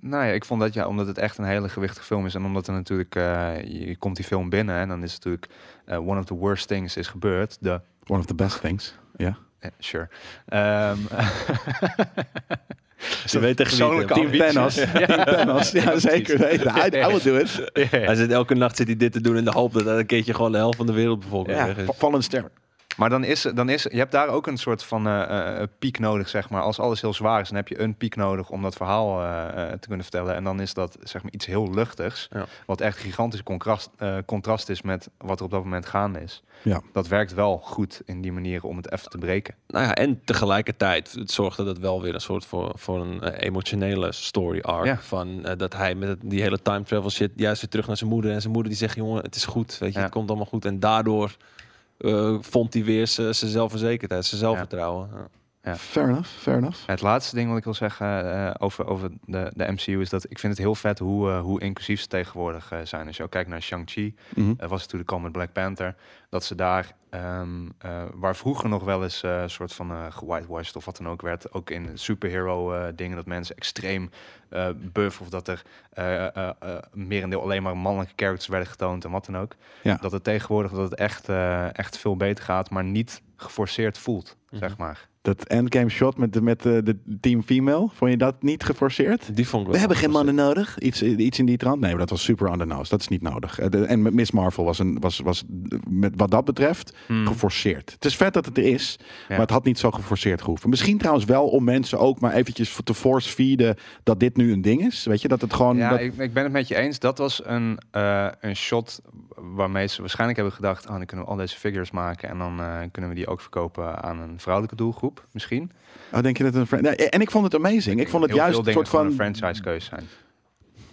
D: Nou ja, ik vond dat ja, omdat het echt een hele gewichtige film is. En omdat er natuurlijk, eh, je je komt die film binnen en dan is het natuurlijk eh, one of the worst things is gebeurd. De,
B: One of the best things. Ja.
D: eh, sure. Ehm
C: Je weet tegen wie het
D: Persoonlijke
C: hebt.
B: eh, Team Thanos. Team Thanos. Ja, zeker weten. I, I will do it.
C: Hij zit elke nacht zit hij dit te doen in de hoop dat hij een keertje gewoon de helft van de wereldbevolking
B: Ja,
C: weg is.
B: va- Fallen Star.
D: maar dan is, dan is, je hebt daar ook een soort van eh, eh, piek nodig, zeg maar. Als alles heel zwaar is, dan heb je een piek nodig om dat verhaal eh, eh, te kunnen vertellen. En dan is dat, zeg maar, iets heel luchtigs.
C: Ja.
D: Wat echt gigantisch contrast, eh, contrast is met wat er op dat moment gaande is.
B: Ja.
D: Dat werkt wel goed in die manier om het even te breken.
C: Nou ja, en tegelijkertijd het zorgde dat wel weer een soort voor, voor een eh, emotionele story arc.
D: Ja.
C: Van eh, dat hij met het- die hele time travel shit juist weer terug naar zijn moeder. En zijn moeder die zegt, jongen, het is goed. Weet je,
D: Ja.
C: het komt allemaal goed. En daardoor eh, vond hij weer zijn zijn zelfverzekerdheid, zijn zelfvertrouwen. Ja.
D: Ja.
B: Fair enough, fair enough.
D: Het laatste ding wat ik wil zeggen eh, over, over de, de MCU is dat ik vind het heel vet hoe, eh, hoe inclusief ze tegenwoordig eh, zijn. Als je ook kijkt naar Shang-Chi,
B: Mhm.
D: eh, was het natuurlijk al met Black Panther, dat ze daar, ehm, eh, waar vroeger nog wel eens eh, een soort van eh gewhitewashed of wat dan ook werd, ook in superhero eh, dingen, dat mensen extreem eh, buff of dat er eh, eh, eh, merendeel alleen maar mannelijke characters werden getoond en wat dan ook.
B: Ja.
D: Dat het tegenwoordig dat het echt, eh, echt veel beter gaat, maar niet geforceerd voelt,
C: Mhm.
D: zeg maar.
B: Dat endgame shot met, de, met de, de team female, vond je dat niet geforceerd?
C: Die vond ik wel
B: We hebben geen
C: lastig.
B: mannen nodig. Iets, iets in die trant. Nee, maar dat was super on the nose. Dat is niet nodig. Eh, de- En met Miss Marvel was, een, was, was met wat dat betreft
D: Hmm.
B: geforceerd. Het is vet dat het er is, maar het had niet zo geforceerd gehoeven. Misschien trouwens wel om mensen ook maar eventjes te force feeden dat dit nu een ding is. Weet je, dat het gewoon...
D: Ja,
B: dat-
D: ik, ik ben het met je eens. Dat was een, eh, een shot waarmee ze waarschijnlijk hebben gedacht... Oh, dan kunnen we al deze figures maken... en dan eh, kunnen we die ook verkopen aan een vrouwelijke doelgroep, misschien.
B: Oh, denk je dat het een... fran- Nee, en ik vond het amazing. Ik vond het
D: Heel
B: juist
D: veel
B: een
D: dingen
B: soort van...
D: gewoon een franchise-keus zijn.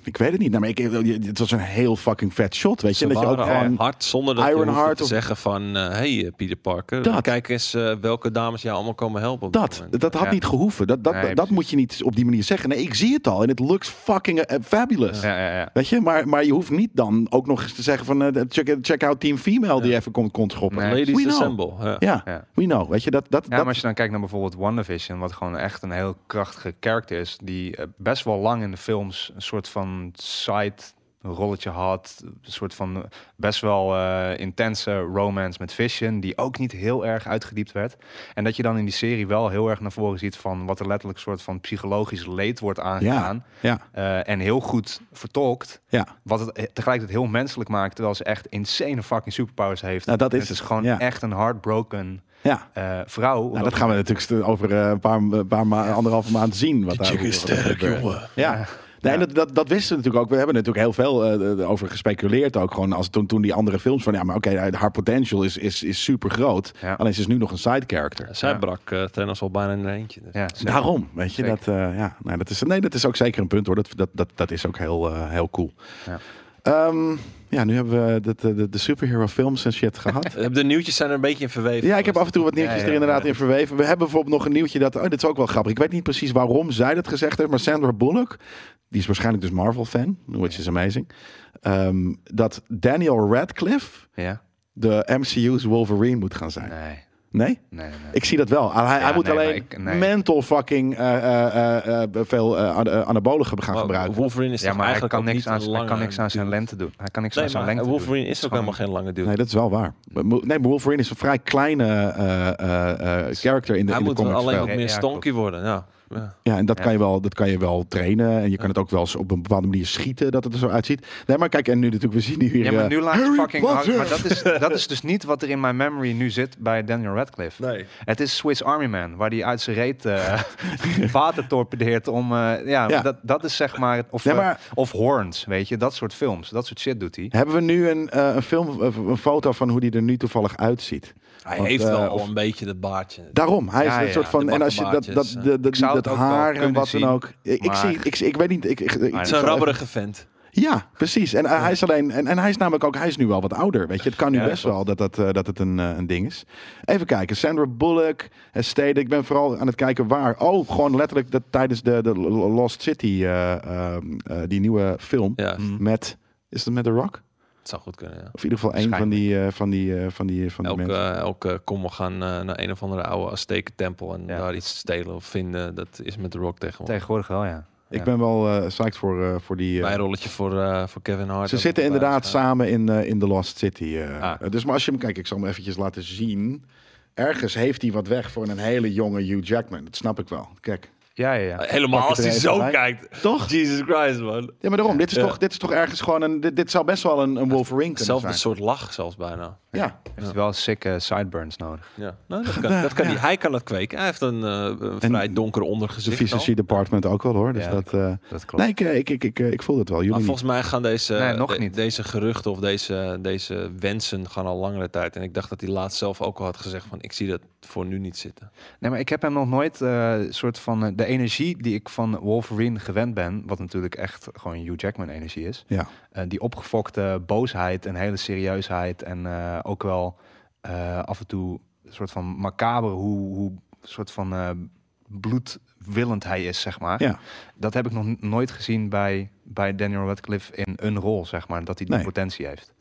B: Ik weet het niet. Nou, maar ik, het was een heel fucking vet shot, weet je.
C: Ze
B: En dat je ook
C: waren al
B: gewoon...
C: hard zonder dat je hoeft
B: Ironheart
C: te
B: of-
C: zeggen van... eh, hey eh, Peter Parker,
B: Dat.
C: kijk eens eh, welke dames jou allemaal komen helpen. op dit
B: Dat,
C: moment.
B: dat had
D: Ja.
B: niet gehoeven. Dat, dat,
D: Nee,
B: dat
D: precies.
B: moet je niet op die manier zeggen. Nee, ik zie het al en het looks fucking eh, fabulous.
D: Ja, ja, ja.
B: Weet je, maar, maar je hoeft niet dan ook nog eens te zeggen van eh, check, check out Team Female die even komt komt schoppen.
D: Nee.
C: Ladies
B: We know.
C: Assemble. ja.
B: Ja,
D: Ja.
B: we know. Weet je, dat, dat,
D: Ja,
B: dat
D: maar als je dan kijkt naar bijvoorbeeld WandaVision... wat gewoon echt een heel krachtige karakter is... die eh, best wel lang in de films een soort van side rolletje had. Een soort van eh, best wel eh, intense romance met Vision... die ook niet heel erg uitgediept werd. En dat je dan in die serie wel heel erg naar voren ziet... van wat er letterlijk een soort van psychologisch leed wordt aangegaan.
B: ja,
D: eh, en heel goed vertolkt.
B: ja.
D: Wat het eh, tegelijkertijd heel menselijk maakt... terwijl ze echt insane fucking superpowers heeft.
B: Nou, dat is
D: het is
B: het.
D: gewoon
B: Ja.
D: echt een heartbroken...
B: ja.
D: eh, vrouw.
B: Nou, dat gaan we natuurlijk st- over eh, een paar, een paar ma anderhalve maand zien. Wat
C: Die chick
B: daar-
C: is
B: wat er
C: sterk,
B: gebeurt.
C: jongen.
B: Ja.
D: Ja.
B: Nee, en
D: Ja.
B: dat, dat, dat wisten we natuurlijk ook. We hebben er natuurlijk heel veel eh, eh, over gespeculeerd. Ook gewoon als toen, toen die andere films van ja, maar oké, eh, haar potential is, is, is super groot.
D: Ja.
B: Alleen ze is nu nog een side character.
C: Zij
D: Ja.
C: brak eh tennis al bijna in een eentje. dus.
D: Ja, zeker.
B: Daarom, weet je,
D: Zeker.
B: dat, eh, ja, nee, dat is, nee, dat is ook zeker een punt hoor. Dat, dat, dat, dat is ook heel, eh, heel cool.
D: Ja.
B: Ja. ja, nu hebben we de, de, de, de superhero films en shit gehad.
C: Eh, De nieuwtjes zijn er een beetje in verweven.
B: Ja, ik heb af en toe wat nieuwtjes
D: Ja, ja,
B: er inderdaad
D: ja.
B: in verweven. We hebben bijvoorbeeld nog een nieuwtje dat... Oh, dit is ook wel grappig. Ik weet niet precies waarom zij dat gezegd heeft. Maar Sandra Bullock, die is waarschijnlijk dus Marvel-fan. Which is amazing. Ehm, dat Daniel Radcliffe
D: Ja?
B: de MCU's Wolverine moet gaan zijn.
D: Nee.
B: Nee?
D: Nee, nee, nee.
B: Ik zie dat wel. Hij, hij
D: Ja,
B: moet
D: nee,
B: alleen
D: maar ik- nee.
B: mental fucking eh, eh, eh, eh, veel eh, ana- eh, anabolen gaan
C: Maar
B: gebruiken.
C: Wolverine is
D: Ja,
C: toch
D: maar hij
C: eigenlijk
D: kan,
C: ook
D: niks
C: niet
D: aan,
C: een
D: hij kan
C: lange
D: niks aan zijn
C: dude?
D: lengte doen. Hij kan niks aan
C: Nee,
D: zijn
C: maar
D: lengte
C: Wolverine is ook
D: gewoon-
C: helemaal geen lange dude.
B: Nee, dat is wel waar. Maar Mo- Nee, maar Wolverine is een vrij kleine eh, eh, eh, character in de,
C: hij
D: Dus
B: in de
C: moet wel
B: comics.
C: alleen
B: wel.
C: wat meer
D: Ja, klopt.
C: stonky worden. Ja. Ja.
B: Ja, en dat,
D: Ja.
B: Kan je wel, dat kan je wel trainen. En je kan het ook wel eens op een bepaalde manier schieten dat het er zo uitziet. Nee, maar kijk, en nu natuurlijk, we zien hier...
D: Ja, maar
B: eh,
D: nu laat je
B: Harry
D: fucking...
B: Potter.
D: Maar dat is, dat is dus niet wat er in mijn memory nu zit bij Daniel Radcliffe.
C: Nee.
D: Het is Swiss Army Man, waar die uit zijn reet eh, water torpedeert om... eh, ja,
B: Ja.
D: Dat, dat is zeg maar... Of,
B: Nee,
D: eh,
B: maar-
D: of Horns, weet je. Dat soort films. Dat soort shit doet hij.
B: Hebben we nu een, eh, een, film, eh, een foto van hoe die er nu toevallig uitziet?
C: Hij
B: Want,
C: heeft
B: eh,
C: wel
B: of-
C: een beetje dat baardje.
B: Daarom, hij is
D: Ja,
B: een
D: ja,
B: soort van.
C: de
B: En als je dat, dat,
C: bakkenbaardjes,
B: dat,
C: eh.
B: dat,
D: Ik zou
B: dat
D: het ook wel
B: haar en
D: kunnen
B: wat dan
D: zien,
B: ook. Ik, ik
D: maar-
B: zie, ik, zie- ik weet niet. Ik, ik, ik-
D: Het
C: Het is
D: is
C: een
B: zou-
C: rabberige vent.
B: Ja, precies. En eh, hij is alleen. En, en hij is namelijk ook. Hij is nu wel wat ouder. Weet je, het kan nu
D: Ja,
B: best
D: klopt.
B: wel dat, dat, eh, dat het een, eh, een ding is. Even kijken. Sandra Bullock, eh, Steden. Ik ben vooral aan het kijken waar. Oh, gewoon letterlijk dat, tijdens de, de Lost City, eh, ehm, eh, die nieuwe film.
C: Ja,
D: Mm.
B: Met. Is dat met The Rock?
C: het zou goed kunnen. Ja.
B: Of in ieder geval een van die, eh, van die, eh, van die, van die
C: Elke,
B: mensen.
C: eh, elke kom we gaan eh, naar een of andere oude Azteken tempel en
D: Ja.
C: daar iets stelen of vinden. Dat is met de rock tegenwoordig.
D: Tegenwoordig wel, ja.
B: Ik ben wel eh psyched voor, eh, voor die. eh,
C: Mijn rolletje voor, eh, voor Kevin Hart.
B: Ze
C: ook
B: zitten
C: nog bij
B: inderdaad
C: staan.
B: samen in, eh, in The Lost City. eh.
C: Ah.
B: Eh, Dus maar als je hem kijkt, ik zal hem eventjes laten zien. Ergens heeft hij wat weg voor een hele jonge Hugh Jackman. Dat snap ik wel. Kijk.
D: Ja, ja, ja.
C: eh, Helemaal
B: Pak
C: als
B: het
C: hij
B: er
C: zo
B: even bij.
C: kijkt.
B: Toch?
C: Jesus Christ, man.
B: Ja, maar daarom. Dit, is
C: Ja.
B: toch, dit is toch ergens gewoon een... Dit, dit zou best wel een, een Wolverine kunnen
C: Zelfde
B: zijn.
C: soort lach zelfs bijna.
B: Ja.
D: Heeft hij wel sick eh, sideburns nodig.
C: Ja. Nou, dat kan, dat kan die, hij kan dat kweken. Hij heeft een, eh, een vrij donker
B: De
C: ondergezicht. al.
B: fysiologie department ook wel hoor. Dus
D: Ja,
B: dat, eh,
D: Dat klopt.
B: nee, ik, eh, ik, ik, ik, eh, ik voel het wel. Jullie
C: Maar volgens mij gaan deze,
D: Nee, nog
C: de-
D: niet.
C: deze geruchten of deze, deze wensen gaan al langere tijd. En ik dacht dat hij laatst zelf ook al had gezegd van ik zie dat voor nu niet zitten.
D: Nee, maar ik heb hem nog nooit eh, soort van eh, de energie die ik van Wolverine gewend ben, wat natuurlijk echt gewoon Hugh Jackman energie is.
B: Ja.
D: Eh, die opgefokte boosheid en hele serieusheid en eh, ook wel eh, af en toe een soort van macaber hoe, hoe soort van eh, bloedwillend hij is, zeg maar.
B: Ja.
D: Dat heb ik nog n- nooit gezien bij, bij Daniel Radcliffe in een rol, zeg maar, dat hij die
B: Nee.
D: potentie heeft.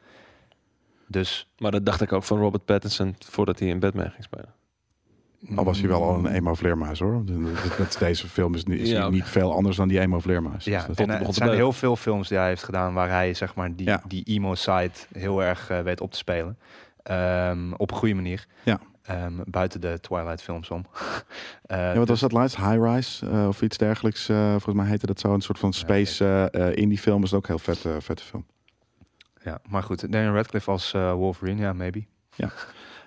D: Dus
C: Maar dat dacht ik ook van Robert Pattinson voordat hij in Batman ging spelen. Mm.
B: Al was hij wel al een emo-vleermuis hoor. Met deze film is, nu- is hij
C: Ja.
B: niet veel anders dan die emo-vleermuis.
D: Ja,
B: Dus dat-
D: en, eh,
C: begon
D: het
C: te
D: zijn
C: beuken.
D: heel veel films die hij heeft gedaan waar hij zeg maar die,
B: Ja.
D: die emo-side heel erg eh, weet op te spelen. Ehm, op een goede manier.
B: Ja.
D: Ehm, buiten de Twilight films om. Eh,
B: Ja, wat was dat laatst? High Rise eh, of iets dergelijks. eh, volgens mij heette dat zo. Een soort van space eh, eh, indie film. Is ook een heel vet, eh, vette film.
D: ja, maar goed, Daniel Radcliffe als eh, Wolverine, ja, maybe.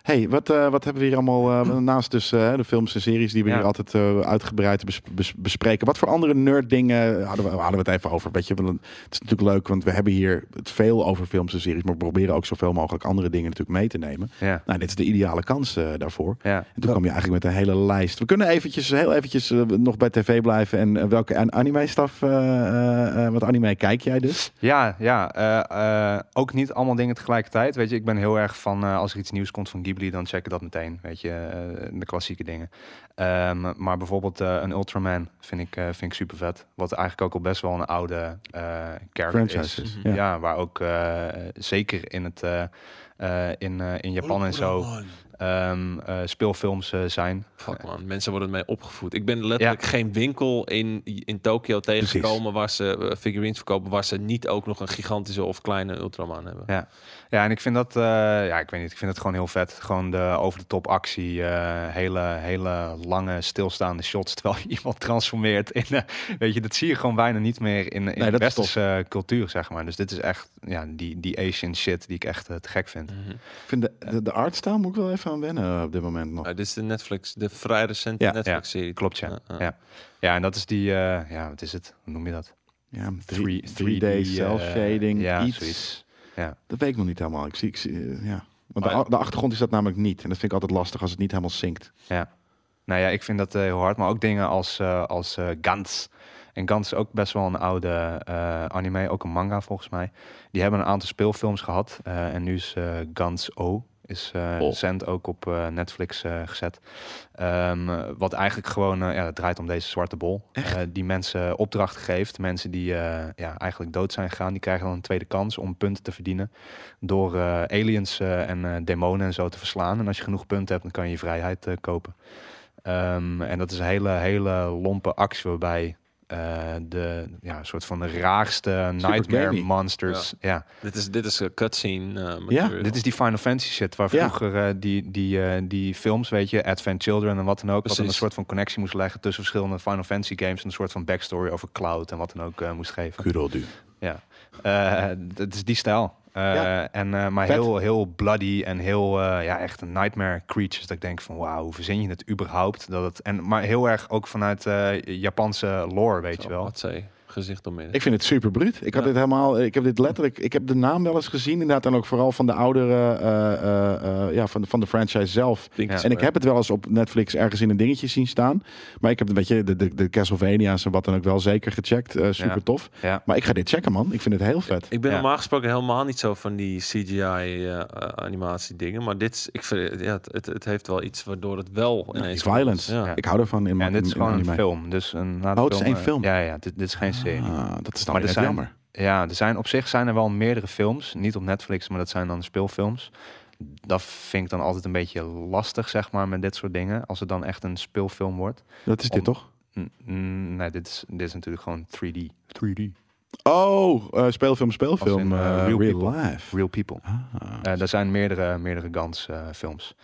B: hey, wat, eh, wat hebben we hier allemaal eh, naast dus eh, de films en series die we
D: Ja.
B: hier altijd eh, uitgebreid bes- bes- bespreken. Wat voor andere nerd dingen eh, hadden we, hadden we het even over? Weet je, want het is natuurlijk leuk, want we hebben hier het veel over films en series, maar we proberen ook zoveel mogelijk andere dingen natuurlijk mee te nemen.
D: Ja,
B: Nou, dit is de ideale kans eh, daarvoor.
D: ja.
B: En toen kwam je eigenlijk met een hele lijst. We kunnen eventjes, heel eventjes eh, nog bij tv blijven. En eh, welke an- anime-staf, eh eh, eh, want anime kijk jij dus?
D: Ja, ja. eh, eh, ook niet allemaal dingen tegelijkertijd. Weet je, ik ben heel erg van eh, als er iets nieuws komt van Ghibli, dan check ik dat meteen. Weet je, eh, de klassieke dingen. Ehm, maar bijvoorbeeld eh, een Ultraman vind ik, eh, vind ik super vet. Wat eigenlijk ook al best wel een oude eh character
B: Franchises.
D: is.
C: Mhm.
B: Ja.
D: Ja. waar ook eh, zeker in het. eh, eh, in, eh, in Japan en zo ehm, eh, speelfilms eh, zijn.
C: Fuck man, mensen worden mee opgevoed. Ik ben letterlijk geen winkel in, in Tokio tegengekomen waar ze eh, figurines verkopen, waar ze niet ook nog een gigantische of kleine Ultraman hebben.
D: Ja. Ja, en ik vind dat, eh, ja, ik weet niet, ik vind het gewoon heel vet. Gewoon de over-de-top actie, eh, hele, hele lange stilstaande shots terwijl je iemand transformeert. In, eh, weet je, dat zie je gewoon bijna niet meer in, in
B: dat
D: de
B: is
D: westerse eh, cultuur, zeg maar. Dus dit is echt, ja, die, die Asian shit die ik echt eh, te gek vind.
C: Mhm.
B: Ik vind de, de, de artstyle moet ik wel even aan wennen eh, op dit moment nog.
C: Nou, dit is de Netflix, de vrij recente
B: Ja,
C: Netflix-serie.
D: Klopt, ja.
C: Ja, ja.
D: ja. Ja, en dat is die, eh, ja, wat is het? Hoe noem je dat?
B: Ja,
D: Three-
B: 3D,
D: 3D,
B: cel
D: eh,
B: shading,
D: ja,
B: iets.
D: zoiets.
B: Dat weet ik nog niet helemaal. Ik zie, ik zie, eh, ja. Want de,
C: Maar-
B: a- de achtergrond is dat namelijk niet. En dat vind ik altijd lastig als het niet helemaal zinkt.
D: Nou ja, ik vind dat eh, heel hard. Maar ook dingen als, eh, als eh, Gans. En Gans is ook best wel een oude eh, anime, ook een manga volgens mij. Die hebben een aantal speelfilms gehad. eh, en nu is eh, Gans O, is eh
C: Oh.
D: recent ook op eh, Netflix eh, gezet. Ehm, wat eigenlijk gewoon, eh, ja, het draait om deze zwarte bol. eh, die mensen opdrachten geeft. Mensen die eh, ja, eigenlijk dood zijn gegaan, die krijgen dan een tweede kans om punten te verdienen. Door eh, aliens eh, en eh, demonen en zo te verslaan. En als je genoeg punten hebt, dan kan je je vrijheid eh, kopen. Ehm, en dat is een hele, hele lompe actie waarbij eh, eh, de ja, een soort van de raarste
B: Super
D: nightmare
B: gamey.
D: monsters. Ja.
C: Dit is, dit is een cutscene. eh,
B: Ja,
C: material.
D: Dit is die Final Fantasy shit waar
B: Ja.
D: vroeger eh, die, die, eh, die films, weet je, Advent Children en wat dan ook, wat dan een
C: Precies.
D: soort van connectie moest leggen tussen verschillende Final Fantasy games en een soort van backstory over Cloud en wat dan ook eh, moest geven.
B: Kurodu.
D: Ja, Eh, dat is die stijl. Eh,
B: Ja.
D: en, eh, maar
B: Vet.
D: heel, heel bloody en heel eh, ja, echt een nightmare creatures. Dat ik denk van wauw, hoe verzin je het überhaupt? Dat het, en, maar heel erg ook vanuat eh, Japanse lore, weet
C: Zo,
D: je wel.
C: Wat zei gezicht onmiddellijk.
B: Ik vind het super bruut. Ik had dit helemaal. Ik heb dit letterlijk. Ik heb de naam wel eens gezien, inderdaad. En ook vooral van de oudere. eh, eh, eh, ja, van, de- van de franchise zelf.
C: Pink
D: Ja.
C: is
B: En ik
C: wel-
B: heb het wel eens op Netflix ergens in een dingetje zien staan. Maar ik heb een beetje de, de, de Castlevania's en wat dan ook wel zeker gecheckt. Eh, super
D: Ja.
B: tof.
D: Ja.
B: Maar ik ga dit checken, man. Ik vind het heel vet.
C: Ik ben
D: Ja.
C: normaal gesproken helemaal niet zo van die CGI-animatie eh, dingen. Maar dit, is- ik vind, ja, het, het, het heeft wel iets waardoor het wel
B: Die
C: ineens...
B: violence.
C: Ja.
D: Ja.
B: Ik hou ervan in
D: En
B: mijn
D: dit is gewoon een film. Dus een, na de
B: Oh, het is één
D: eh,
B: film. Ah.
D: Ja, ja dit, dit is geen serie.
B: dat is dan
D: Maar
B: weer
D: er
B: net
D: zijn-
B: jammer.
D: Ja, er zijn op zich zijn er wel meerdere films. Niet op Netflix, maar dat zijn dan speelfilms. Dat vind ik dan altijd een beetje lastig, zeg maar, met dit soort dingen. Als het dan echt een speelfilm wordt.
B: Dat is dit
D: Om-
B: toch?
D: N- n- Nee, dit is, dit is natuurlijk gewoon 3D. 3D.
B: Oh, eh, speelfilm, speelfilm.
D: Als in, eh,
B: eh,
D: real
B: real
D: people.
B: life.
D: Real People.
B: Ah.
D: Eh er zijn meerdere, meerdere Gans eh, films.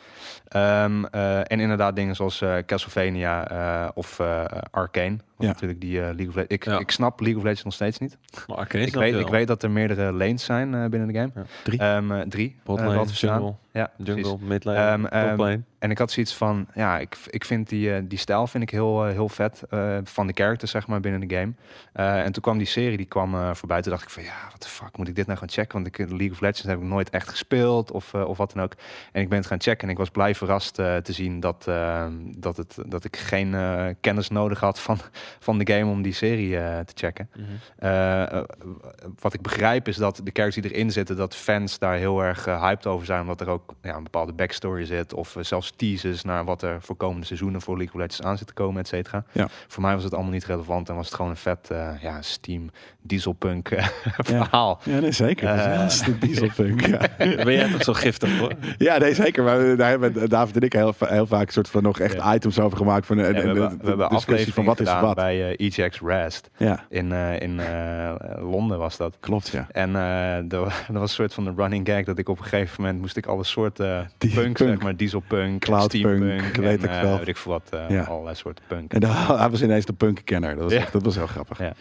D: Ehm, eh, en inderdaad dingen zoals eh, Castlevania eh, of eh Arcane. Wat
B: Ja.
D: natuurlijk die eh, League of Legends... Ik,
C: Ja.
D: ik snap League of Legends nog steeds niet.
C: Maar Arcane
D: Ik
C: snap
D: weet,
C: je
D: ik
C: wel.
D: weet dat er meerdere lanes zijn eh, binnen de game.
C: Ja.
B: Drie.
D: Ehm, eh, drie. eh,
C: Botlane,
D: wat we staan.
C: jungle,
D: Ja, precies.
C: Jungle, midlane,
D: Ehm, ehm,
C: toplane.
D: En ik had zoiets van, ja, ik, ik vind die, eh, die stijl vind ik heel, eh, heel vet eh, van de characters, zeg maar, binnen de game. Eh, en toen kwam die serie, die kwam eh, voorbij. Toen dacht ik van, ja, wat de fuck, moet ik dit nou gaan checken? Want ik, League of Legends heb ik nooit echt gespeeld of, eh, of wat dan ook. En ik ben het gaan checken en ik was blij verrast eh, te zien dat, eh, dat, het, dat ik geen eh, kennis nodig had van, van de game om die serie eh, te checken.
C: Mhm.
D: Eh, eh, wat ik begrijp is dat de characters die erin zitten, dat fans daar heel erg eh, hyped over zijn. Omdat er ook ja, een bepaalde backstory zit. Of eh, zelfs teasers naar wat er voor komende seizoenen voor League of Legends aan zit te komen, et cetera.
B: Ja.
D: Voor mij was het allemaal niet relevant en was het gewoon een vet eh, ja, Steam dieselpunk eh, verhaal.
B: Ja, nee, zeker. Dat is-
D: Eh.
B: dat is de dieselpunk. ja.
C: Ben jij toch zo giftig, hoor?
B: Ja, nee, zeker. Maar we- daar hebben eh, David en ik heel, va- heel vaak soort van nog echt items over gemaakt. Van, en,
D: En we
B: en-
D: hebben,
B: en-
D: we hebben
B: de discussie
D: afleveringen
B: van wat is
D: gedaan
B: wat.
D: bij eh, EJX Rest.
B: Ja,
D: In, eh, in eh, Londen was dat.
B: klopt, ja.
D: En eh, er, wa- er was een soort van een running gag dat ik op een gegeven moment moest ik alle soorten
B: Die-
D: punk, zeg
B: punk.
D: maar, dieselpunk,
B: Cloudpunk,
D: steampunk,
B: weet
D: en,
B: ik
D: eh,
B: wel.
D: weet ik veel wat, eh,
B: Ja.
D: allerlei soorten punk.
B: En daar, hij was ineens de punkkenner. Dat was,
D: Ja.
B: echt, dat was heel grappig.
D: Ja.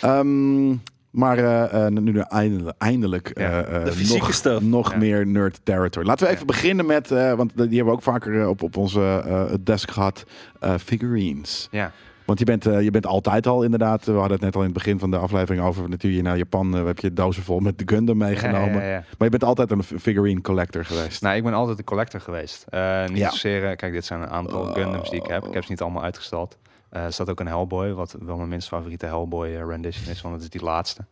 B: Ehm, maar eh, eh, nu eindelijk, eindelijk
D: Ja,
B: eh, eh,
C: de fysieke
B: nog,
C: stuff.
B: nog
D: Ja.
B: meer nerd territory. Laten we even
D: Ja.
B: beginnen met, eh, want die hebben we ook vaker eh, op, op onze eh, desk gehad, eh, figurines.
D: Ja,
B: Want je bent, eh, je bent altijd al inderdaad, we hadden het net al in het begin van de aflevering over, natuurlijk naar Japan eh, heb je dozen vol met de Gundam meegenomen.
D: Ja, ja, ja.
B: Maar je bent altijd een f- figurine collector geweest.
D: Nou, ik ben altijd een collector geweest. Eh, niet
B: Ja.
D: zozeer, eh, kijk, dit zijn een aantal
B: Oh.
D: Gundams die ik heb. Ik heb ze niet allemaal uitgestald. Eh, er staat ook een Hellboy, wat wel mijn minst favoriete Hellboy eh, rendition is, want het is die laatste.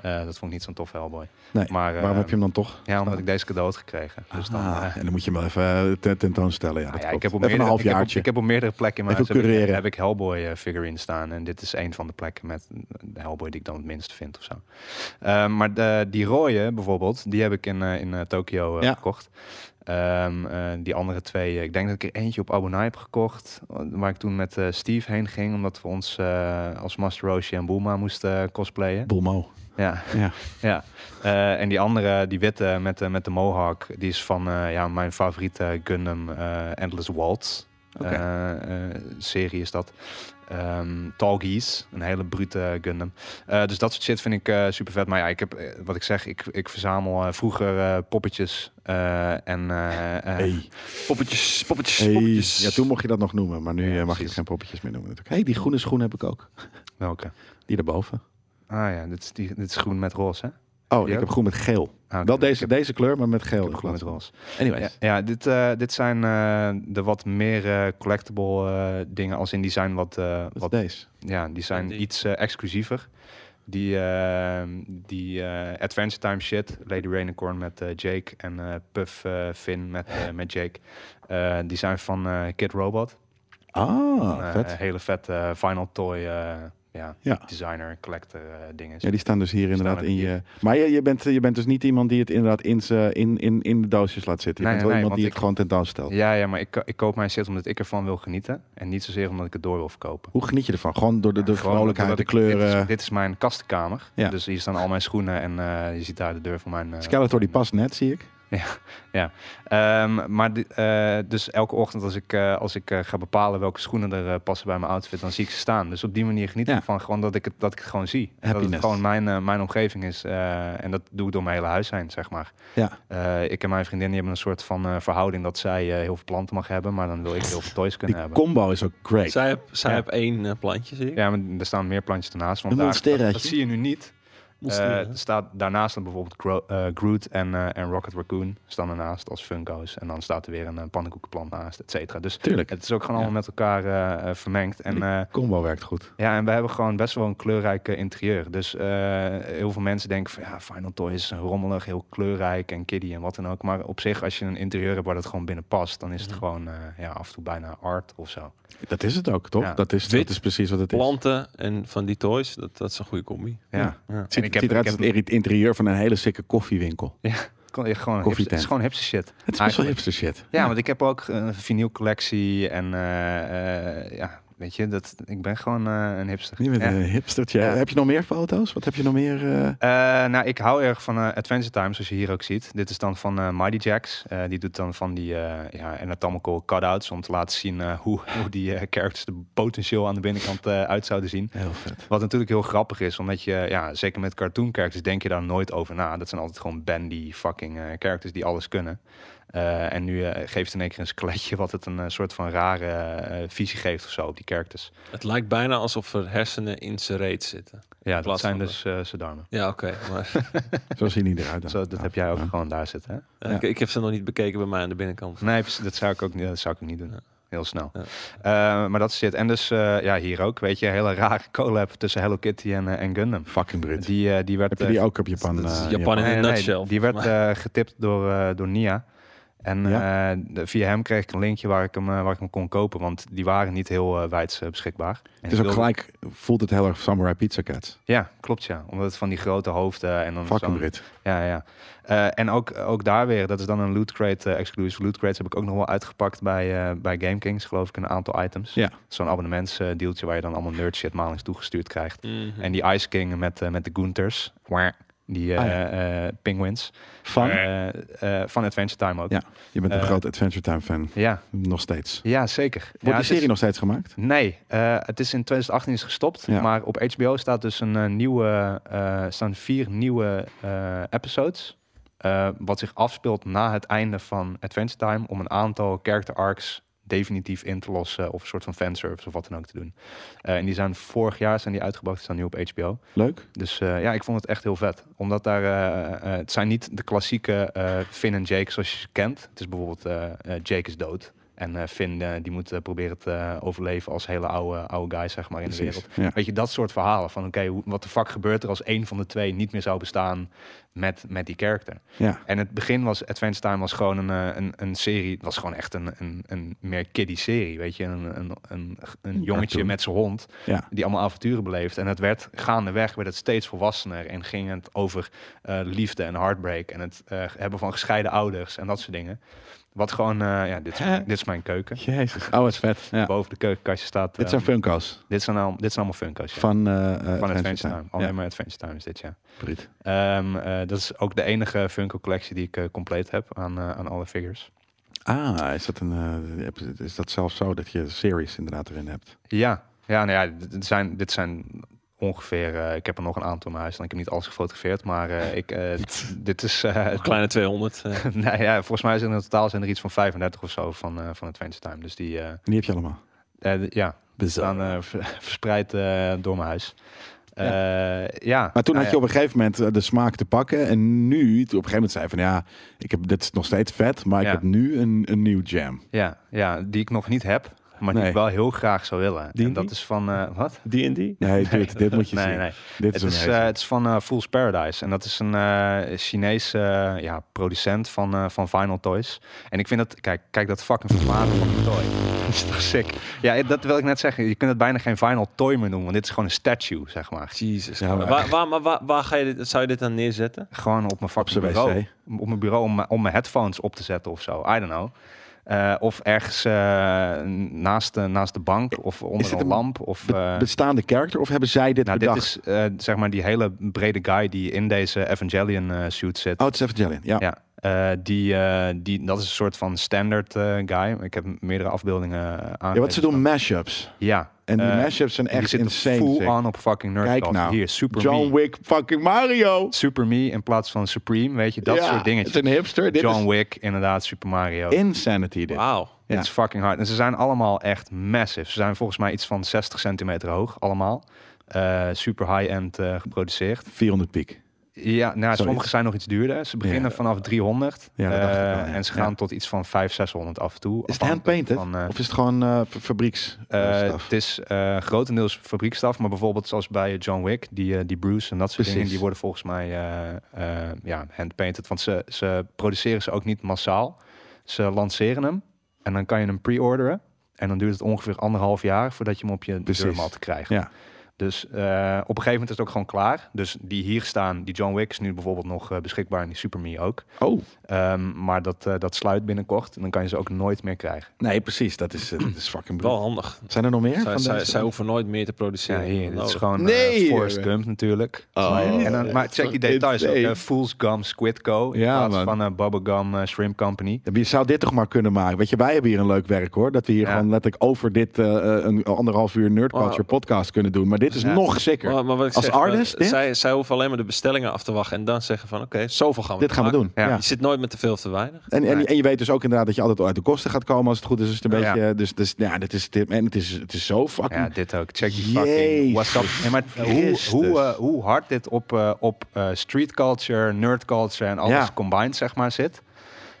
D: Eh, dat vond ik niet zo'n tof Hellboy.
B: Nee,
D: maar, eh,
B: Waarom heb je hem dan toch?
D: Ja, omdat ik deze cadeau had gekregen. Dus dan,
B: Ah,
D: eh,
B: en dan moet je hem wel even eh, te- tentoonstellen. Ja,
D: Nou
B: dat
D: ja, ik
B: klopt.
D: heb op
B: even een
D: meerdere, ik heb op-
B: halfjaartje.
D: Ik heb op meerdere plekken in mijn
B: Even
D: huis heb ik-
B: cureren.
D: heb ik Hellboy eh, figurines staan. En dit is een van de plekken met de Hellboy die ik dan het minste vind of zo. Eh, maar de- die rode bijvoorbeeld, die heb ik in, eh, in eh, Tokio eh,
B: Ja.
D: gekocht. Ehm, eh, die andere twee, eh, ik denk dat ik er eentje op Abonai heb gekocht. Waar ik toen met eh, Steve heen ging, omdat we ons eh, als Master Roshi en Bulma moesten eh, cosplayen.
B: Bulmo.
D: Ja.
B: Ja.
D: Ja, eh, en die andere, die witte met, de met de mohawk, die is van eh, ja, mijn favoriete Gundam eh, Endless Waltz
B: Oké.
D: eh, eh, serie is dat. Ehm Talgies, een hele brute Gundam. Eh, dus dat soort shit vind ik super vet. Maar ja, ik heb, eh, wat ik zeg, ik, ik verzamel eh, vroeger eh, poppetjes eh, en... eh, eh,
B: Hey.
C: Poppetjes, poppetjes,
B: Hey.
C: poppetjes.
B: Ja, toen mocht je dat nog noemen, maar nu eh, mag
D: Ja,
B: je
D: precies.
B: het geen poppetjes meer noemen. natuurlijk. hey, die groene schoen heb ik ook.
D: Welke?
B: Die daarboven.
D: Ah ja, dit is, die, dit is groen met roze, hè?
B: Oh,
D: Die
B: ik
D: ook?
B: heb groen met geel.
D: Ah,
B: Wel
D: oké,
B: deze,
D: ik heb-
B: deze kleur, maar met geel.
D: ik heb
B: in
D: groen met
B: plaats van-
D: roze. Ja,
B: Anyways.
D: ja dit, eh, dit zijn eh, de wat meer eh, collectible eh, dingen. Als in die zijn wat, eh,
B: Dat
D: wat
B: is deze.
D: ja, die zijn
C: En die-
D: iets eh, exclusiever. Die, eh, die eh, Adventure Time shit, Lady Rainicorn met eh, Jake en eh, Puff eh, Finn met, eh, met Jake. eh, die zijn van eh, Kid Robot.
B: Ah,
D: Een, eh,
B: vet.
D: hele vette eh, Final Toy eh, ja,
B: Ja.
D: designer, collector eh, dingen.
B: Ja, die staan dus hier inderdaad
D: er
B: in
D: hier.
B: je. Maar je, je, bent, je bent dus niet iemand die het inderdaad in, z'n- in, in, in de doosjes laat zitten. Je
D: Nee,
B: bent wel
D: nee,
B: iemand die
D: want
B: het gewoon tentoonstelt.
D: Ja, ja, maar ik, ko- ik koop mijn shit omdat ik ervan wil genieten. En niet zozeer omdat ik het door wil verkopen.
B: Hoe geniet je ervan? Gewoon door de, de
D: Ja, gewoon
B: vrolijkheid, de
D: omdat ik-
B: kleuren.
D: Dit is, dit is mijn kastenkamer.
B: Ja.
D: Dus hier staan al mijn schoenen en eh, je ziet daar de deur van mijn... eh,
B: Skeletor die past net, zie ik.
D: Ehm, maar di- eh, dus elke ochtend als ik, eh, als ik eh, ga bepalen welke schoenen er eh, passen bij mijn outfit, dan zie ik ze staan. Dus op die manier geniet ik
B: Ja.
D: ervan gewoon dat ik het, dat ik het gewoon zie. En Dat
B: Happiness.
D: het gewoon mijn, eh, mijn omgeving is. eh, en dat doe ik door mijn hele huis heen, zeg maar.
B: Ja.
D: Eh, ik en mijn vriendin die hebben een soort van eh, verhouding dat zij eh, heel veel planten mag hebben, maar dan wil ik heel veel toys
B: Die
D: kunnen hebben.
B: combo is ook great.
C: Zij heb, zij
D: Ja.
C: heb één eh, plantje, zie ik.
D: Ja, maar er staan meer plantjes ernaast. Want
B: Een
D: daar, dat,
B: monstera,
D: dat
B: je.
D: zie je nu niet.
C: Ons
D: Eh,
C: die,
D: er staat daarnaast dan bijvoorbeeld Gro- eh, Groot en, eh, en Rocket Raccoon staan ernaast als Funko's. En dan staat er weer een, eh, pannenkoekenplant naast, et cetera. Dus
B: Tuurlijk.
D: het is ook gewoon allemaal met elkaar eh, eh, vermengd.
B: Hm.
D: En, eh,
B: combo werkt goed.
D: ja, en we hebben gewoon best wel een kleurrijk eh, interieur. Dus eh, heel veel mensen denken van ja, Final Toy is rommelig, heel kleurrijk en kiddie en wat dan ook. Maar op zich, als je een interieur hebt waar dat gewoon binnen past, dan is het
B: Hm.
C: Mhm.
D: gewoon eh, ja, af en toe bijna art of zo.
B: Dat is het ook, toch?
D: Ja.
B: Dat, is,
C: Wit,
B: dat is precies wat het is.
C: Planten en van die toys, dat, dat is een goede combi.
D: Ja.
B: Ja.
C: Ja.
B: Het ziet,
D: En ik
B: het
D: heb-
B: ziet eruit
D: ik
B: als
D: heb-
B: het interieur van een hele sikke koffiewinkel.
D: Kon- ja, Gewoon hipster-
B: Koffietent.
D: het is gewoon hipster shit.
B: Het is best wel
D: Eigenlijk.
B: hipster shit.
D: Ja, want ik heb ook een vinylcollectie en eh, eh, ja, weet je, dat, ik ben gewoon eh, een hipster.
B: Je bent
D: Ja.
B: een hipstertje.
D: Ja.
B: Heb je nog meer foto's? Wat heb je nog meer? eh?
D: Eh, nou, ik hou erg van eh, Adventure Time, zoals je hier ook ziet. Dit is dan van eh Mighty Jacks. Eh, die doet dan van die eh ja, anatomical cutouts om te laten zien eh, hoe, hoe die eh, characters er potentieel aan de binnenkant eh, uit zouden zien.
B: Heel vet.
D: Wat natuurlijk heel grappig is, omdat je, ja, zeker met cartoon characters denk je daar nooit over na. Dat zijn altijd gewoon bandy fucking eh, characters die alles kunnen. Eh, en nu eh, geeft in één keer een skeletje wat het een eh, soort van rare eh, visie geeft of zo op die characters.
C: Het lijkt bijna alsof er hersenen in zijn reet zitten.
D: Ja, dat
C: plaats
D: zijn
C: van
D: dus eh zijn darmen.
C: Ja, oké. maar
B: Zo zien die eruit. dan.
D: Zo, dat
B: Ja.
D: heb jij ook
B: Ja.
D: gewoon daar zitten, hè?
C: eh, ik, ik heb ze nog niet bekeken bij mij aan de binnenkant.
D: Nee, precies, dat zou ik ook niet, dat zou ik niet doen.
C: Ja.
D: Heel snel.
C: Ja.
D: Eh, maar dat zit. En dus eh, ja, hier ook, weet je, een hele rare collab tussen Hello Kitty en, eh, en Gundam.
B: Fucking Brit.
D: Die, eh, die werd
B: heb je
D: eh,
B: die ook op Japan?
C: dat is
B: eh,
C: Japan in- een nutshell.
D: die werd eh, getipt door, eh, door Nia. En
B: Ja.
D: eh, de- via hem kreeg ik een linkje waar ik hem, eh, waar ik hem kon kopen. Want die waren niet heel eh, wijd eh, beschikbaar. En
B: Het
D: ik
B: is ook
D: wilde-
B: gelijk, voelt het heel erg Samurai Pizza Cats.
D: Ja, klopt ja. Omdat het van die grote hoofden eh, en dan
B: Fucking
D: zo'n-
B: Brit.
D: Ja, ja. Eh, en ook, ook daar weer, dat is dan een loot crate eh, exclusive. Loot crates heb ik ook nog wel uitgepakt bij, eh bij GameKings, geloof ik, een aantal items.
B: Ja.
D: Zo'n abonnementsdeeltje waar je dan allemaal nerd shit malings toegestuurd krijgt.
C: Mhm.
D: En die Ice King met, eh, met de Goonters. Waar? Die eh
B: Ah,
D: eh, penguins.
B: Van?
D: Eh, eh, van Adventure Time ook.
B: Ja. Je bent een
D: Eh,
B: groot Adventure Time fan.
D: Ja,
B: Nog steeds. Wordt
D: ja zeker. ja,
B: die
D: het is-
B: serie nog steeds gemaakt?
D: Nee, eh, het is in 2018 is gestopt.
B: Ja.
D: Maar op HBO staat dus een eh, nieuwe, eh, staan vier nieuwe eh, episodes. eh, wat zich afspeelt na het einde van Adventure Time. Om een aantal character arcs definitief in te lossen. Of een soort van fanservice of wat dan ook te doen. Eh, en die zijn vorig jaar zijn die uitgebracht. Die staan nu op HBO.
B: Leuk.
D: Dus eh, ja, ik vond het echt heel vet. Omdat daar, eh, eh, het zijn niet de klassieke eh Finn en Jake zoals je ze kent. Het is bijvoorbeeld eh, eh, Jake is dood. En eh, Finn eh, die moet eh, proberen te eh, overleven als hele oude, oude guy zeg maar in de
B: Precies.
D: wereld.
B: Ja.
D: Weet je, dat soort verhalen van oké, hoe- wat de fuck gebeurt er als één van de twee niet meer zou bestaan met, met die character.
B: ja.
D: En het begin was, Adventure Time was gewoon een, eh, een, een serie, het was gewoon echt een, een, een meer kiddie serie, weet je. Een, een, een, een jongetje
B: cartoon.
D: met zijn hond,
B: Ja.
D: die allemaal avonturen beleeft. En het werd gaandeweg, werd het steeds volwassener en ging het over eh, liefde en heartbreak en het eh, hebben van gescheiden ouders en dat soort dingen. Wat gewoon, eh, ja, dit is,
B: Hè?
D: dit is mijn keuken.
B: Jezus. Oh, het is vet. Ja.
D: Boven de keukenkastje staat,
B: Dit
D: eh,
B: zijn Funko's
D: dit zijn, al, dit zijn allemaal funko's, ja.
B: van, eh eh,
D: Van
B: Adventure
D: Adventure Time. Alleen
B: Ja,
D: maar Adventure Time is dit, ja.
B: Brit.
D: Ehm, eh, dat is ook de enige Funko collectie die ik eh, compleet heb aan, eh, aan alle figures.
B: Ah, is dat, een, eh, is dat zelfs zo dat je series inderdaad erin hebt?
D: Ja, ja, nou ja dit dit zijn, dit zijn ongeveer. eh, ik heb er nog een aantal in mijn huis en ik heb niet alles gefotografeerd, maar eh, ik, eh, dit is. eh,
C: Een kleine 200. eh.
D: nou ja, volgens mij zijn er in totaal zijn er iets van 35 of zo van, eh van Adventure Time. Dus die, eh,
B: Die heb je allemaal.
D: eh, ja, staan eh, ver- verspreid eh, door mijn huis. Eh, ja.
B: Maar toen
D: nou
B: had je op
D: ja.
B: een gegeven moment eh, de smaak te pakken. En nu, toen op een gegeven moment zei je van ja, ik heb, dit is nog steeds vet, maar ik
D: Ja.
B: heb nu een, een nieuw jam.
D: Ja, ja, die ik nog niet heb, maar die
B: Nee.
D: ik wel heel graag zou willen.
C: Die
D: en dat
C: niet?
D: is van. eh, wat?
C: Die en die?
B: Nee, dude, dit moet je
D: nee,
B: zien.
D: nee.
B: Dit is,
D: Het is,
B: amazing.
D: eh, het is van eh, Fool's Paradise. En dat is een eh Chinese eh, ja, producent van, eh, van Final Toys. En ik vind dat... Kijk, kijk dat fucking vermaken van die toy. dat is toch sick. Ja, dat wil ik net zeggen. Je kunt het bijna geen final toy meer noemen. Want dit is gewoon een statue, zeg maar.
C: Jezus.
B: Ja, maar-
C: waar, waar, maar waar, waar ga je dit, zou je dit dan neerzetten?
D: Gewoon op mijn fucking
B: Op zijn
D: bureau. Op mijn bureau om, mijn- om mijn headphones op te zetten of zo. I don't know. Eh, of ergens eh, naast, de, naast de bank of onder
B: dit
D: een
B: een
D: lamp. Of,
B: Be-
D: eh,
B: bestaande character of hebben zij dit
D: nou, dit
B: bedacht?
D: is eh, zeg maar die hele brede guy die in deze Evangelion eh suit zit.
B: Oh, het is Evangelion. Ja.
D: Ja, eh, die, eh, die, dat is een soort van standaard eh, guy. Ik heb meerdere afbeeldingen eh, aan.
B: ja, wat ze doen mashups.
D: Ja.
B: En die
D: eh,
B: mashups zijn
D: die
B: echt
D: zitten
B: insane.
D: full
B: zeg.
D: on op fucking nerd
B: Kijk
D: culture.
B: nou.
D: Hier, Super
B: John
D: Me.
B: Wick, fucking Mario.
D: Super Me in plaats van Supreme, weet je, dat
B: Ja,
D: soort dingetjes.
B: Het is een hipster. Dit
D: John Wick, inderdaad, Super Mario.
B: is insanity dit.
C: Wauw.
B: Ja.
D: It's fucking hard. En ze zijn allemaal echt massive. Ze zijn volgens mij iets van 60 centimeter hoog, allemaal. Eh, super high-end eh, geproduceerd.
B: 400 piek.
D: Ja, nou, sommige zijn nog iets duurder. Ze beginnen
B: Ja.
D: vanaf 300.
B: Ja, dat dacht ik
D: eh,
B: wel, ja.
D: En ze
B: Ja.
D: gaan tot iets van 500, 600 af en toe.
B: Is het
D: afhankelijk
B: handpainted?
D: van, eh,
B: of is het gewoon eh, fa- fabrieks? eh,
D: eh,
B: stuff?
D: het is eh, grotendeels fabriekstaf, maar bijvoorbeeld zoals bij John Wick, die, eh, die Bruce en dat soort
B: Precies.
D: dingen, die worden volgens mij eh, eh, ja, handpainted. Want ze, ze produceren ze ook niet massaal. Ze lanceren hem en dan kan je hem pre-orderen. En dan duurt het ongeveer anderhalf jaar voordat je hem op je
B: Precies.
D: deurmat krijgt.
B: Ja.
D: Dus eh, op een gegeven moment is het ook gewoon klaar. Dus die hier staan, die John Wick is nu bijvoorbeeld nog eh, beschikbaar en die Super Me ook.
B: Oh,
D: Ehm, maar dat, eh, dat sluit binnenkort en dan kan je ze ook nooit meer krijgen.
B: nee, precies. Dat is, eh, dat is fucking
C: Wel
B: brutal.
C: handig.
B: Zijn er nog meer?
C: zij,
B: van
C: zij,
B: deze?
C: zij hoeven nooit meer te produceren.
D: Ja, hier, dit is
C: Nodig.
D: gewoon
B: Nee,
D: eh, Forrest
B: joh.
D: Gump natuurlijk.
B: Oh.
D: maar, en dan, maar check die details ook.
B: Insane.
D: eh, Fool's Gum Squid Co. In
B: Ja,
D: plaats
B: man.
D: van eh, Bubblegum eh, Shrimp Company.
B: Je zou dit toch maar kunnen maken. Weet je, wij hebben hier een leuk werk hoor. Dat we hier
D: Ja.
B: gewoon letterlijk over dit eh, eh, een anderhalf uur nerd culture
C: Oh.
B: podcast kunnen doen. Maar dit is
D: Ja.
B: nog zeker.
C: Maar, maar wat ik
B: Als
C: zeg, eh,
B: artist, dit?
C: zij, zij hoeven alleen maar de bestellingen af te wachten en dan zeggen van oké, zoveel gaan we
B: dit gaan we
C: maken.
B: doen. Ja.
D: Ja.
C: Je zit nooit met te veel of te weinig.
B: En, en,
D: Nee.
B: en je weet dus ook inderdaad dat je altijd uit de kosten gaat komen als het goed is. Dus het een
D: Ja.
B: beetje, dus, dus ja, dit is, dit, en het is, het is zo fucking...
D: Ja, dit ook. Check die
B: Jezus
D: fucking WhatsApp. Nee, maar hoe,
B: Christus.
D: hoe, eh, hoe hard dit op, eh, op eh, street culture, nerd culture en alles
B: Ja.
D: combined zeg maar zit.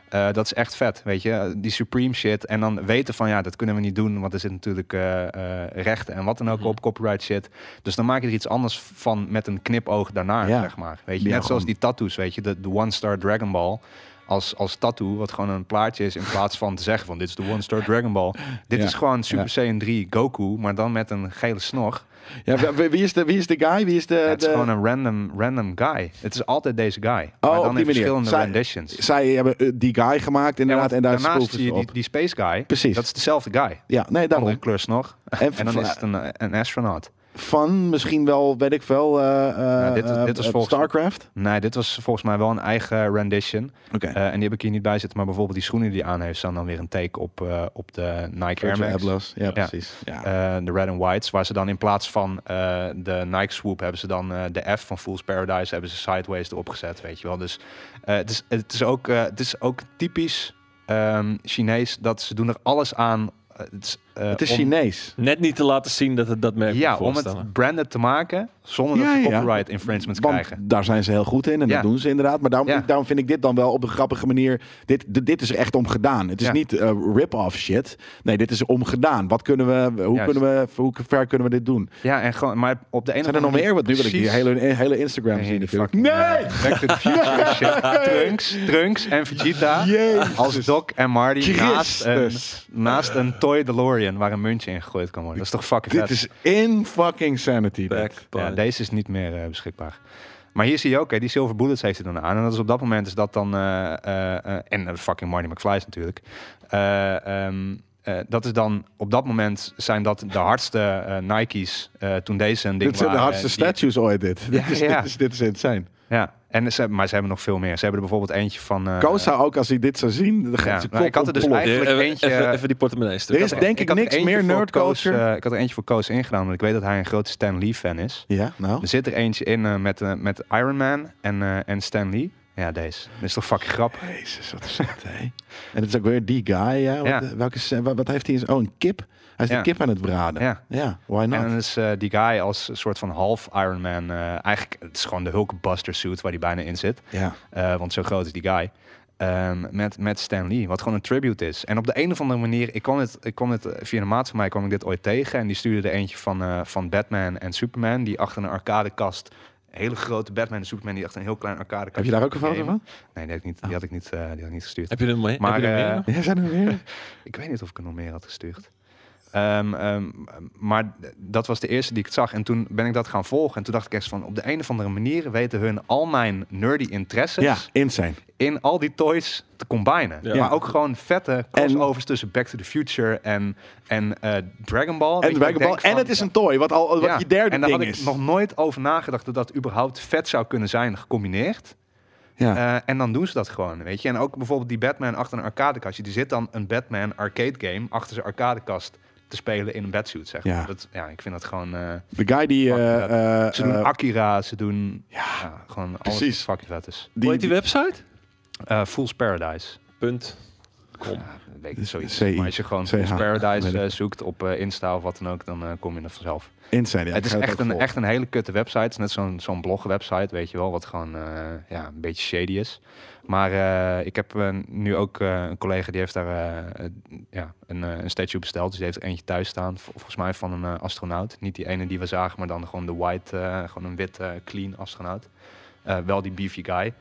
D: eh, dat is echt vet, weet je. Die Supreme shit. En dan weten van, ja, dat kunnen we niet doen. Want er zit natuurlijk eh, eh, rechten en wat dan ook op, copyright shit. Dus dan maak je er iets anders van met een knipoog daarna,
B: Ja.
D: zeg maar. Weet je,
B: Ja,
D: net zoals
B: gewoon.
D: die tattoos, weet je. De, de One Star Dragon Ball als, als tattoo, wat gewoon een plaatje is... in plaats van te zeggen van, dit is de One Star Dragon Ball. Dit
B: Ja.
D: is gewoon Super Saiyan 3 Goku, maar dan met een gele snor.
B: Ja, w- w- wie, is de, wie is de guy? Wie is de...
D: het is
B: Eh, de-
D: gewoon een random, random guy. Het is altijd deze guy. maar
B: Oh, op die
D: dan in
B: manier.
D: verschillende
B: Zij-
D: renditions. Ja,
B: Zij hebben eh, die guy gemaakt inderdaad.
D: want
B: en daar
D: daarnaast
B: spoelt
D: zie je
B: ze op.
D: die, die space guy.
B: Precies.
D: Dat is dezelfde guy.
B: Ja, nee, daarom.
D: Andere kleur snor.
B: En,
D: En dan is het een, een astronaut.
B: van misschien wel, weet ik veel, eh, eh,
D: Nou, dit is-
B: eh,
D: dit is
B: eh,
D: volgens-
B: Starcraft.
D: Nee, dit was volgens mij wel een eigen rendition.
B: Oké.
D: Eh, en die heb ik hier niet bij zitten. Maar bijvoorbeeld die schoenen die hij aan heeft... staan dan weer een take op, eh, op de Nike Air
B: Virgil
D: Max.
B: Abloh's. Ja,
D: Ja.
B: precies. Ja.
D: Eh, de Red and Whites, waar ze dan in plaats van eh, de Nike Swoop hebben ze dan eh, de F van Fool's Paradise, hebben ze Sideways erop gezet, weet je wel. Dus eh, het, is, het, is ook, eh, het is ook typisch ehm, Chinees dat ze doen er alles aan. eh, het is, eh,
B: het is
D: om-
B: Chinees.
C: Net niet te laten zien dat het dat merk
D: Ja,
C: moet
D: om
C: voorstellen.
D: het branded te maken zonder
B: Ja,
D: dat ze
B: ja, ja.
D: copyright infringements
B: Want
D: krijgen.
B: daar zijn ze heel goed in en
D: Ja.
B: dat doen ze inderdaad. Maar daarom,
D: Ja.
B: daarom vind ik dit dan wel op een grappige manier. Dit, dit, dit is er echt om gedaan. Het is
D: Ja.
B: niet eh, rip-off shit. Nee, dit is om gedaan. Wat kunnen we, hoe,
D: Juist.
B: kunnen we, hoe ver kunnen we dit doen?
D: Ja, en gewoon, maar op de ene
B: Zijn er nog meer? Want nu wil ik die hele, hele Instagram
D: Nee,
B: zien.
D: die
B: natuurlijk.
D: fucking,
B: Nee!
D: eh, Back to the Future shit. Trunks, Trunks en Vegeta.
B: Jezus.
D: Als Doc en Marty naast een,
B: Christus.
D: naast een Toy DeLorean waar een muntje in gegooid kan worden. Dat is toch fucking
B: Eh. Dit
D: vet.
B: is in fucking sanity. dit.
C: Back
D: ja,
C: by-
D: deze is niet meer eh, beschikbaar. Maar hier zie je ook, hè, die Silver Bullets heeft hij dan aan. En dat is op dat moment is dat dan... eh, eh, eh, en eh, fucking Marty McFly's natuurlijk. Eh, ehm, eh, dat is dan, op dat moment zijn dat de hardste eh, Nike's eh, toen deze een ding
B: Dit zijn de
D: waren, eh,
B: hardste
D: die-
B: statues ooit, dit. dit, is,
D: ja.
B: dit, is, dit is insane.
D: Ja, en ze, maar ze hebben nog veel meer. Ze hebben er bijvoorbeeld eentje van... eh,
B: Koos zou ook, als hij dit zou zien, dan gaat
D: Ja,
B: zijn
D: maar
B: kop
D: ik had er dus
B: ontploffen.
C: Ja,
D: eigenlijk
C: even,
D: eentje-
C: even, even die portemonnee
B: Er
C: terug.
B: is denk ik,
D: had er
B: niks
D: eentje
B: meer
D: voor
B: nerd
D: Koos,
B: culture.
D: eh, ik had er eentje voor Koos ingedaan, want ik weet dat hij een grote Stan Lee fan is.
B: ja, nou.
D: Oh. Er zit er eentje in eh, met, eh, met Iron Man en, eh, en Stan Lee. Ja, deze. Dat is toch fucking grappig.
B: Jezus, wat is dat, hè? En het is ook weer die guy, ja. Wat,
D: Ja.
B: eh, Welke, se- wa- wat heeft hij? in zijn- Oh, een kip. Hij is
D: Ja.
B: een kip aan het braden.
D: Ja.
B: why
D: En
B: not?
D: dan is eh, die guy als een soort van half Iron Man. eh, eigenlijk, het is gewoon de Hulkbuster suit waar hij bijna in zit.
B: Ja.
D: Eh, want zo groot is die guy. Ehm, met, met Stan Lee, wat gewoon een tribute is. En op de een of andere manier, ik kwam het, ik kwam het eh, via een maat van mij kwam ik dit ooit tegen. En die stuurde er eentje van, eh, van Batman en Superman, die achter een arcadekast hele grote Batman en Superman die echt een heel klein arcade
B: Heb je daar ook een foto van?
D: Nee, die had ik niet, die had ik niet, eh, die had ik niet gestuurd.
C: Heb je er mee?
D: Maar,
C: heb je er
D: eh,
C: meer nog?
B: Ja, zijn er weer?
D: Ik weet niet of ik er nog meer had gestuurd. Ehm, ehm, maar d- dat was de eerste die ik zag. En toen ben ik dat gaan volgen. En toen dacht ik echt van... op de een of andere manier weten hun al mijn nerdy interesses...
B: Ja, insane.
D: in al die toys te combinen.
C: Ja.
D: Maar ook gewoon vette crossovers tussen Back to the Future en, en eh, Dragon Ball.
B: En
D: Weet je,
B: de Dragon
D: ik denk
B: Ball. En
D: van-
B: het is een toy, wat al wat
D: Ja,
B: je derde
D: En daar
B: ding
D: had
B: is.
D: ik nog nooit over nagedacht... dat dat überhaupt vet zou kunnen zijn gecombineerd.
B: ja.
D: Eh, en dan doen ze dat gewoon, weet je. En ook bijvoorbeeld die Batman achter een arcadekastje. Die zit dan een Batman arcade game achter zijn arcadekast te spelen in een batsuit, zeg maar.
B: Ja.
D: Dat, ja, ik vind dat gewoon... eh,
B: de guy die...
D: fuck,
B: eh,
D: dat-
B: eh,
D: ze doen
B: eh,
D: Akira, ze doen... Ja, gewoon alles
B: precies.
D: wat fucking vet is.
C: Hoe
B: die,
C: heet die website?
D: Eh, Fool's Paradise.
C: Punt. Kom.
D: Ja, weet
B: Dus
D: ik niet, zoiets.
B: CI.
D: Maar als je gewoon
B: CH,
D: Fool's Paradise
B: weet ik.
D: eh, zoekt op eh, Insta of wat dan ook, dan eh, kom je er vanzelf.
B: insane. ja,
D: het
B: ik
D: is
B: ga
D: echt
B: ook
D: een,
B: volgen.
D: echt een hele kutte website. Het is net zo'n zo'n blog-website, weet je wel, wat gewoon eh, ja, een beetje shady is. Maar eh, ik heb eh, nu ook eh, een collega die heeft daar eh, eh, ja, een, eh, een statue besteld. Dus die heeft er eentje thuis staan, vol- volgens mij van een eh, astronaut. Niet die ene die we zagen, maar dan gewoon de white, eh, gewoon een wit, eh, clean astronaut. Eh, wel die beefy guy.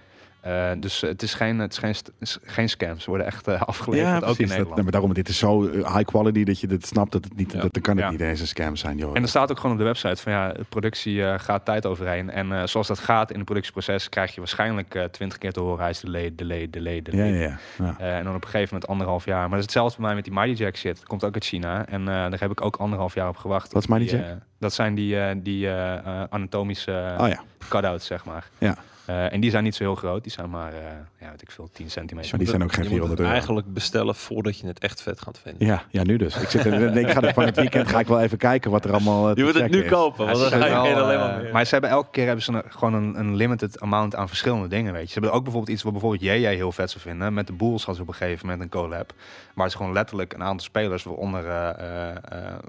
D: Eh, dus eh, het is geen, het is geen, st- s- geen scam. Ze worden echt eh, afgeleverd,
B: Ja,
D: ook
B: precies.
D: in
B: Dat-
D: Nederland.
B: nee, maar daarom, dit is zo eh, high quality dat je dit snapt. Dat het niet,
C: Ja.
B: dat, dan kan het
D: Ja.
B: niet eens een scam zijn, joh.
D: En er staat ook gewoon op de website van ja, de productie eh, gaat tijd overheen. En eh, zoals dat gaat in het productieproces, krijg je waarschijnlijk eh, twintig keer te horen: hij is delay, delay, delay, delay.
B: ja, ja, ja. ja.
D: Eh, en dan op een gegeven moment anderhalf jaar. Maar dat is hetzelfde bij mij met die Mighty Jack shit. Dat komt ook uit China. En eh, daar heb ik ook anderhalf jaar op gewacht.
B: Wat is Mighty
D: Die,
B: Jack?
D: eh, dat zijn die, eh, die eh, eh, anatomische eh,
B: Oh ja,
D: cut-outs, zeg maar.
B: Ja.
D: Eh, en die zijn niet zo heel groot. Die zijn maar, eh, ja, weet ik veel, 10 centimeter.
B: maar die zijn ook geen
C: Je moet het
B: 400 euro.
C: eigenlijk bestellen voordat je het echt vet gaat vinden.
B: Ja, ja, nu dus. Ik, zit er, ik denk, ik ga er van het weekend ga ik wel even kijken wat er allemaal eh, te
C: Je moet het
B: checken
C: nu
B: is.
C: kopen, want dan
D: Ja,
C: ga
D: ze
C: je
D: hebben wel,
C: alleen
D: eh,
C: "Nou, maar meer.
D: maar ze hebben elke keer hebben ze een- gewoon een, een limited amount aan verschillende dingen. Weet je. Ze hebben ook bijvoorbeeld iets wat bijvoorbeeld jij heel vet zou vinden. Met de Bulls hadden ze op een gegeven moment een collab. Waar ze gewoon letterlijk een aantal spelers, waaronder eh, eh, eh,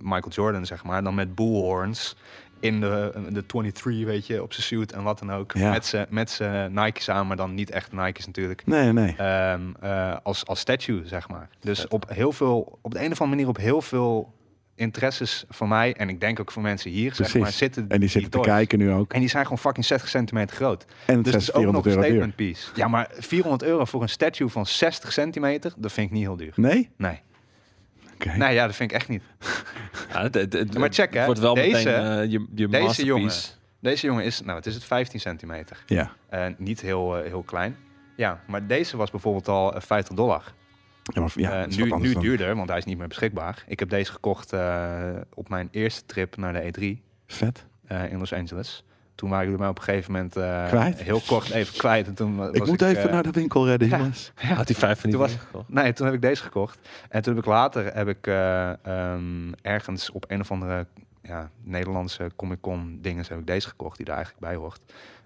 D: Michael Jordan, zeg maar, dan met bullhorns in de, de 23, weet je, op zijn suit en wat dan ook.
B: Ja.
D: Met zijn met z'n Nike's aan, maar dan niet echt Nike's natuurlijk.
B: Nee, nee.
D: Ehm, eh, als, als statue, zeg maar. Dus op heel veel, op de een of andere manier op heel veel interesses van mij en ik denk ook voor mensen hier, zeg
B: Precies.
D: maar, zitten
B: En die zitten te
D: toys.
B: kijken nu ook.
D: En die zijn gewoon fucking 60 centimeter groot.
B: En het
D: Dus dat
B: is
D: is ook nog
B: 400
D: een
B: euro duur.
D: statement piece. Ja, maar 400 euro voor een statue van 60 centimeter, dat vind ik niet heel duur.
B: Nee?
D: Nee,
B: Oké.
D: nee ja, dat vind ik echt niet.
C: Ja, het- het- het-
D: Maar check,
C: het
D: hè.
C: wordt wel
D: Deze-
C: meteen eh, je, je
D: Deze jongen,
C: masterpiece.
D: deze jongen is, nou, het is het 15 centimeter.
B: Ja.
D: Eh, niet heel, eh, heel klein. Ja, maar deze was bijvoorbeeld al eh, 50 dollar.
B: ja, maar ja,
D: Eh,
B: dat is wat
D: nu
B: anders
D: nu
B: dan-
D: duurder, want hij is niet meer beschikbaar. Ik heb deze gekocht eh, op mijn eerste trip naar de E3
B: Vet.
D: eh, in Los Angeles. Toen waren jullie mij op een gegeven moment eh,
B: Kwijt?
D: heel kort even kwijt. En toen wa- was
B: Ik moet even
D: eh,
B: naar de winkel redden,
D: ja.
B: jongens.
C: Had hij vijf van die
D: Toen was-
C: dingen gekocht?
D: Nee, toen heb ik deze gekocht. En toen heb ik later heb ik eh, ehm, ergens op een of andere ja, Nederlandse Comic Con dingen heb ik deze gekocht, die daar eigenlijk bij hoort.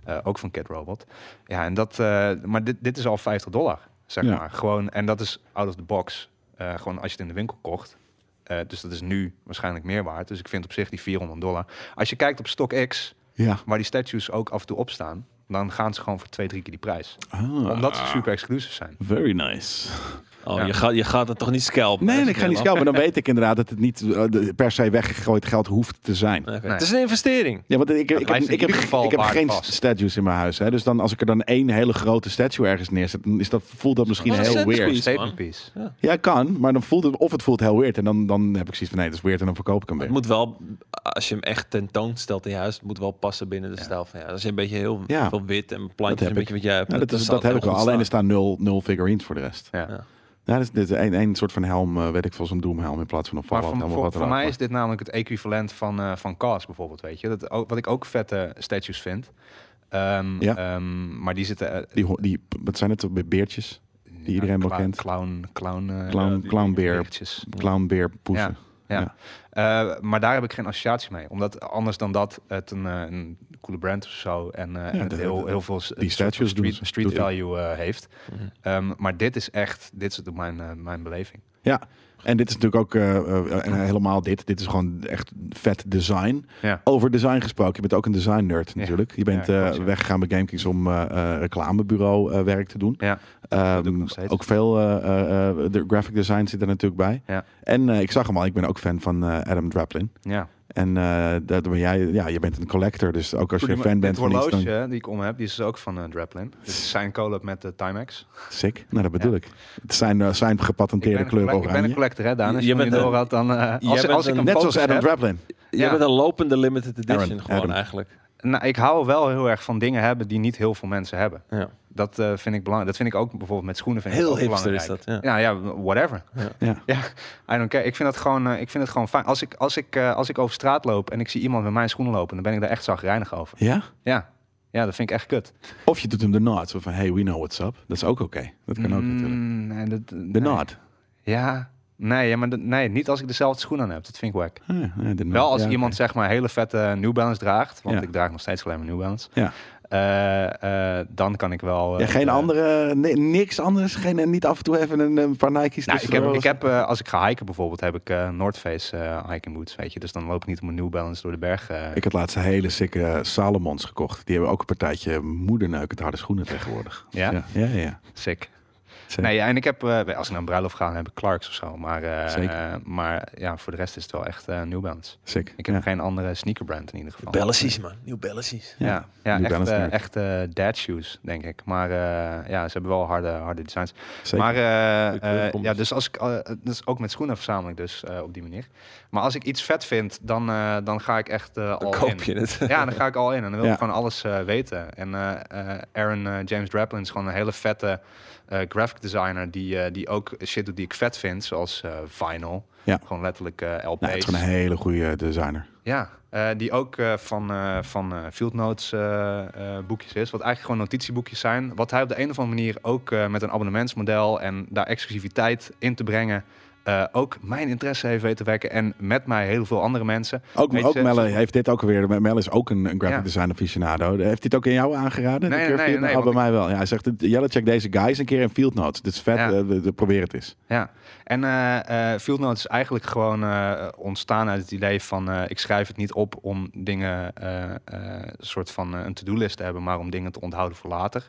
D: Eh, ook van Cat Robot. Ja, en dat, eh, maar dit, dit is al 50 dollar, zeg
B: Ja.
D: maar. Gewoon, en dat is out of the box. Eh, gewoon als je het in de winkel kocht. Eh, dus dat is nu waarschijnlijk meer waard. Dus ik vind op zich die 400 dollar. Als je kijkt op StockX,
B: Ja.
D: waar die statues ook af en toe op staan, dan gaan ze gewoon voor twee, drie keer die prijs.
B: Ah,
D: Omdat ze super exclusief zijn.
B: Very nice.
C: Oh,
D: Ja.
C: je, gaat, je gaat het toch niet scalpen?
B: Nee,
C: hè,
B: nee, ik ga niet
C: Nederland?
B: schelpen. Maar dan weet ik inderdaad dat het niet eh, de- per se weggegooid geld hoeft te zijn.
C: Oké.
D: Nee.
C: Het is een investering.
B: Ja, want ik, ik,
D: Dat
B: ik, heb,
D: blijft in
B: ik, heb,
D: ieder geval
B: ik heb
D: waar
B: geen
D: vast.
B: statues in mijn huis. Hè. Dus dan, als ik er dan één hele grote statue ergens neerzet, dan is dat, voelt dat misschien
C: Oh, dat is
B: heel
C: een
B: weird.
C: centerpiece.
D: Statement
C: man.
D: piece.
B: Ja, kan. Maar dan voelt het, of het voelt heel weird. En dan, dan heb ik zoiets van, nee, dat is weird. En dan verkoop ik hem
C: Het
B: weer.
C: moet wel, als je hem echt tentoonstelt in je huis, het moet wel passen binnen de stijl van ja. Als je een beetje heel
B: Ja.
C: veel wit en
B: Dat heb
C: plantjes, een beetje
B: ik.
C: wat jij hebt.
B: Ja, dat, is,
C: zal
B: dat heb
C: heel
B: ik wel.
C: goed
B: Alleen er
C: staan.
B: staan nul, nul figurines voor de rest.
D: Ja.
B: Ja, dat is dit één één soort van helm, eh, weet ik veel, zo'n doemhelm in plaats van een
D: Maar
B: Fallout.
D: voor,
B: helm of
D: voor,
B: wat dan
D: voor
B: ook.
D: mij is dit namelijk het equivalent van, eh van Cars bijvoorbeeld, weet je. Dat, ook- wat ik ook vette statues vind. Ehm,
B: Ja.
D: ehm, maar die zitten... eh,
B: Die, ho- die, wat zijn het? Beertjes? die iedereen wel
D: cla-
B: kent.
D: Clown, clown, eh,
B: Clown-
D: eh,
B: clownbeer.
D: beertjes.
B: Clownbeer, poezen.
D: Ja.
B: Ja.
D: Eh, maar daar heb ik geen associatie mee. Omdat anders dan dat het een, eh, een coole brand is of zo. En, eh, en het
B: de-
D: heel,
B: de-
D: heel veel s- een soort
B: statues
D: van
B: doen
D: street,
B: ze-
D: street
B: doen ze.
D: value eh, heeft.
C: Mhm.
D: Ehm, maar dit is echt, dit is het- mijn, eh, mijn beleving.
B: En dit is natuurlijk ook eh, eh, eh, helemaal dit. Dit is gewoon echt vet design.
D: Ja.
B: Over design gesproken. Je bent ook een design nerd
D: Ja.
B: natuurlijk. Je bent
D: Ja,
B: eh,
D: klopt, ja.
B: weggegaan bij GameKings om eh, eh, reclamebureau eh, werk te doen.
D: Ja.
B: Ehm,
D: Dat doe ik nog steeds.
B: ook veel eh, eh, eh, de graphic design zit er natuurlijk bij.
D: Ja.
B: En eh, ik zag hem al. Ik ben ook fan van eh, Adam Draplin.
D: Ja.
B: En eh dat ben jij, ja, je bent een collector. Dus ook als je fan bent van iets,
D: horloge
B: dan...
D: hè, die ik om heb, die is dus ook van eh Drapland. Dit is zijn collab met de Timex.
B: Sick. Nou, dat bedoel
D: Ja.
B: ik. Het zijn, eh, zijn
D: Ik
B: gepatenteerde
D: ben, een
B: kleur
D: collect- ik ben een
B: oranje.
D: collector, hè, Daan. Als
C: Je
D: je,
C: bent
D: bent
C: een-
D: door had, dan... eh,
C: jij
D: als
C: bent
D: als ik
C: een-
D: een
B: Net
D: focus
B: zoals Adam
D: heb-
B: Draplin.
C: Je
D: Ja.
C: bent een lopende limited edition
B: Aaron,
C: gewoon
B: Adam.
C: eigenlijk.
D: Nou, ik hou wel heel erg van dingen hebben die niet heel veel mensen hebben.
C: Ja.
D: Dat eh, vind ik belangrijk. Dat vind ik ook bijvoorbeeld met schoenen vind ik
C: Heel
D: ook
C: hipster is
D: belangrijk.
C: dat. Ja.
D: Ja, ja, whatever.
B: Ja.
D: Ja, I don't care. Ik vind dat gewoon, eh, ik vind het gewoon fijn. Als ik, als, ik, eh, als ik over straat loop en ik zie iemand met mijn schoenen lopen, dan ben ik daar echt zagrijnig over.
B: ja?
D: Ja. ja, dat vind ik echt kut.
B: Of je doet hem de nod. Zo van, hey, we know what's up. Dat is ook oké. Dat kan ook natuurlijk.
D: Mm, nee, dat,
B: De
D: nee.
B: nod.
D: Ja, nee, ja, maar dat- nee, niet als ik dezelfde schoenen aan heb. Dat vind ik wack.
B: Ah, ja, de nod.
D: Wel als
B: Ja, oké.
D: iemand zeg maar hele vette New Balance draagt, want
B: Ja.
D: ik draag nog steeds alleen maar New Balance.
B: Ja.
D: Eh, eh, dan kan ik wel. eh,
B: Ja, geen
D: eh,
B: andere, ni- niks anders. Geen, en niet af en toe even een, een paar Nike's
D: Nou, ik heb,
B: tussendoor?
D: ik heb eh, als ik ga hiken bijvoorbeeld, heb ik eh North Face eh, hiking boots, weet je. Dus dan loop ik niet op mijn New Balance door de berg. eh.
B: Ik had laatst een hele sikke Salomons gekocht. Die hebben ook een partijtje moederneukend harde schoenen tegenwoordig.
D: Ja?
B: Ja, ja. ja.
D: sick.
B: Zeker.
D: Nee, ja, en ik heb, eh, als ik naar een bruiloft ga, dan heb ik Clarks of zo. Maar, eh,
B: Zeker.
D: eh, maar ja, voor de rest is het wel echt eh New Balance.
B: Sick.
D: Ik heb
B: ja.
D: geen andere sneakerbrand in ieder geval.
C: Bellasies, man. Nieuw Bellasies.
D: Ja,
B: Ja,
D: ja,
B: New
D: echt,
B: Balance
D: eh,
B: merk.
D: echt eh, dad shoes, denk ik. Maar eh, ja, ze hebben wel harde, harde designs.
B: Zeker.
D: Maar eh,
C: Goeie kleur
D: eh,
C: komt.
D: ja, dus als ik, eh, dus ook met schoenen verzamel ik dus eh, op die manier. Maar als ik iets vet vind, dan, eh, dan ga ik echt eh
C: Dan
D: al
C: koop
D: in.
C: je het.
D: Ja, dan ga ik al in en dan wil
B: Ja.
D: ik gewoon alles eh, weten. En eh, eh, Aaron eh, James Draplin is gewoon een hele vette eh, graphic designer die, eh, die ook shit doet die ik vet vind, zoals eh, vinyl.
B: Ja.
D: Gewoon letterlijk eh LP's.
B: Nou, het is gewoon een hele goede designer.
D: Ja, eh, die ook eh, van, eh, van eh, Field Notes eh, eh, boekjes is. Wat eigenlijk gewoon notitieboekjes zijn. Wat hij op de een of andere manier ook eh, met een abonnementsmodel en daar exclusiviteit in te brengen. eh, ook mijn interesse heeft weten wekken. En met mij heel veel andere mensen.
B: Ook,
D: Weet
B: ook
D: je,
B: Melle
D: zo-
B: heeft dit ook weer. Melle is ook een, een graphic
D: Ja.
B: design aficionado. Heeft dit ook in jou aangeraden?
D: Nee,
B: Een keer
D: nee,
B: via-
D: nee,
B: oh, bij
D: want
B: mij wel. Ja, hij zegt, Jelle, check deze guys een keer in Field Notes. Dit is vet,
D: Ja.
B: eh, de- de- probeer het eens.
D: Ja, en eh eh Field Notes is eigenlijk gewoon eh, ontstaan uit het idee van... eh, ik schrijf het niet op om dingen, eh, eh, een soort van eh, een to-do-list te hebben... maar om dingen te onthouden voor later.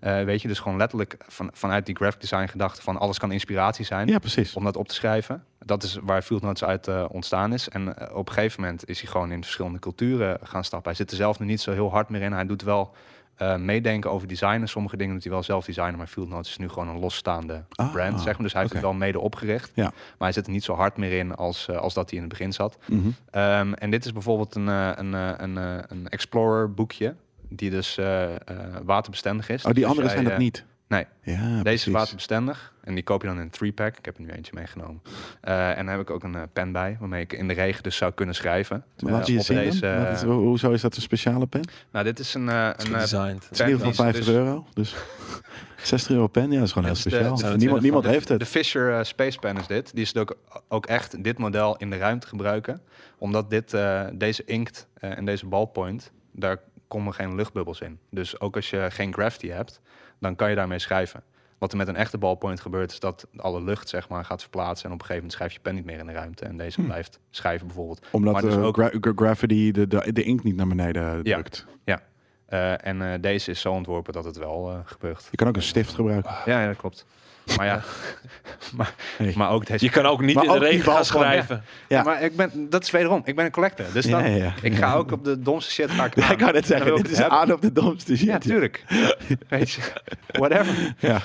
D: Eh, weet je, dus gewoon letterlijk van, vanuit die graphic design gedachte van... alles kan inspiratie zijn
B: Ja, precies.
D: om dat op te schrijven. Dat is waar Field Notes uit eh, ontstaan is. En eh, op een gegeven moment is hij gewoon in verschillende culturen gaan stappen. Hij zit er zelf nu niet zo heel hard meer in. Hij doet wel eh, meedenken over designen. Sommige dingen doet hij wel zelf designen, maar Field Notes is nu gewoon een losstaande
B: Ah,
D: brand, zeg maar. Dus hij heeft
B: oké.
D: het wel mede opgericht.
B: Ja.
D: Maar hij zit er niet zo hard meer in als, eh, als dat hij in het begin zat.
B: Mhm.
D: Ehm, en dit is bijvoorbeeld een, eh, een, eh, een, eh, een Explorer boekje. Die dus eh, eh, waterbestendig is.
B: Oh, die
D: Dus
B: andere
D: jij,
B: zijn dat
D: eh,
B: niet.
D: nee.
B: Ja,
D: Deze
B: precies.
D: is waterbestendig en die koop je dan in een 3-pack. Ik heb er nu eentje meegenomen. Eh, en daar heb ik ook een eh, pen bij, waarmee ik in de regen dus zou kunnen schrijven.
B: Maar Laat
D: Eh,
B: je je
D: op
B: zien. dan?
D: deze-
B: Wat is- ho- hoezo is dat een speciale pen? Het
D: Nou, dit is een, eh,
C: Is
D: een
C: goed
D: eh,
C: designed.
B: is in ieder geval
D: Pen,
B: 50
D: dus-
B: euro. Dus 60 euro pen, ja, dat is gewoon heel
D: Dit is de-
B: speciaal.
D: zijn
C: we
B: niemand
C: twintig
B: niemand
C: van
B: heeft
D: De
B: het.
D: Fisher eh, Space Pen is dit. Die is ook, ook echt dit model in de ruimte gebruiken. Omdat dit, eh, deze inkt eh, en deze ballpoint, daar komen geen luchtbubbels in. Dus ook als je geen gravity hebt, dan kan je daarmee schrijven. Wat er met een echte ballpoint gebeurt, is dat alle lucht zeg maar, gaat verplaatsen. En op een gegeven moment schrijf je pen niet meer in de ruimte. En deze blijft schrijven bijvoorbeeld.
B: Hm. Omdat
D: maar dus
B: eh,
D: ook-
B: gra- gra- gravity de, de, de inkt niet naar beneden
D: Ja.
B: drukt.
D: Eh, en eh, deze is zo ontworpen dat het wel eh, gebeurt.
B: Je kan ook een stift gebruiken.
D: Ja, ja, dat klopt. Maar ja, maar,
B: Hey.
D: maar ook deze
C: Je kan ook niet
B: Maar
C: in de
B: ook die
C: regen gaan
B: bal gewoon,
C: schrijven.
B: Ja.
D: Maar ik ben, dat is wederom, ik ben een collector. Dus dan,
B: Ja, ja, ja.
D: ik ga ook op de domste shit ga ik
B: Ja,
D: aan.
B: ik kan
D: Dan
B: net zeggen,
D: wil ik
B: dit is
D: het hebben.
B: aan op de domste shit.
D: Ja, tuurlijk. Weet je, whatever.
B: Ja.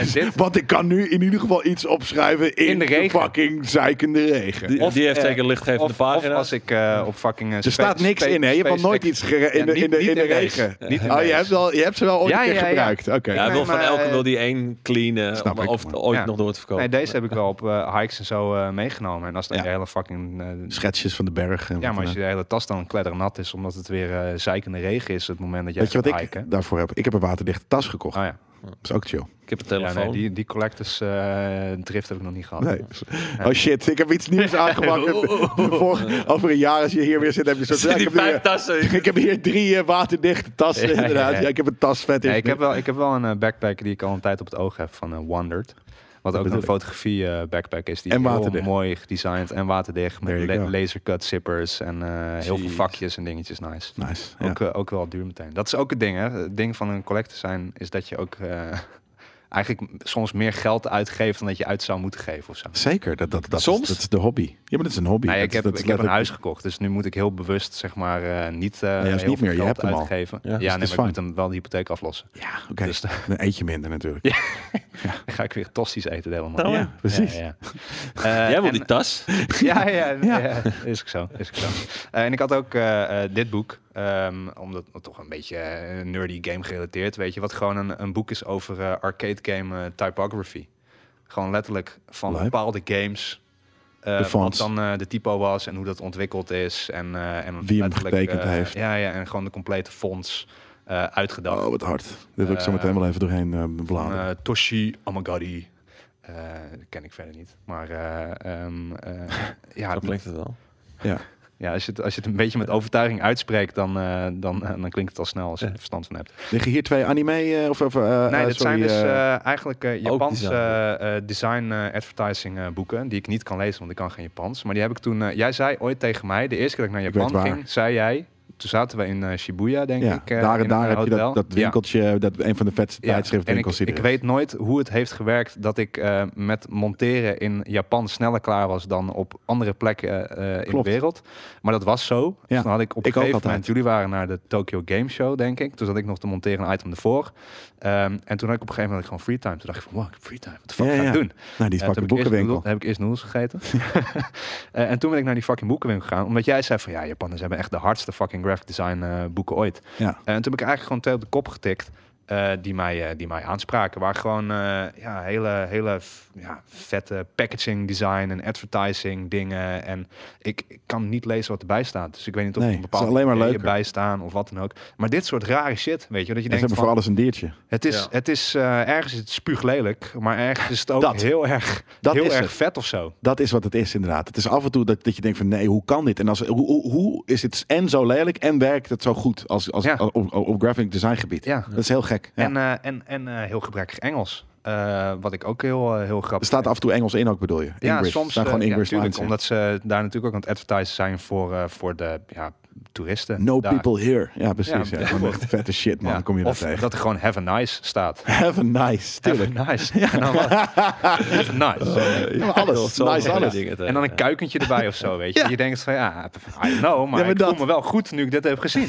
D: Eh, dit,
B: Want ik kan nu in ieder geval iets opschrijven in,
D: In de regen.
B: fucking zeikende regen.
C: Die,
D: Of,
C: die heeft
D: eh,
C: zeker lichtgevende
D: of, of
C: pagina's.
D: als ik eh, op fucking... eh,
B: Er
D: spa-
B: staat niks
D: spa-
B: in, hè? Je hebt al
D: space
B: nooit
D: text-
B: iets gere- in,
D: Ja,
B: de,
D: niet-
B: in, de,
D: niet
B: in de
D: in deze.
B: regen.
D: Niet in
B: oh, je
D: deze.
B: hebt, ze al, je hebt ze wel ooit
D: Ja,
B: een keer
D: ja, ja.
B: gebruikt. Oké.
C: ja, hij
D: Nee,
C: wil van
D: maar,
C: elke
D: eh,
C: wil die één cleanen
B: Snap
C: om
B: ik,
C: of
B: man.
C: ooit
D: Ja.
C: nog door te verkopen.
D: Nee, deze heb ik wel op eh, hikes en zo eh, meegenomen. En als dan
B: Ja.
D: de hele fucking... eh,
B: Schetsjes van de berg. En
D: ja,
B: wat
D: maar als
B: dan
D: je de hele tas dan kleddernat is, omdat het weer eh, zeikende regen is, het moment dat
B: ook.
D: jij
B: Weet je wat
D: gaat
B: ik
D: hiken.
B: daarvoor heb? Ik heb een waterdichte tas gekocht.
D: Oh ja,
B: Dat is ook chill.
C: ik heb een
D: ja
C: telefoon.
D: nee, die, die collectors eh, drift heb ik nog niet gehad.
B: Nee. Oh shit, ik heb iets nieuws aangepakt. Voor- Over een jaar als je hier weer zit, heb je zo'n...
C: Zit
B: Ja, ik,
C: die
B: heb
C: vijf
B: hier-
C: tassen. in?
B: ik heb hier drie eh, waterdichte tassen,
D: Ja, ja, ja.
B: inderdaad. Ja, ik heb een tas vet in.
D: Nee, ik, heb wel, ik heb wel een eh, backpack die ik al een tijd op het oog heb van eh Wandered. Wat ook
B: bedoel
D: een
B: ik.
D: fotografie eh, backpack is. Die
B: En
D: is heel
B: waterdicht.
D: mooi gedesigned en waterdicht.
B: There
D: Met
B: you
D: la-
B: go.
D: lasercut zippers en eh, heel veel
C: Jeez.
D: vakjes en dingetjes. Nice.
B: Nice. ja.
D: Ook, eh, ook wel duur meteen. Dat is ook het ding, hè. Het ding van een collector zijn is dat je ook eh, eigenlijk soms meer geld uitgeeft dan dat je uit zou moeten geven of zo.
B: Zeker, dat, dat, dat,
C: Soms?
B: Is, dat is de hobby. Ja, maar dat is een hobby.
D: Nou ja,
B: Dat
D: ik
B: is-
D: heb,
B: dat is
D: ik heb een
B: letterlijk-
D: huis gekocht, dus nu moet ik heel bewust zeg maar eh, niet, eh
B: juist
D: heel
B: niet
D: veel
B: meer, je
D: geld
B: hebt hem al.
D: uitgeven.
C: Ja,
D: Ja,
B: dus
D: nee,
B: het
D: maar
B: is
D: ik
B: fijn.
D: moet hem wel de hypotheek aflossen.
B: Ja, oké.
D: Dus-
B: een eentje minder natuurlijk.
D: Dan ga ik weer tosties eten de hele maand.
C: Nou,
B: ja, precies.
D: Ja, ja. Eh,
C: Jij wil
D: en-
C: die tas?
D: ja, ja,
B: Ja.
D: ja. is ik zo. Is ik zo. Eh, en ik had ook eh, eh, dit boek, ehm, omdat het toch een beetje eh, nerdy game gerelateerd, weet je, wat gewoon een, een boek is over eh, arcade game eh, typography. Gewoon letterlijk van
B: Lijp.
D: bepaalde games. eh,
B: De
D: wat
B: fonts.
D: dan eh, de typo was en hoe dat ontwikkeld is. En, eh, en
B: Wie hem
D: letterlijk,
B: getekend
D: eh,
B: heeft.
D: Ja, ja, en gewoon de complete fonts eh, uitgedacht.
B: Oh, wat hard. Dit wil ik zo
D: Eh,
B: meteen wel even doorheen eh, bladeren.
D: Van, eh, Toshi Amagari. Eh, ken ik verder niet. Maar eh, ehm, eh, ja,
C: Zo klinkt het wel.
B: ja.
D: ja, als je, het, als je het een beetje met overtuiging uitspreekt, dan, eh, dan, eh, dan klinkt het al snel als je er verstand van hebt.
B: Liggen hier twee anime eh, of of, eh, eh,
D: nee,
B: sorry,
D: dat zijn dus
B: eh,
D: eh, eigenlijk eh, Japanse
C: design.
D: eh, eh, design eh, advertising eh, boeken, die ik niet kan lezen, want ik kan geen Japans. Maar die heb ik toen, eh, jij zei ooit tegen mij, de eerste keer dat ik naar
B: Ik weet
D: Japan
B: waar.
D: ging, zei jij, toen zaten we in eh, Shibuya, denk
B: ja,
D: ik. eh,
B: daar
D: in
B: en daar
D: een
B: heb je
D: hotel.
B: dat, dat
D: Ja.
B: winkeltje, dat een van de vetste
D: Ja, en ik,
B: tijdschriftwinkels die
D: ik
B: er is.
D: weet nooit hoe het heeft gewerkt dat ik eh, met monteren in Japan sneller klaar was dan op andere plekken eh, eh, in de
B: Klopt.
D: wereld. Maar dat was zo. Dus
B: Ja,
D: dan had ik op
B: ik
D: een
B: ook
D: gegeven
B: altijd.
D: moment, jullie waren naar de Tokyo Game Show, denk ik. Toen zat ik nog te monteren een item ervoor. Ehm, en toen had ik op een gegeven moment had ik gewoon free time. Toen dacht ik van, wow, ik heb free time. Wat de fuck
B: Ja,
D: ga ik
B: ja.
D: doen?
B: Nou, die
D: Eh, toen
B: fucking
D: heb ik eerst
B: boekenwinkel.
D: noedel- heb ik eerst noedels gegeten. Eh, en toen ben ik naar die fucking boekenwinkel gegaan. Omdat jij zei van, ja, Japanners hebben echt de hardste fucking graphic design eh, boeken ooit.
B: Ja.
D: Eh, En toen heb ik eigenlijk gewoon twee op de kop getikt. eh, die, mij, eh, die mij aanspraken. Waar gewoon eh, ja, hele, hele f- ja, vette packaging design en advertising dingen. En ik, ik kan niet lezen wat erbij staat. Dus ik weet niet of
B: Nee,
D: er een
B: het is
D: bepaalde
B: alleen maar
D: ideeën
B: leuker.
D: bij staan of wat dan ook. Maar dit soort rare shit, weet je. Dat je
B: En ze
D: denkt
B: hebben voor
D: van,
B: alles een diertje.
D: het is,
C: Ja.
D: het is eh, ergens is het spuuglelijk. Maar ergens is het ook
B: Dat.
D: heel erg,
B: Dat
D: heel
B: is
D: erg
B: het.
D: vet of zo.
B: Dat is wat het is, inderdaad. Het is af en toe dat, dat je denkt van nee, hoe kan dit? En als, hoe, hoe, hoe is dit en zo lelijk en werkt het zo goed als, als,
D: Ja.
B: als- op, op, op graphic design gebied?
D: Ja.
B: Dat is heel gek. Ja.
D: En, eh, en, en eh, heel gebrekkig Engels. Eh, wat ik ook heel, eh, heel
B: er
D: grappig
B: staat af en toe Engels in ook, bedoel je?
D: Ja,
B: English. Er
D: soms
B: staan
D: eh,
B: gewoon
D: ja,
B: English
D: tuurlijk,
B: lines in.
D: omdat ze daar natuurlijk ook aan het advertisen zijn voor, eh, voor de ja, toeristen.
B: No
D: daar.
B: people here. Ja, precies.
D: Ja,
B: Ja, Gewoon echt vette shit, man.
D: Ja,
B: Kom je dat
D: of
B: tegen?
D: dat er gewoon have a nice staat.
B: Have a nice. Tuurlijk. Oh.
D: Have a nice. Ja. have a nice.
B: Ja, maar alles.
C: Heel veel
B: nice
C: van die
B: alles.
C: dingen tegen.
D: En dan een kuikentje erbij of zo, weet je.
B: Ja.
D: Je denkt van, ja, I don't know, maar,
B: Ja, maar
D: ik voel
B: dat.
D: me wel goed nu ik dit heb gezien.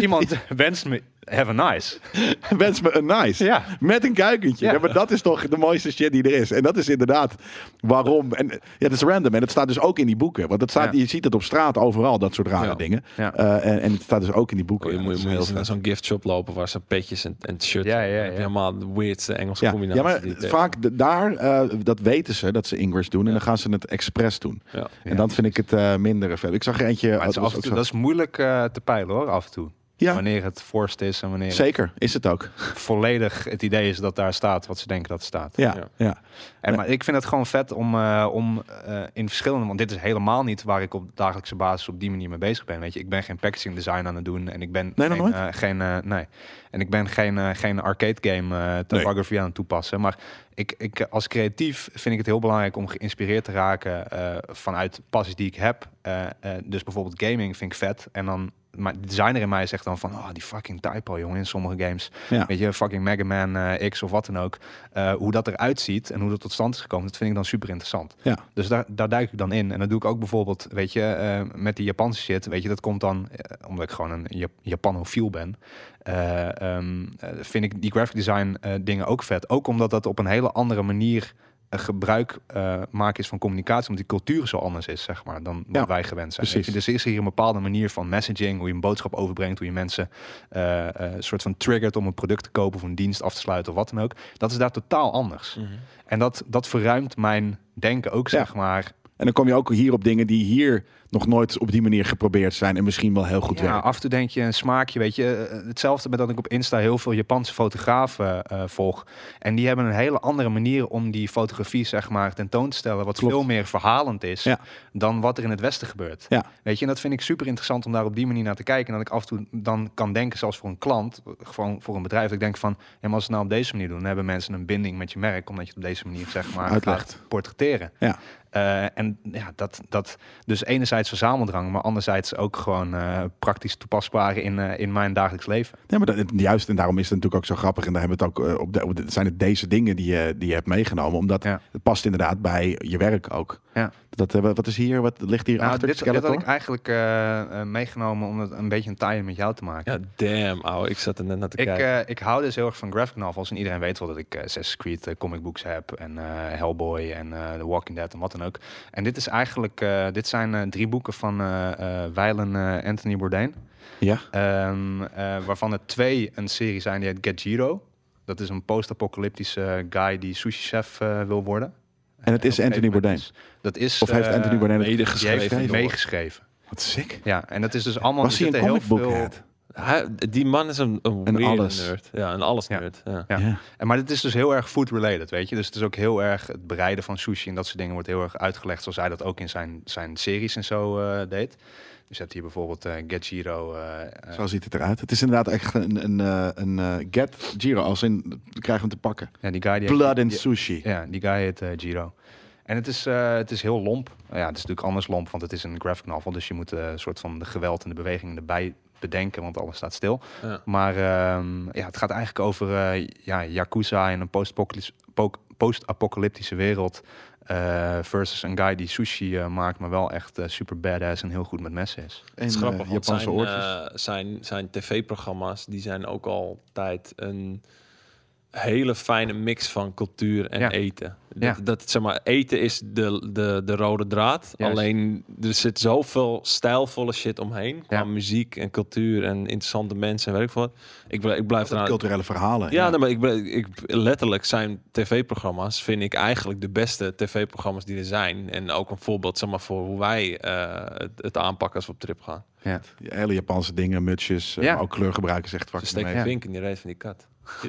D: Iemand wenst me have a nice.
B: Wens me een nice.
D: Ja.
B: Met een kuikentje.
D: Ja.
B: Ja, maar dat is toch de mooiste shit die er is. En dat is inderdaad waarom. En eh, ja, dat is random. En dat staat dus ook in die boeken. Want dat staat,
D: Ja.
B: je ziet het op straat overal, dat soort rare
C: Ja.
B: dingen.
D: Ja.
B: Eh, en, en het staat dus ook in die boeken.
C: Oh, je
B: Ja,
C: moet,
B: dat
C: je
B: is
C: moet
B: heel
C: eens naar
B: vet.
C: zo'n gift shop lopen waar ze petjes en, en shirts.
D: Ja, ja,
C: Dan heb je
D: ja.
C: Helemaal de weirdste Engelse
B: Ja. ja,
C: combinatie.
B: maar
C: die je tegen-
B: vaak de- daar, eh, dat weten ze, dat ze English doen. En dan gaan ze het expres doen.
C: Ja.
B: En dan vind ik het eh minder vet. Ik zag er eentje...
D: Maar het is
B: dat was
D: af en
B: ook
D: toe,
B: zo-
D: dat is moeilijk eh, te peilen hoor, af en toe.
B: Ja.
D: Wanneer het forced is en wanneer het
B: Zeker, is het ook.
D: volledig het idee is dat daar staat wat ze denken dat er staat.
B: Ja, ja.
C: Ja.
D: En, maar ik vind het gewoon vet om, eh, om eh, in verschillende... Want dit is helemaal niet waar ik op dagelijkse basis op die manier mee bezig ben. Weet je, ik ben geen packaging design aan het doen. En ik ben
B: Nee, nog
D: geen...
B: nooit?
D: eh, geen eh, nee. En ik ben geen, eh, geen arcade game eh typography aan het toepassen. Maar ik, ik, eh, als creatief vind ik het heel belangrijk om geïnspireerd te raken... eh, vanuit passies die ik heb. Eh, eh, dus bijvoorbeeld gaming vind ik vet. En dan... Maar de designer in mij zegt dan van... Oh, die fucking typo, jongen, in sommige games.
B: Ja.
D: Weet je, fucking Mega Man eh, X of wat dan ook. Eh, hoe dat eruit ziet en hoe dat tot stand is gekomen, dat vind ik dan super interessant.
B: Ja.
D: Dus daar, daar duik ik dan in. En dat doe ik ook bijvoorbeeld, weet je, eh, met die Japanse shit. Weet je, dat komt dan, eh, omdat ik gewoon een Jap Japanofiel ben, eh, ehm, eh, vind ik die graphic design eh, dingen ook vet. Ook omdat dat op een hele andere manier eh, gebruik eh, maken is van communicatie, omdat die cultuur zo anders is, zeg maar, dan wat
B: Ja,
D: wij gewend zijn.
B: precies.
D: weet je. Dus er is hier een bepaalde manier van messaging, hoe je een boodschap overbrengt, hoe je mensen eh, eh, een soort van triggert om een product te kopen of een dienst af te sluiten of wat dan ook. Dat is daar totaal anders. En dat, dat verruimt mijn denken ook,
B: Mhm. Ja.
D: zeg maar.
B: En dan kom je ook hier op dingen die hier nog nooit op die manier geprobeerd zijn. En misschien wel heel goed
D: Ja,
B: werken.
D: af en toe denk je een smaakje, weet je. Eh, Hetzelfde met dat ik op Insta heel veel Japanse fotografen eh, volg. En die hebben een hele andere manier om die fotografie, zeg maar, tentoon te stellen. Wat
B: Klopt.
D: veel meer verhalend is
B: Ja.
D: dan wat er in het Westen gebeurt.
B: Ja.
D: Weet je, en dat vind ik super interessant om daar op die manier naar te kijken. En dat ik af en toe dan kan denken, zelfs voor een klant, gewoon voor een bedrijf, dat ik denk van, ja, maar als we het nou op deze manier doen, dan hebben mensen een binding met je merk, omdat je het op deze manier, zeg maar,
B: Uitlegt.
D: gaat portretteren.
B: Ja.
D: Eh, Eh, en ja, dat, dat dus enerzijds verzameldrang, maar anderzijds ook gewoon eh, praktisch toepasbaar in, eh, in mijn dagelijks leven.
B: Nee, maar dat, juist, en daarom is het natuurlijk ook zo grappig. En daar hebben we het ook eh, op, de, op de- zijn het deze dingen die je, die je hebt meegenomen. Omdat
D: Ja.
B: het past inderdaad bij je werk ook.
D: Ja.
B: Dat, eh, wat is hier? Wat ligt hier
D: Nou,
B: achter?
D: dit, dit had
B: Skeletor?
D: ik eigenlijk eh, eh, meegenomen om het een beetje een tie met jou te maken.
C: Ja, damn, ouwe. Ik zat er net naar te
D: Ik,
C: kijken.
D: eh, ik hou dus heel erg van graphic novels. En iedereen weet wel dat ik eh Assassin's Creed eh, comic books heb. En eh, Hellboy en eh, The Walking Dead en wat dan ook. En dit is eigenlijk... eh, dit zijn eh, drie boeken van eh eh Weilen eh, Anthony Bourdain.
B: Ja.
D: Ehm, eh, waarvan er twee een serie zijn die heet Gajiro. Dat is een post-apocalyptische eh, guy die sushi-chef eh, wil worden.
B: En het is
D: En op een
B: Anthony
D: gegeven
B: Bourdain.
D: moment is- Dat is...
B: Of heeft
D: eh,
B: Anthony Bourdain het
C: mede
D: Die heeft
C: geschreven?
D: het
C: door-
D: meegeschreven.
B: Wat sick.
D: Ja, en dat is dus allemaal...
B: Was
D: er
B: hij een
D: zitten heel
B: comic book
D: veel-
B: head?
C: Hij- die man is een, een
B: Een
C: weirde
B: eh, alles.
C: nerd. Ja, een alles
D: Ja.
C: nerd. Ja.
D: Ja.
B: Ja.
D: En Maar dit is dus heel erg food-related, weet je. Dus het is ook heel erg het bereiden van sushi en dat soort dingen wordt heel erg uitgelegd, zoals hij dat ook in zijn, zijn series en zo eh, deed. Dus je hebt hier bijvoorbeeld eh Gejiro. eh, eh,
B: Zo ziet het eruit. Het is inderdaad echt een, een, eh, een eh, get Giro. Als in, we krijgen hem te pakken.
D: ja, die guy die
B: Blood and
D: die-
B: sushi.
D: Ja, die guy heet eh, Giro. En het is, eh, het is heel lomp. Nou ja, het is natuurlijk anders lomp, want het is een graphic novel. Dus je moet eh, een soort van de geweld en de beweging erbij bedenken, want alles staat stil.
C: Ja.
D: Maar ehm, ja, het gaat eigenlijk over eh, ja, Yakuza in een post-apocalyps- po- post-apocalyptische wereld. eh, versus een guy die sushi eh, maakt, maar wel echt eh, super badass en heel goed met messen is.
B: En,
C: Het is grappig,
B: eh,
C: want
B: Japanse
C: zijn,
B: oortjes.
C: eh, zijn, zijn tv-programma's die zijn ook altijd een hele fijne mix van cultuur en
D: Ja.
C: eten. Dat,
D: Ja.
C: dat, zeg maar, eten is de, de, de rode draad.
D: Juist.
C: Alleen er zit zoveel stijlvolle shit omheen. Qua
D: Ja.
C: muziek en cultuur en interessante mensen en werk van. Ik, bl- ik blijf eraan.
B: culturele verhalen.
C: Ja,
D: nou,
C: nee, maar ik, ben- ik, letterlijk zijn tv-programma's vind ik eigenlijk de beste tv-programma's die er zijn. En ook een voorbeeld zeg maar, voor hoe wij eh, het, het aanpakken als we op trip gaan.
D: Ja.
B: Hele Japanse dingen, mutsjes. eh,
D: Ja.
B: maar ook kleurgebruik is echt
C: Ze
B: vaak
C: steken
B: mee.
C: een
D: Ja.
C: vink in die reet van die kat.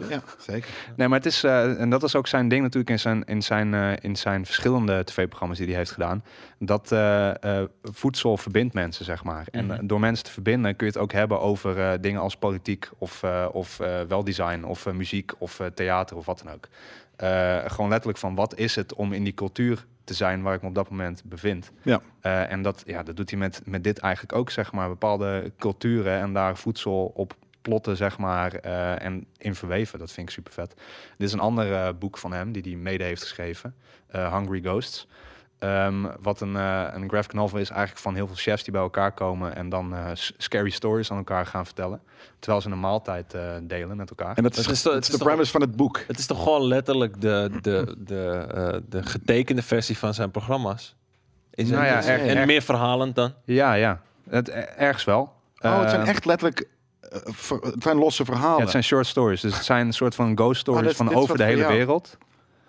B: Ja, zeker.
D: Nee, maar het is, eh, en dat is ook zijn ding natuurlijk in zijn, in zijn, eh, in zijn verschillende tv-programma's die hij heeft gedaan. Dat eh, eh, voedsel verbindt mensen, zeg maar. En eh, door mensen te verbinden kun je het ook hebben over eh, dingen als politiek of, eh, of eh, weldesign of eh, muziek of eh, theater of wat dan ook. Eh, gewoon letterlijk van wat is het om in die cultuur te zijn waar ik me op dat moment bevind.
B: Ja.
D: Eh, en dat, ja, dat doet hij met, met dit eigenlijk ook, zeg maar. Bepaalde culturen en daar voedsel op plotten, zeg maar. eh, en in verweven. Dat vind ik super vet. Dit is een ander eh, boek van hem, die hij mede heeft geschreven. eh, Hungry Ghosts. Ehm, wat een, eh, een graphic novel is eigenlijk van heel veel chefs die bij elkaar komen... en dan eh, s- scary stories aan elkaar gaan vertellen. Terwijl ze een maaltijd eh, delen met elkaar.
B: En dat is,
C: Het is
B: dat
C: toch-
B: is
C: het is
B: de
C: toch-
B: premise van het boek.
C: Het is toch gewoon letterlijk de, de, de, eh, de getekende versie van zijn programma's? Is
D: Nou
C: het-
D: ja,
C: is-
D: echt-
C: en
D: echt.
C: meer verhalend dan?
D: Ja, ja. Het, eh, ergens wel.
B: Oh, het zijn
D: Ehm,
B: echt letterlijk... eh, ver- het zijn losse verhalen.
D: Ja, het zijn short stories. Dus het zijn een soort van ghost stories
B: dit is-
D: van
B: dit is
D: over
B: wat
D: de
B: voor
D: hele
B: jou.
D: wereld.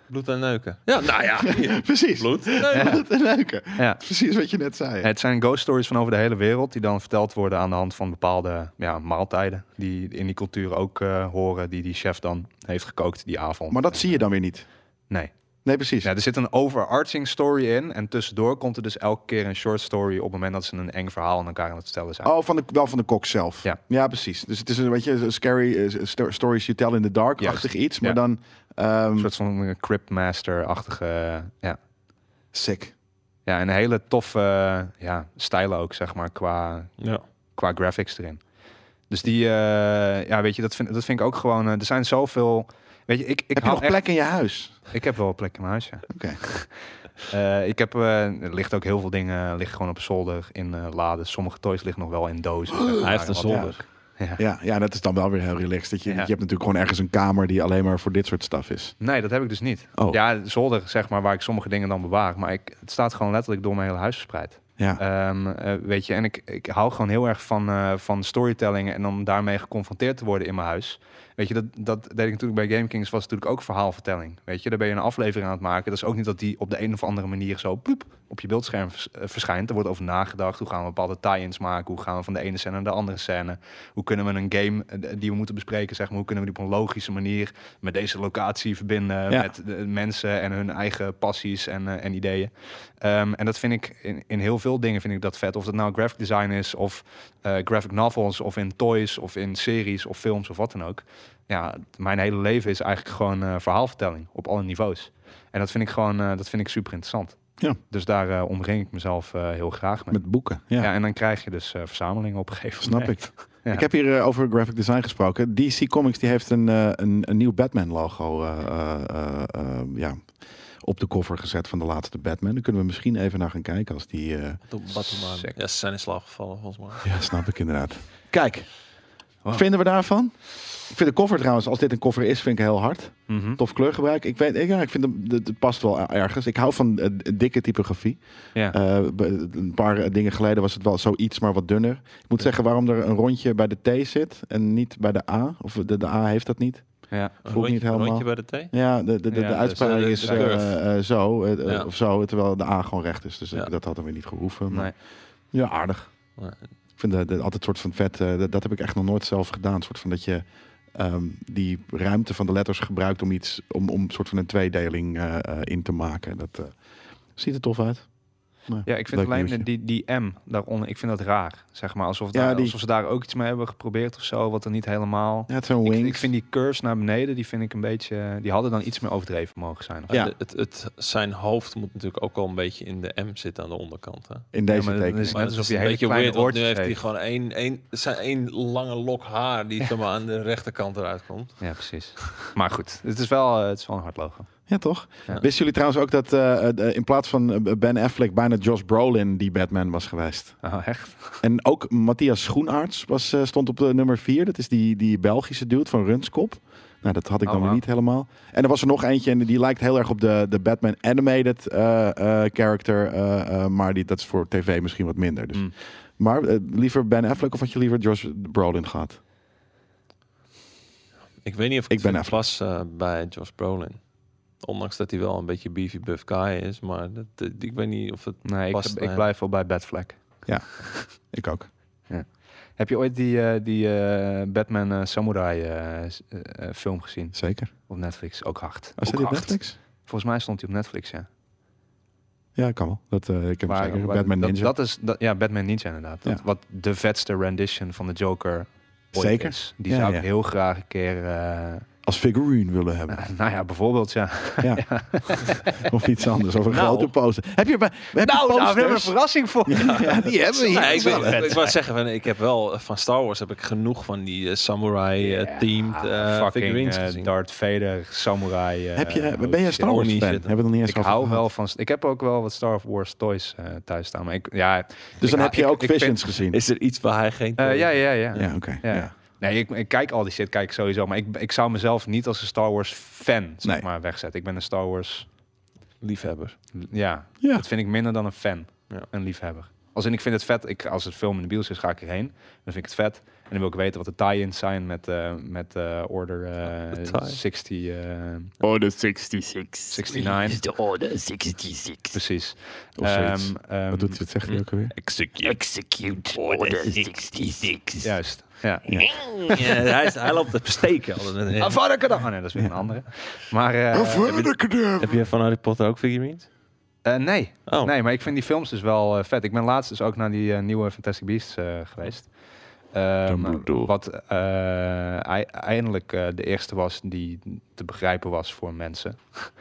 C: Bloed en neuken. Ja, nou ja.
B: Precies.
C: Bloed.
B: Dat is een leuke.
D: Ja.
B: Precies wat je net zei.
D: Het zijn ghost stories van over de hele wereld die dan verteld worden aan de hand van bepaalde ja, maaltijden die in die cultuur ook eh, horen, die die chef dan heeft gekookt die avond.
B: Maar dat zie je dan weer niet.
D: Nee.
B: Nee, precies.
D: Ja, er zit een overarching story in en tussendoor komt er dus elke keer een short story op het moment dat ze een eng verhaal aan elkaar aan het vertellen zijn.
B: Oh, van de, wel van de kok zelf.
D: Ja.
B: precies. Dus het is een beetje een scary eh, sto- stories you tell in the dark-achtig iets. Maar
D: Ja.
B: dan... ehm,
D: Een soort van eh, Cryptmaster-achtige, eh, ja.
B: sick.
D: ja, en een hele toffe eh, ja, stijl ook, zeg maar, qua,
C: Ja.
D: qua graphics erin. Dus die, eh, ja, weet je, dat vind, dat vind ik ook gewoon. eh, er zijn zoveel. Weet je, ik, ik
B: Heb je
D: hou
B: nog
D: echt-
B: plek in je huis?
D: Ik heb wel plek in mijn huis. Ja.
B: Oké.
D: Eh, ik heb, eh, er ligt ook heel veel dingen eh, liggen gewoon op zolder in eh, laden. Sommige toys liggen nog wel in dozen. zeg maar,
C: Hij heeft een
D: wat-
C: zolder.
D: Ja.
B: Ja, ja, dat is dan wel weer heel relaxed. Dat je,
D: Ja.
B: je hebt natuurlijk gewoon ergens een kamer die alleen maar voor dit soort stuff is.
D: Nee, dat heb ik dus niet.
B: Oh.
D: Ja, zolder zeg maar waar ik sommige dingen dan bewaar. Maar ik, het staat gewoon letterlijk door mijn hele huis verspreid.
B: Ja.
D: Ehm, eh, weet je, en ik, ik hou gewoon heel erg van, eh, van storytelling en om daarmee geconfronteerd te worden in mijn huis. Weet je, dat, dat deed ik natuurlijk bij Game Kings, was natuurlijk ook verhaalvertelling. Weet je, daar ben je een aflevering aan het maken. Dat is ook niet dat die op de een of andere manier zo ploep, op je beeldscherm vers- eh, verschijnt. Er wordt over nagedacht. Hoe gaan we bepaalde tie-ins maken? Hoe gaan we van de ene scène naar de andere scène? Hoe kunnen we een game eh, die we moeten bespreken, zeg maar, hoe kunnen we die op een logische manier met deze locatie verbinden?
B: Ja.
D: Met de mensen en hun eigen passies en, eh, en ideeën. Ehm, en dat vind ik in, in heel veel dingen vind ik dat vet. Of dat nou graphic design is, of eh, graphic novels, of in toys, of in series, of films, of wat dan ook. Ja, mijn hele leven is eigenlijk gewoon eh, verhaalvertelling op alle niveaus. En dat vind ik gewoon eh, dat vind ik super interessant.
B: Ja.
D: Dus daar eh, omring ik mezelf eh, heel graag mee.
B: Met boeken. Ja,
D: ja. en dan krijg je dus eh, verzamelingen op een gegeven
B: snap
D: moment.
B: ik.
D: Ja.
B: Ik heb hier eh, over graphic design gesproken. DC Comics die heeft een, eh, een, een nieuw Batman logo eh, eh, eh, eh, ja, op de cover gezet van de laatste Batman. Daar kunnen we misschien even naar gaan kijken als die... eh,
C: Batman.
D: Sick.
C: Ja, ze zijn in slaap gevallen volgens mij.
B: Ja, snap ik inderdaad. Kijk, wat vinden we daarvan? Ik vind de koffer trouwens, als dit een koffer is, vind ik heel hard.
D: Mhm.
B: Tof kleurgebruik. Ik weet, ik- ja, ik vind hem- het, het past wel ergens. Ik hou van eh, dikke typografie.
D: Ja.
B: Eh, be- een paar eh, dingen geleden was het wel zoiets, maar wat dunner. Ik moet zeggen waarom er een rondje bij de T zit en niet bij de A. Of de, de A heeft dat niet.
D: ja.
C: Een
B: Voel ik
C: rondje,
B: niet
C: een
B: helemaal.
C: rondje bij de thee?
B: Ja, de, de, de,
D: Ja,
B: de
D: dus,
B: uitspraak
C: eh, de-
B: is
C: de curve.
B: eh, eh, zo eh, eh,
C: Ja.
B: of zo, terwijl de A gewoon recht is. Dus eh,
C: Ja.
B: dat had hem weer niet gehoeven. Maar
D: Nee.
B: Ja, aardig.
C: Ja.
B: Ik vind eh, dat, dat altijd soort van vet. eh, dat, dat heb ik echt nog nooit zelf gedaan. Soort van dat je ehm, die ruimte van de letters gebruikt om iets, om, om soort van een tweedeling eh, eh, in te maken. Dat eh, ziet er tof uit. Nou,
D: Ja, ik vind
B: leuk
D: alleen
B: nieuwtje.
D: die, die M daaronder, ik vind dat raar. Zeg maar, alsof,
B: Ja,
D: daar,
B: die-
D: alsof ze daar ook iets mee hebben geprobeerd of zo, wat er niet helemaal...
B: Ja, het zijn
D: Ik,
B: wings.
D: ik vind die curves naar beneden, die vind ik een beetje... eh, Die hadden dan iets meer overdreven mogen zijn. of zo.
B: Ja.
C: De- Het, het, zijn hoofd moet natuurlijk ook al een beetje in de M zitten aan de onderkant. Hè?
B: In deze
D: Ja, maar dat
B: tekening.
D: is
C: Maar
D: net
C: het
D: alsof
C: is
D: je
C: een
D: hele
C: beetje
D: kleine
C: weird, want nu
D: oortjes
C: heeft hij
D: heeft.
C: gewoon één, één, zijn één lange lok haar die zeg maar, aan de rechterkant eruit komt.
D: Ja, precies. maar goed, het is wel, eh, het is wel een hard logo.
B: Ja, toch?
D: Ja.
B: Wisten jullie trouwens ook dat eh, eh, in plaats van eh, Ben Affleck bijna Josh Brolin die Batman was geweest?
D: Oh, echt?
B: En ook Matthias Schoenaerts was, eh, stond op de nummer 4. Dat is die, die Belgische dude van Runskop. Nou, dat had ik dan
D: Oh,
B: weer
D: wauw.
B: niet helemaal. En er was er nog eentje en die lijkt heel erg op de, de Batman animated eh, eh, character. eh, eh, maar die, dat is voor tv misschien wat minder. Dus.
D: Mm.
B: Maar eh, liever Ben Affleck of had je liever Josh Brolin gehad?
C: Ik weet niet of
B: Ik
C: ik,
B: ben
C: ben
B: even-
C: was eh, bij Josh Brolin. Ondanks dat hij wel een beetje beefy buff guy is. Maar dat, dat- ik weet niet of het...
D: Nee, ik,
C: Past,
D: heb- ik
C: eh.
D: blijf wel bij Batfleck.
B: Ik ook.
D: Heb je ooit die, eh, die eh, Batman eh, Samurai eh, s- eh, eh, film gezien
B: Zeker.
D: op Netflix? Ook hard.
B: Als dit
D: Ook
B: op
D: hard.
B: Netflix?
D: Volgens mij stond hij op Netflix, ja.
B: Ja, kan wel. Dat, eh, ik heb hem
D: Waar-
B: zeker.
D: waar-
B: Batman
D: dat,
B: Ninja.
D: Dat is, dat, ja, Batman Ninja inderdaad. Dat,
B: Ja.
D: Wat de vetste rendition van de Joker ooit
B: Zeker.
D: is. Die
B: Ja,
D: zou
B: ja.
D: ik heel graag een keer... eh,
B: Als figurine willen hebben.
D: nou, nou ja, bijvoorbeeld, ja.
B: Ja. of iets anders. Of een
C: Nou.
B: grote poster. Heb je, bij- heb je
D: Nou, we
B: posters?
D: hebben een verrassing voor
B: ja, die hebben we hier.
C: Nee, ik, ben, ik wou zeggen, van, ik heb wel eh, van Star Wars heb ik genoeg van die eh, samurai eh teamed eh
D: fucking
C: figurines
D: eh,
C: gezien.
D: Darth Vader, Samurai. eh,
B: Heb je, ben
D: oh,
B: je een
D: shit.
B: Star Wars
C: Ornie
B: fan?
C: zit er.
B: Hebben we het nog niet eens
D: Ik
B: over
D: hou
B: gehad.
D: wel van... Ik heb ook wel wat Star Wars toys eh, thuis staan. Maar ik, ja,
B: Dus dan
D: ik-
B: heb je
D: ik-
B: ook
D: ik vind-
B: Visions gezien.
C: Is er iets waar hij geen...
D: eh, ja, ja, ja.
B: ja, oké.
D: Ja.
B: ja.
D: Nee, ik, ik kijk al die shit, kijk ik sowieso. Maar ik, ik zou mezelf niet als een Star Wars fan zeg
B: Nee.
D: maar, wegzetten. Ik ben een Star Wars...
C: Liefhebber.
D: Ja,
B: Ja.
D: dat vind ik minder dan een fan.
C: Ja.
D: Een liefhebber. Als in, ik vind het vet. Ik, als het film in de bios is, ga ik erheen. Dan vind ik het vet. En dan wil ik weten wat de tie-ins zijn met, eh, met eh, Order eh,
C: De tie.
D: 60, eh,
E: Order 66.
D: 69.
E: The Order 66.
D: Precies.
B: Of zoiets.
D: Ehm, ehm,
B: Wat doet, wat zegt hij ook alweer?
E: Execute Order 66.
D: Juist, ja.
C: hij, is, hij loopt te steken.
D: Avada Kedavra. Oh nee, dat is weer een andere. Maar eh,
C: Heb je van Harry Potter ook figurines?
D: eh, nee.
C: Oh.
D: nee, maar ik vind die films dus wel eh, vet. Ik ben laatst dus ook naar die eh, nieuwe Fantastic Beasts eh, geweest. Ehm,
B: Dumbledore.
D: wat eh, ei- eindelijk eh, de eerste was die te begrijpen was voor mensen.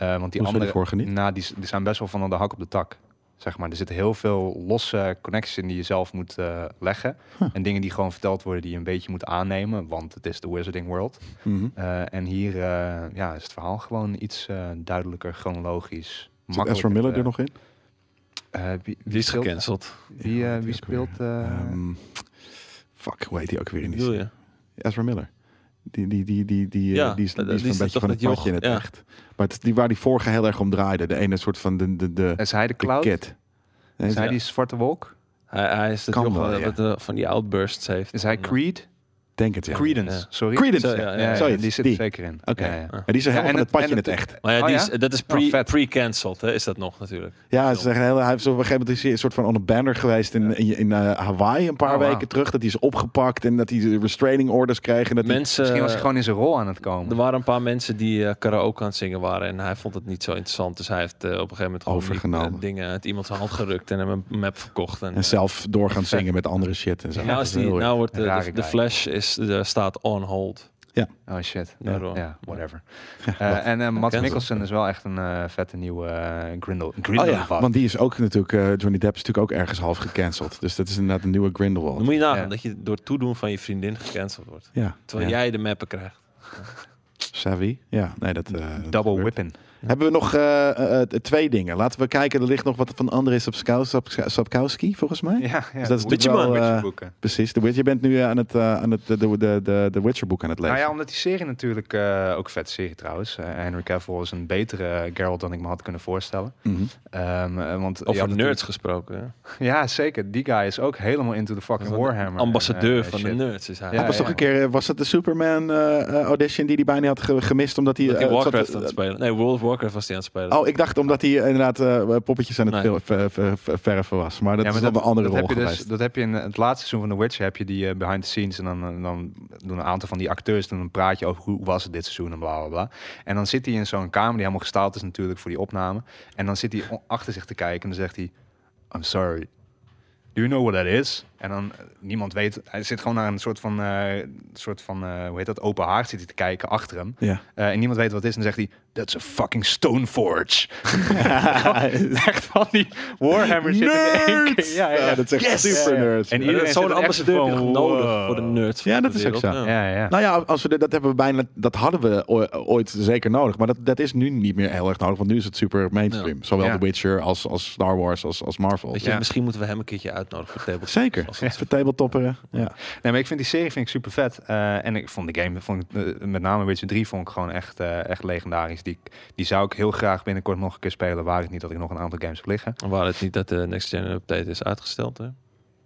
D: Eh, want die
B: Hoe zijn die
D: andere,
B: vorige niet?
D: Nou, die, s- die zijn best wel van de hak op de tak. Zeg maar. Er zitten heel veel losse connecties in die je zelf moet eh, leggen. En dingen die gewoon verteld worden die je een beetje moet aannemen. Want het is de Wizarding World.
B: Mhm.
D: Eh, en hier eh, ja, is het verhaal gewoon iets eh, duidelijker, chronologisch.
B: Zit
D: makkelijker
B: Ezra Miller
D: te-
B: er nog in?
D: Eh, wie,
C: Die is
D: speelt,
C: gecanceld.
D: Wie, eh, wie speelt... eh,
B: Ehm, fuck, hoe heet die ook weer in die
C: Bedoel
B: serie?
C: je?
B: Ezra Miller. Die, die, die, die, die, eh,
C: Ja,
B: die is, die
C: dat-
B: is
C: die
B: een
C: is
B: beetje
C: toch
B: van
C: dat
B: het padje in
C: joch-
B: het
C: ja.
B: echt. Maar het, is die waar die vorige heel erg om draaide. De ene soort van de, de, de,
D: is hij de
B: de
D: cloud?
B: kid. Nee,
D: Is hij
C: Ja.
D: die zwarte wolk?
C: Hij, hij is het
B: Kan
C: joch
B: wel,
C: eh,
B: ja.
C: dat, eh, van die outbursts heeft.
D: Is hij
C: En, eh,
D: Creed?
B: denk het, ja.
D: Credence,
C: Ja.
D: sorry.
B: Credence.
C: Zo, ja,
D: Ja,
C: ja,
D: ja,
B: Zoiets,
D: die zit
B: die.
D: er zeker in.
B: Oké.
D: Ja, ja.
B: En die is helemaal
D: Ja, en
B: van het
D: het-
B: padje in
D: en
B: het
D: het-
B: echt.
C: Maar ja,
D: Oh,
C: die
D: ja?
C: Is, dat is
D: Oh,
C: pre-
D: vet.
C: pre-cancelled, hè, is dat nog natuurlijk.
B: Ja, ze
C: film.
B: zeggen, heel- hij heeft op een gegeven moment is hij een soort van on een banner geweest in, in, in, eh, Hawaii een paar
D: Oh, wauw.
B: weken terug. Dat hij is opgepakt en dat hij restraining orders kreeg. En dat hij-
C: Mensen,
D: Misschien was hij gewoon in zijn rol aan het
C: er
D: komen.
C: waren een paar mensen die eh karaoke aan het zingen waren en hij vond het niet zo interessant. Dus hij heeft eh, op een gegeven moment gewoon die,
B: Overgenomen.
C: eh, dingen uit iemands hand gerukt en hem een map verkocht. En,
B: En zelf door gaan zingen met andere shit en zo.
C: eh, nou, is die, nou wordt de,
D: Rare
C: de, de
D: guy.
C: Flash is, de, staat on hold.
B: Ja.
D: Oh shit.
C: Ja,
D: Ja,
C: door.
D: ja, whatever.
B: wat?
D: Eh, en eh Matt
C: Cancel.
D: Mikkelsen is wel echt een eh, vette nieuwe eh Grindel.
B: Oh
D: Grindelwald.
B: ja, want die is ook natuurlijk, eh, Johnny Depp is natuurlijk ook ergens half gecanceld. Dus dat is inderdaad een nieuwe
C: Dan
B: Grindelwald.
C: moet je nagaan
D: Ja.
C: dat je door het toedoen van je vriendin gecanceld wordt.
B: Ja,
C: Terwijl
B: ja.
C: jij de mappen krijgt.
B: Savvy. Ja, nee, dat... eh, dat
D: Double
B: gebeurt.
D: whipping.
B: Hebben we nog eh, eh, eh, twee dingen? Laten we kijken, er ligt nog wat van André Sapkau- Sapkau- Sapkowski, volgens mij.
D: Ja, ja.
B: Dus dat is
D: Witcher-
B: natuurlijk wel,
D: Witcher
B: eh,
D: boeken.
B: Precies, de Witcher. je bent nu eh, aan het, eh, aan het de, de, de, de Witcher-boek aan het lezen.
D: Nou ja, omdat die serie natuurlijk, eh, ook een vette serie trouwens. Eh, Henry Cavill is een betere Geralt dan ik me had kunnen voorstellen.
B: Mhm.
D: Ehm, eh, want je
C: Over
D: had
C: nerds
D: natuurlijk-
C: gesproken. hè?
D: Ja, zeker. Die guy is ook helemaal into the fucking
C: Dat is een
D: Warhammer.
C: Ambassadeur
D: en, eh,
C: van
D: shit.
C: de nerds is hij.
D: Ja,
B: was toch een keer, eh, was het de Superman eh, eh, audition die hij bijna had ge- gemist? Omdat hij.
C: Dat hij
B: eh, zat-
C: Warcraft aan het spelen. Nee, World of Warcraft was hij aan het spelen.
B: oh, ik dacht omdat hij inderdaad eh, poppetjes aan het
C: Nee.
B: ver- ver- ver- ver- verven was. Maar dat
D: Ja,
B: is
D: maar
B: wel een andere
D: dat
B: rol
D: heb je dus,
B: geweest.
D: Dat heb je in het laatste seizoen van The Witcher, heb je die eh, behind the scenes. En dan, eh, dan doen een aantal van die acteurs, dan een praatje over hoe was het dit seizoen en bla bla bla. En dan zit hij in zo'n kamer die helemaal gestaald is natuurlijk voor die opname. En dan zit hij o- achter zich te kijken en dan zegt hij, I'm sorry. Do you know what that is? En dan, eh, niemand weet, hij zit gewoon naar een soort van, eh, soort van eh, hoe heet dat, open haard zit hij te kijken achter hem.
B: Ja.
D: Eh, en niemand weet wat het is. En dan zegt hij, that's a fucking Stoneforge. Echt van die Warhammer shit in één keer. Ja, ja,
B: Ja,
D: ja.
B: Ah, dat is echt
D: Yes!
B: super
D: Ja, ja.
B: nerd.
D: En
C: Ja,
D: iedereen
C: Zo'n
D: zit er echt
C: ambassadeur heb je
D: van,
C: nog nodig
D: wow.
C: voor de nerds.
B: Ja,
C: van
B: dat
C: de
B: is ook
C: wereld.
B: zo.
C: Ja.
D: Ja, ja.
B: Nou ja, als we dit- dat hebben we bijna, dat hadden we oo- ooit zeker nodig. Maar dat, dat is nu niet meer heel erg nodig, want nu is het super mainstream. Zowel
D: Ja.
B: The Witcher als, als Star Wars als, als Marvel.
C: Weet je,
D: Ja.
C: misschien moeten we hem een keertje uitnodigen voor Tabletop.
B: Zeker.
C: Als het-
B: Even tabletopperen. Ja.
D: Nee, maar ik vind die serie vind ik super vet. Eh, en ik vond de game, vond ik, eh, met name Witcher 3, vond ik gewoon echt, eh, echt legendarisch. Die, die zou ik heel graag binnenkort nog een keer spelen. Waar het niet dat ik nog een aantal games heb liggen.
C: Waar het niet dat de Next Gen update is uitgesteld. Hè?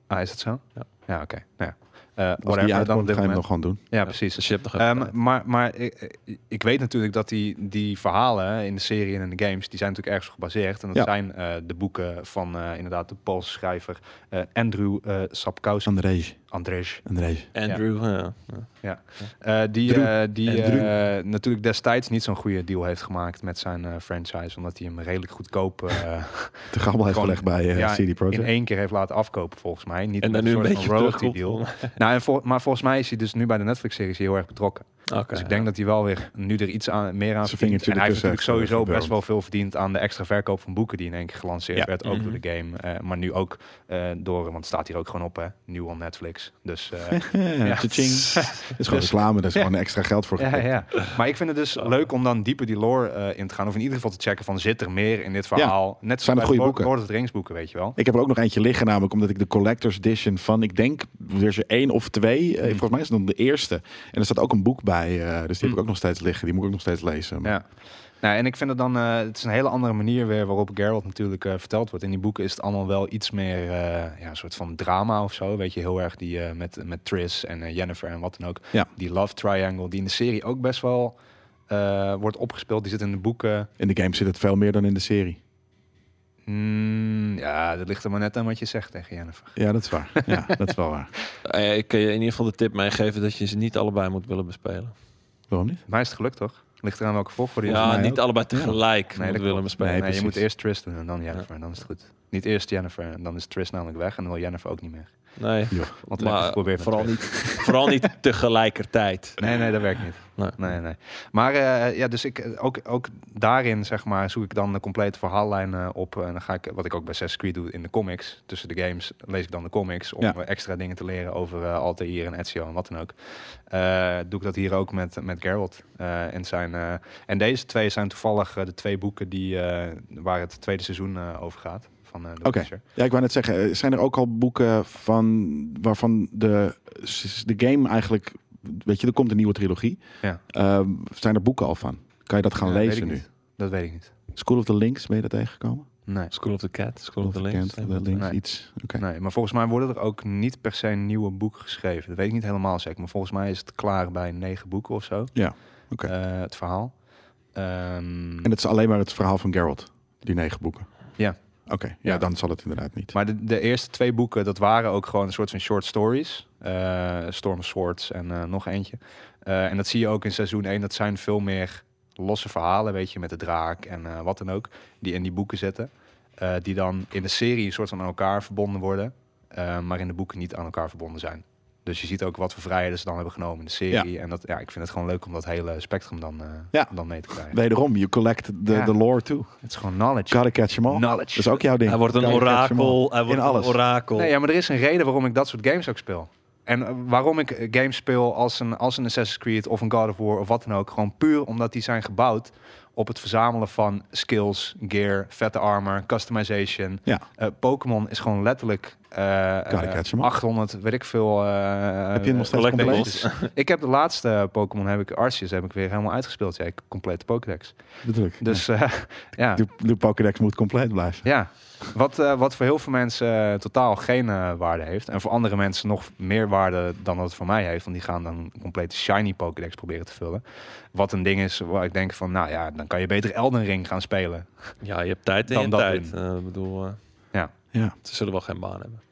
D: Ah, is dat zo?
C: Ja.
D: Ja, oké. Nou ja. Eh,
B: Als
D: whatever,
B: die
D: dan op
B: uitkomt,
D: dit
B: ga je hem
D: moment.
B: nog gewoon doen.
D: Ja, precies.
C: Dus je hebt nog even
D: Ehm,
C: tijd.
D: maar maar ik, ik weet natuurlijk dat die, die verhalen in de serie en in de games, die zijn natuurlijk ergens op gebaseerd. En dat
B: Ja.
D: zijn eh, de boeken van eh, inderdaad de Poolse schrijver eh, Andrew eh Sapkowski.
B: André.
D: Andrzej.
B: André.
C: Andrew, eh, ja. ja.
D: Eh, die
B: Drew.
D: eh, die
B: Andrew.
D: eh, natuurlijk destijds niet zo'n goede deal heeft gemaakt met zijn eh, franchise. Omdat hij hem redelijk goedkoop eh,
B: De gammel heeft
D: Gewoon-
B: gelegd bij eh,
D: ja,
B: CD Projekt.
D: in één keer heeft laten afkopen volgens mij. Niet
C: En
D: met
C: dan nu een
D: soort van
C: beetje
D: royalty
C: terugkomt.
D: deal.
C: Oké.
D: Nou, en vol- maar volgens mij is hij dus nu bij de Netflix-series heel erg betrokken. Dus ik denk
C: ja.
D: dat hij wel weer nu er iets aan, meer aan
B: Zijn
D: verdient.
B: vingertje
D: En hij heeft
B: ertussen
D: natuurlijk
B: heeft,
D: sowieso
B: eh,
D: best wel veel verdiend aan de extra verkoop van boeken die in één keer gelanceerd
B: Ja.
D: werd. Ook door
C: Mhm.
D: de game. eh, maar nu ook eh, door, want het staat hier ook gewoon op, hè. Nieuw op Netflix. Dus eh,
B: Ja,
D: Ja. Dus-
B: tja-ching. Dat is gewoon reclame, daar is
D: Ja.
B: gewoon extra geld voor
D: ja,
B: gekocht.
D: ja. Maar ik vind het dus leuk om dan dieper die lore eh, in te gaan. Of in ieder geval te checken van, zit er meer in dit verhaal? Net
B: Zijn
D: zoals
B: er
D: bij
B: goede
D: Lord,
B: boeken?
D: Lord of the Rings boeken, weet je wel.
B: Ik heb er ook nog eentje liggen, namelijk omdat ik de Collector's Edition van, ik denk, er is er één of twee.
D: Hmm.
B: eh, Volgens mij is het dan de eerste. En er staat ook een boek bij, eh, dus die heb ik ook nog steeds liggen. Die moet ik ook nog steeds lezen. Maar-
D: Hmm. Ja. Nou, en ik vind het dan, eh, het is een hele andere manier weer waarop Geralt natuurlijk eh, verteld wordt. In die boeken is het allemaal wel iets meer eh, ja, een soort van drama of zo. Weet je, heel erg die eh, met, met Triss en eh, Jennifer en wat dan ook.
B: Ja.
D: Die love triangle, die in de serie ook best wel eh, wordt opgespeeld. Die zit in de boeken.
B: In de game zit het veel meer dan in de serie.
D: Hmm, ja, dat ligt er maar net aan wat je zegt tegen Jennifer.
B: Ja, dat is waar. Ja, dat is wel waar.
C: Eh, Ik kan je in ieder geval de tip meegeven dat je ze niet allebei moet willen bespelen.
B: Waarom niet?
D: Maar is het gelukt toch? Ligt eraan welke volgorde je
B: Volgens
C: Ja,
B: mij
C: niet
B: ook.
C: allebei tegelijk
D: Nee,
C: moet
D: dat
C: willen
D: klopt.
C: bespelen.
B: Nee,
D: Nee,
B: precies.
D: je moet eerst Triss doen en dan Jennifer en dan is het goed. Niet eerst Jennifer en dan is Triss namelijk weg en dan wil Jennifer ook niet meer.
C: Nee,
B: Joh.
D: Want dan heb je het
C: maar
D: geprobeerd met
C: vooral
D: Triss.
C: niet, vooral niet tegelijkertijd.
D: Nee, nee, dat werkt niet.
C: Nee.
D: Nee, nee. Maar eh, ja, dus ik, eh, ook, ook daarin zeg maar, zoek ik dan de complete verhaallijn eh, op. En dan ga ik, wat ik ook bij Assassin's Creed doe, in de comics. Tussen de games lees ik dan de comics om
B: Ja.
D: eh, extra dingen te leren over eh, Altair en Ezio en wat dan ook. Eh, doe ik dat hier ook met, met Geralt. Eh, en, zijn, eh, en deze twee zijn toevallig eh, de twee boeken die, eh, waar het tweede seizoen eh, over gaat. Van, eh The
B: Oké.
D: Witcher.
B: Ja, ik wou net zeggen, eh, zijn er ook al boeken van waarvan de, de game eigenlijk, weet je, er komt een nieuwe trilogie.
D: Ja.
B: Ehm, zijn er boeken al van? Kan je dat gaan
D: Ja, Eh, weet
B: lezen
D: ik
B: nu?
D: niet. Dat weet ik niet.
B: School of the Links, ben je dat tegengekomen?
D: Nee.
C: School of the Cat, School of the
B: Kent,
C: Links.
B: the Links,
D: Nee.
B: iets. Oké.
D: Nee, maar volgens mij worden er ook niet per se nieuwe boeken geschreven. Dat weet ik niet helemaal zeker. Maar volgens mij is het klaar bij negen boeken of zo.
B: Ja, oké.
D: Eh, het verhaal. Ehm,
B: En het is alleen maar het verhaal van Geralt, die negen boeken.
D: Ja.
B: Oké, ja,
D: Ja.
B: dan zal het inderdaad niet.
D: maar de, de eerste twee boeken, dat waren ook gewoon een soort van short stories. Eh, Storm of Swords en eh, nog eentje. Eh, en dat zie je ook in seizoen 1. Dat zijn veel meer losse verhalen, weet je, met de draak en eh, wat dan ook. Die in die boeken zitten. Eh, die dan in de serie een soort van aan elkaar verbonden worden. eh, maar in de boeken niet aan elkaar verbonden zijn. Dus je ziet ook wat voor vrijheden ze dan hebben genomen in de serie. En dat, ja, ik vind het gewoon leuk om dat hele spectrum dan, eh,
B: Ja.
D: dan mee te krijgen.
B: Wederom, you collect the,
D: Ja.
B: the lore too.
D: Het is gewoon knowledge.
B: Gotta catch them all.
D: Knowledge.
B: Dat is ook jouw ding.
C: Hij wordt een
B: Gotta catch 'em all.
C: orakel. Hij wordt
B: In alles.
C: een orakel.
D: Nee, ja, maar er is een reden waarom ik dat soort games ook speel. En eh, waarom ik eh, games speel als een, als een Assassin's Creed of een God of War of wat dan ook. Gewoon puur omdat die zijn gebouwd op het verzamelen van skills, gear, vette armor, customization.
B: Ja.
D: Eh, Pokémon is gewoon letterlijk eh, eh,
B: Gotta catch 'em all.
D: 800, weet ik veel. eh,
B: Heb je hem nog steeds
C: collectibles.
B: compleet?
D: ik heb de laatste Pokémon, heb ik Arceus, heb ik weer helemaal uitgespeeld. Ja, ik complete Pokédex.
B: Natuurlijk.
D: Dus eh, ja.
B: De, de Pokédex moet compleet blijven.
D: Ja, wat, eh, wat voor heel veel mensen eh, totaal geen eh, waarde heeft. En voor andere mensen nog meer waarde dan dat het voor mij heeft. Want die gaan dan een complete shiny Pokédex proberen te vullen. Wat een ding is waar ik denk van, nou ja, dan kan je beter Elden Ring gaan spelen.
C: Ja, je hebt tijd en
D: Dan
C: je hebt
D: dat
C: tijd.
D: doen.
C: Eh, Ik bedoel, eh,
B: Ja.
C: ze zullen wel geen baan hebben.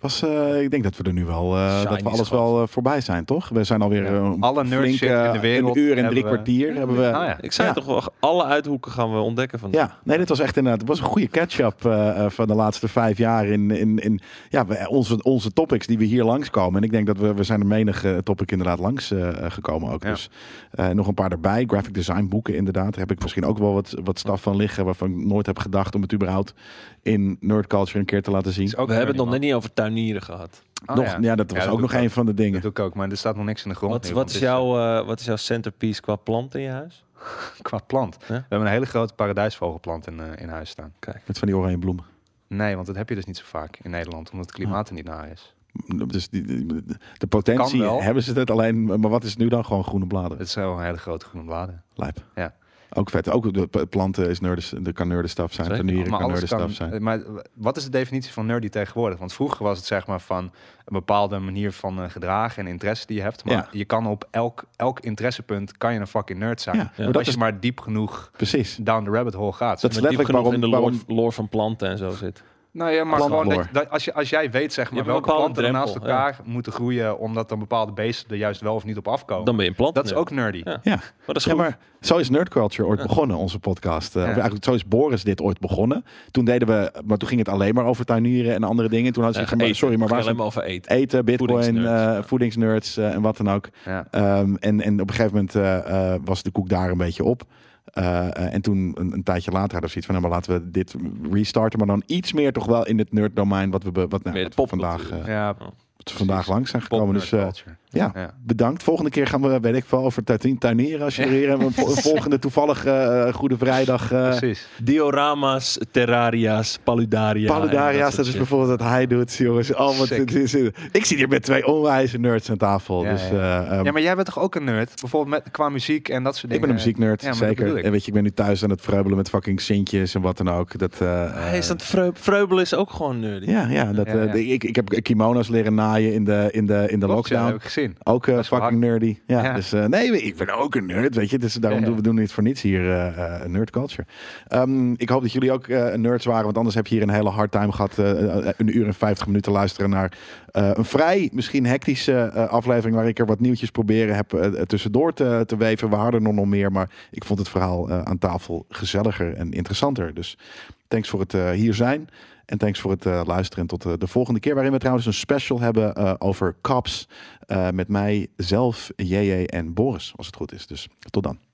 B: Was, eh, ik denk dat we er nu wel, eh,
C: Shiny
B: dat we alles
C: schat.
B: wel eh, voorbij zijn, toch? We zijn alweer
D: Ja.
B: eh, een
D: Alle nerd
B: flinke,
D: shit in de wereld
B: een uur en
D: hebben
B: drie
D: we-
B: kwartier hebben we.
D: Ah, ja.
C: Ik zei
B: Ja.
C: toch wel, alle uithoeken gaan we ontdekken van.
B: Ja, nee, dit was echt inderdaad. Het was een goede catch-up eh, eh, van de laatste vijf jaar in, in, in ja, we- onze, onze topics die we hier langskomen. En ik denk dat we, we zijn er menig eh, topic inderdaad langs eh, eh, gekomen ook.
D: Ja.
B: Dus eh, nog een paar erbij. Graphic design boeken inderdaad. Daar heb ik misschien ook wel wat, wat staf van liggen waarvan ik nooit heb gedacht om het überhaupt in nerd culture een keer te laten zien.
D: Is ook
C: we hebben het nog
D: nerdy,
C: net
D: man.
C: niet over tuinieren gehad.
D: Ah,
B: nog, ja. dat was
D: Oh, dat
B: ook
D: doe
B: nog
D: ik ook.
B: een van de dingen.
D: Dat doe ik ook, maar er staat nog niks in de grond.
C: Wat,
D: nu,
C: wat,
D: want
C: is
D: het is,
C: jouw, eh, wat is jouw centerpiece qua plant in je huis?
D: eh, Qua plant. We hebben een hele grote paradijsvogelplant in, eh, in huis staan.
B: Met van die oranje bloemen.
D: Nee, want dat heb je dus niet zo vaak in Nederland, omdat het
B: Ah.
D: klimaat er niet naar is.
B: Dus die, die- de potentie
D: Kan wel.
B: hebben ze het alleen. Maar wat is het nu dan? Gewoon groene bladeren.
D: Het is wel een hele grote groene bladen.
B: Lijp.
D: Ja.
B: Ook vet. Ook de p- planten is nerdes, de kan nerdenstaf zijn.
C: Zeker.
B: Panieren
D: maar
B: kan
D: alles kan,
B: nerdenstaf
C: eh,
B: zijn.
D: Maar wat is de definitie van nerdy tegenwoordig? Want vroeger was het zeg maar van een bepaalde manier van eh, gedragen en interesse die je hebt. Maar
B: Ja.
D: je kan op elk, elk interessepunt kan je een fucking nerd zijn.
B: Ja, maar
D: Als
B: dat
D: je
B: is-
D: maar diep genoeg
B: Precies.
D: down the rabbit hole gaat.
B: Dat is
C: Maar diep
B: letterlijk
C: genoeg
B: waarom...
C: in de
B: waarom Oh.
C: lore, lore van planten en zo zit.
D: nou ja, maar
B: Plant-
D: gewoon dat,
B: lore.
D: dat- als, je, als jij weet zeg maar
C: hebt een
D: welke
C: bepaalde
D: planten er naast
C: drempel, ja.
D: elkaar moeten groeien, omdat dan bepaalde beesten er juist wel of niet op afkomen.
C: Dan ben je een plant.
D: dat is ook nerdy.
C: Ja.
B: ja.
C: Maar dat is
B: Ja,
C: goed.
B: maar zo is Nerd Culture ooit begonnen, onze podcast. Eh,
D: Ja.
B: Of eigenlijk zo is Boris dit ooit begonnen. Toen deden we, maar toen ging het alleen maar over tuinieren en andere dingen. Toen hadden ze
C: Eh,
B: van, maar-
C: eten.
B: sorry, maar
C: Het
B: waar
C: ging
B: zijn
C: alleen maar over eten?
B: eten, bitcoin,
C: Voedingsnerds.
B: eh, voedingsnerds eh, en wat dan ook.
D: Ja.
B: Ehm, en, en op een gegeven moment eh, eh, was de koek daar een beetje op. Eh, eh, en toen een, een tijdje later hadden we zoiets van, nou, maar laten we dit restarten. Maar dan iets meer toch wel in het nerddomein wat we, be- wat, nou,
C: Meer de
B: wat we
C: popcultuur.
B: vandaag, eh,
D: Ja,
B: wat we vandaag langs zijn
D: pop
B: gekomen. Dus
D: nerd
B: eh,
D: culture.
B: ja,
D: Ja.
B: bedankt. Volgende keer gaan we, weet ik wel, over tuin- tuinieren. Als je er weer een, een volgende toevallig eh, Goede Vrijdag... eh,
D: Precies.
C: Diorama's, terraria's, paludaria. en
B: Paludaria's,
C: soort
B: dat is
C: shit.
B: bijvoorbeeld wat hij doet, jongens. Oh, wat,
D: Sick.
B: het is- ik zit hier met twee onwijze nerds aan tafel.
D: Ja,
B: dus,
D: ja.
B: eh, ehm,
D: Ja, maar jij bent toch ook een nerd? Bijvoorbeeld met, qua muziek en dat soort dingen.
B: ik ben een muzieknerd,
D: Ja, maar dat
B: zeker.
D: bedoel ik.
B: En weet je, ik ben nu thuis aan het vreubelen met fucking sintjes en wat dan ook. Dat, eh,
C: Hij is aan het vreub- vreubelen is ook gewoon nerdy.
B: ja, ja, dat,
D: Ah, Ja,
B: eh,
D: ja.
B: de- ik, ik heb kimono's leren naaien in de, in de, in de
D: Klopt, ja, dat
B: lockdown.
D: heb ik gezien.
B: Ook eh,
D: wel
B: fucking nerdy. Ja,
D: Ja.
B: Dus eh, nee, ik ben ook een nerd, weet je. Dus daarom
D: Ja, ja.
B: Doen, we doen dit voor niets hier, eh, eh, nerd culture. Ehm, ik hoop dat jullie ook eh, nerds waren, want anders heb je hier een hele hard time gehad. eh, eh, een uur en vijftig minuten luisteren naar eh, een vrij, misschien hectische eh, aflevering... waar ik er wat nieuwtjes proberen heb eh, eh, tussendoor te, te weven. We hadden er nog meer, maar ik vond het verhaal eh, aan tafel gezelliger en interessanter. Dus thanks voor het eh, hier zijn. En thanks voor het eh, luisteren. En tot eh, de volgende keer. Waarin we trouwens een special hebben eh, over cops. eh, met mij, zelf, JJ en Boris. Als het goed is. Dus tot dan.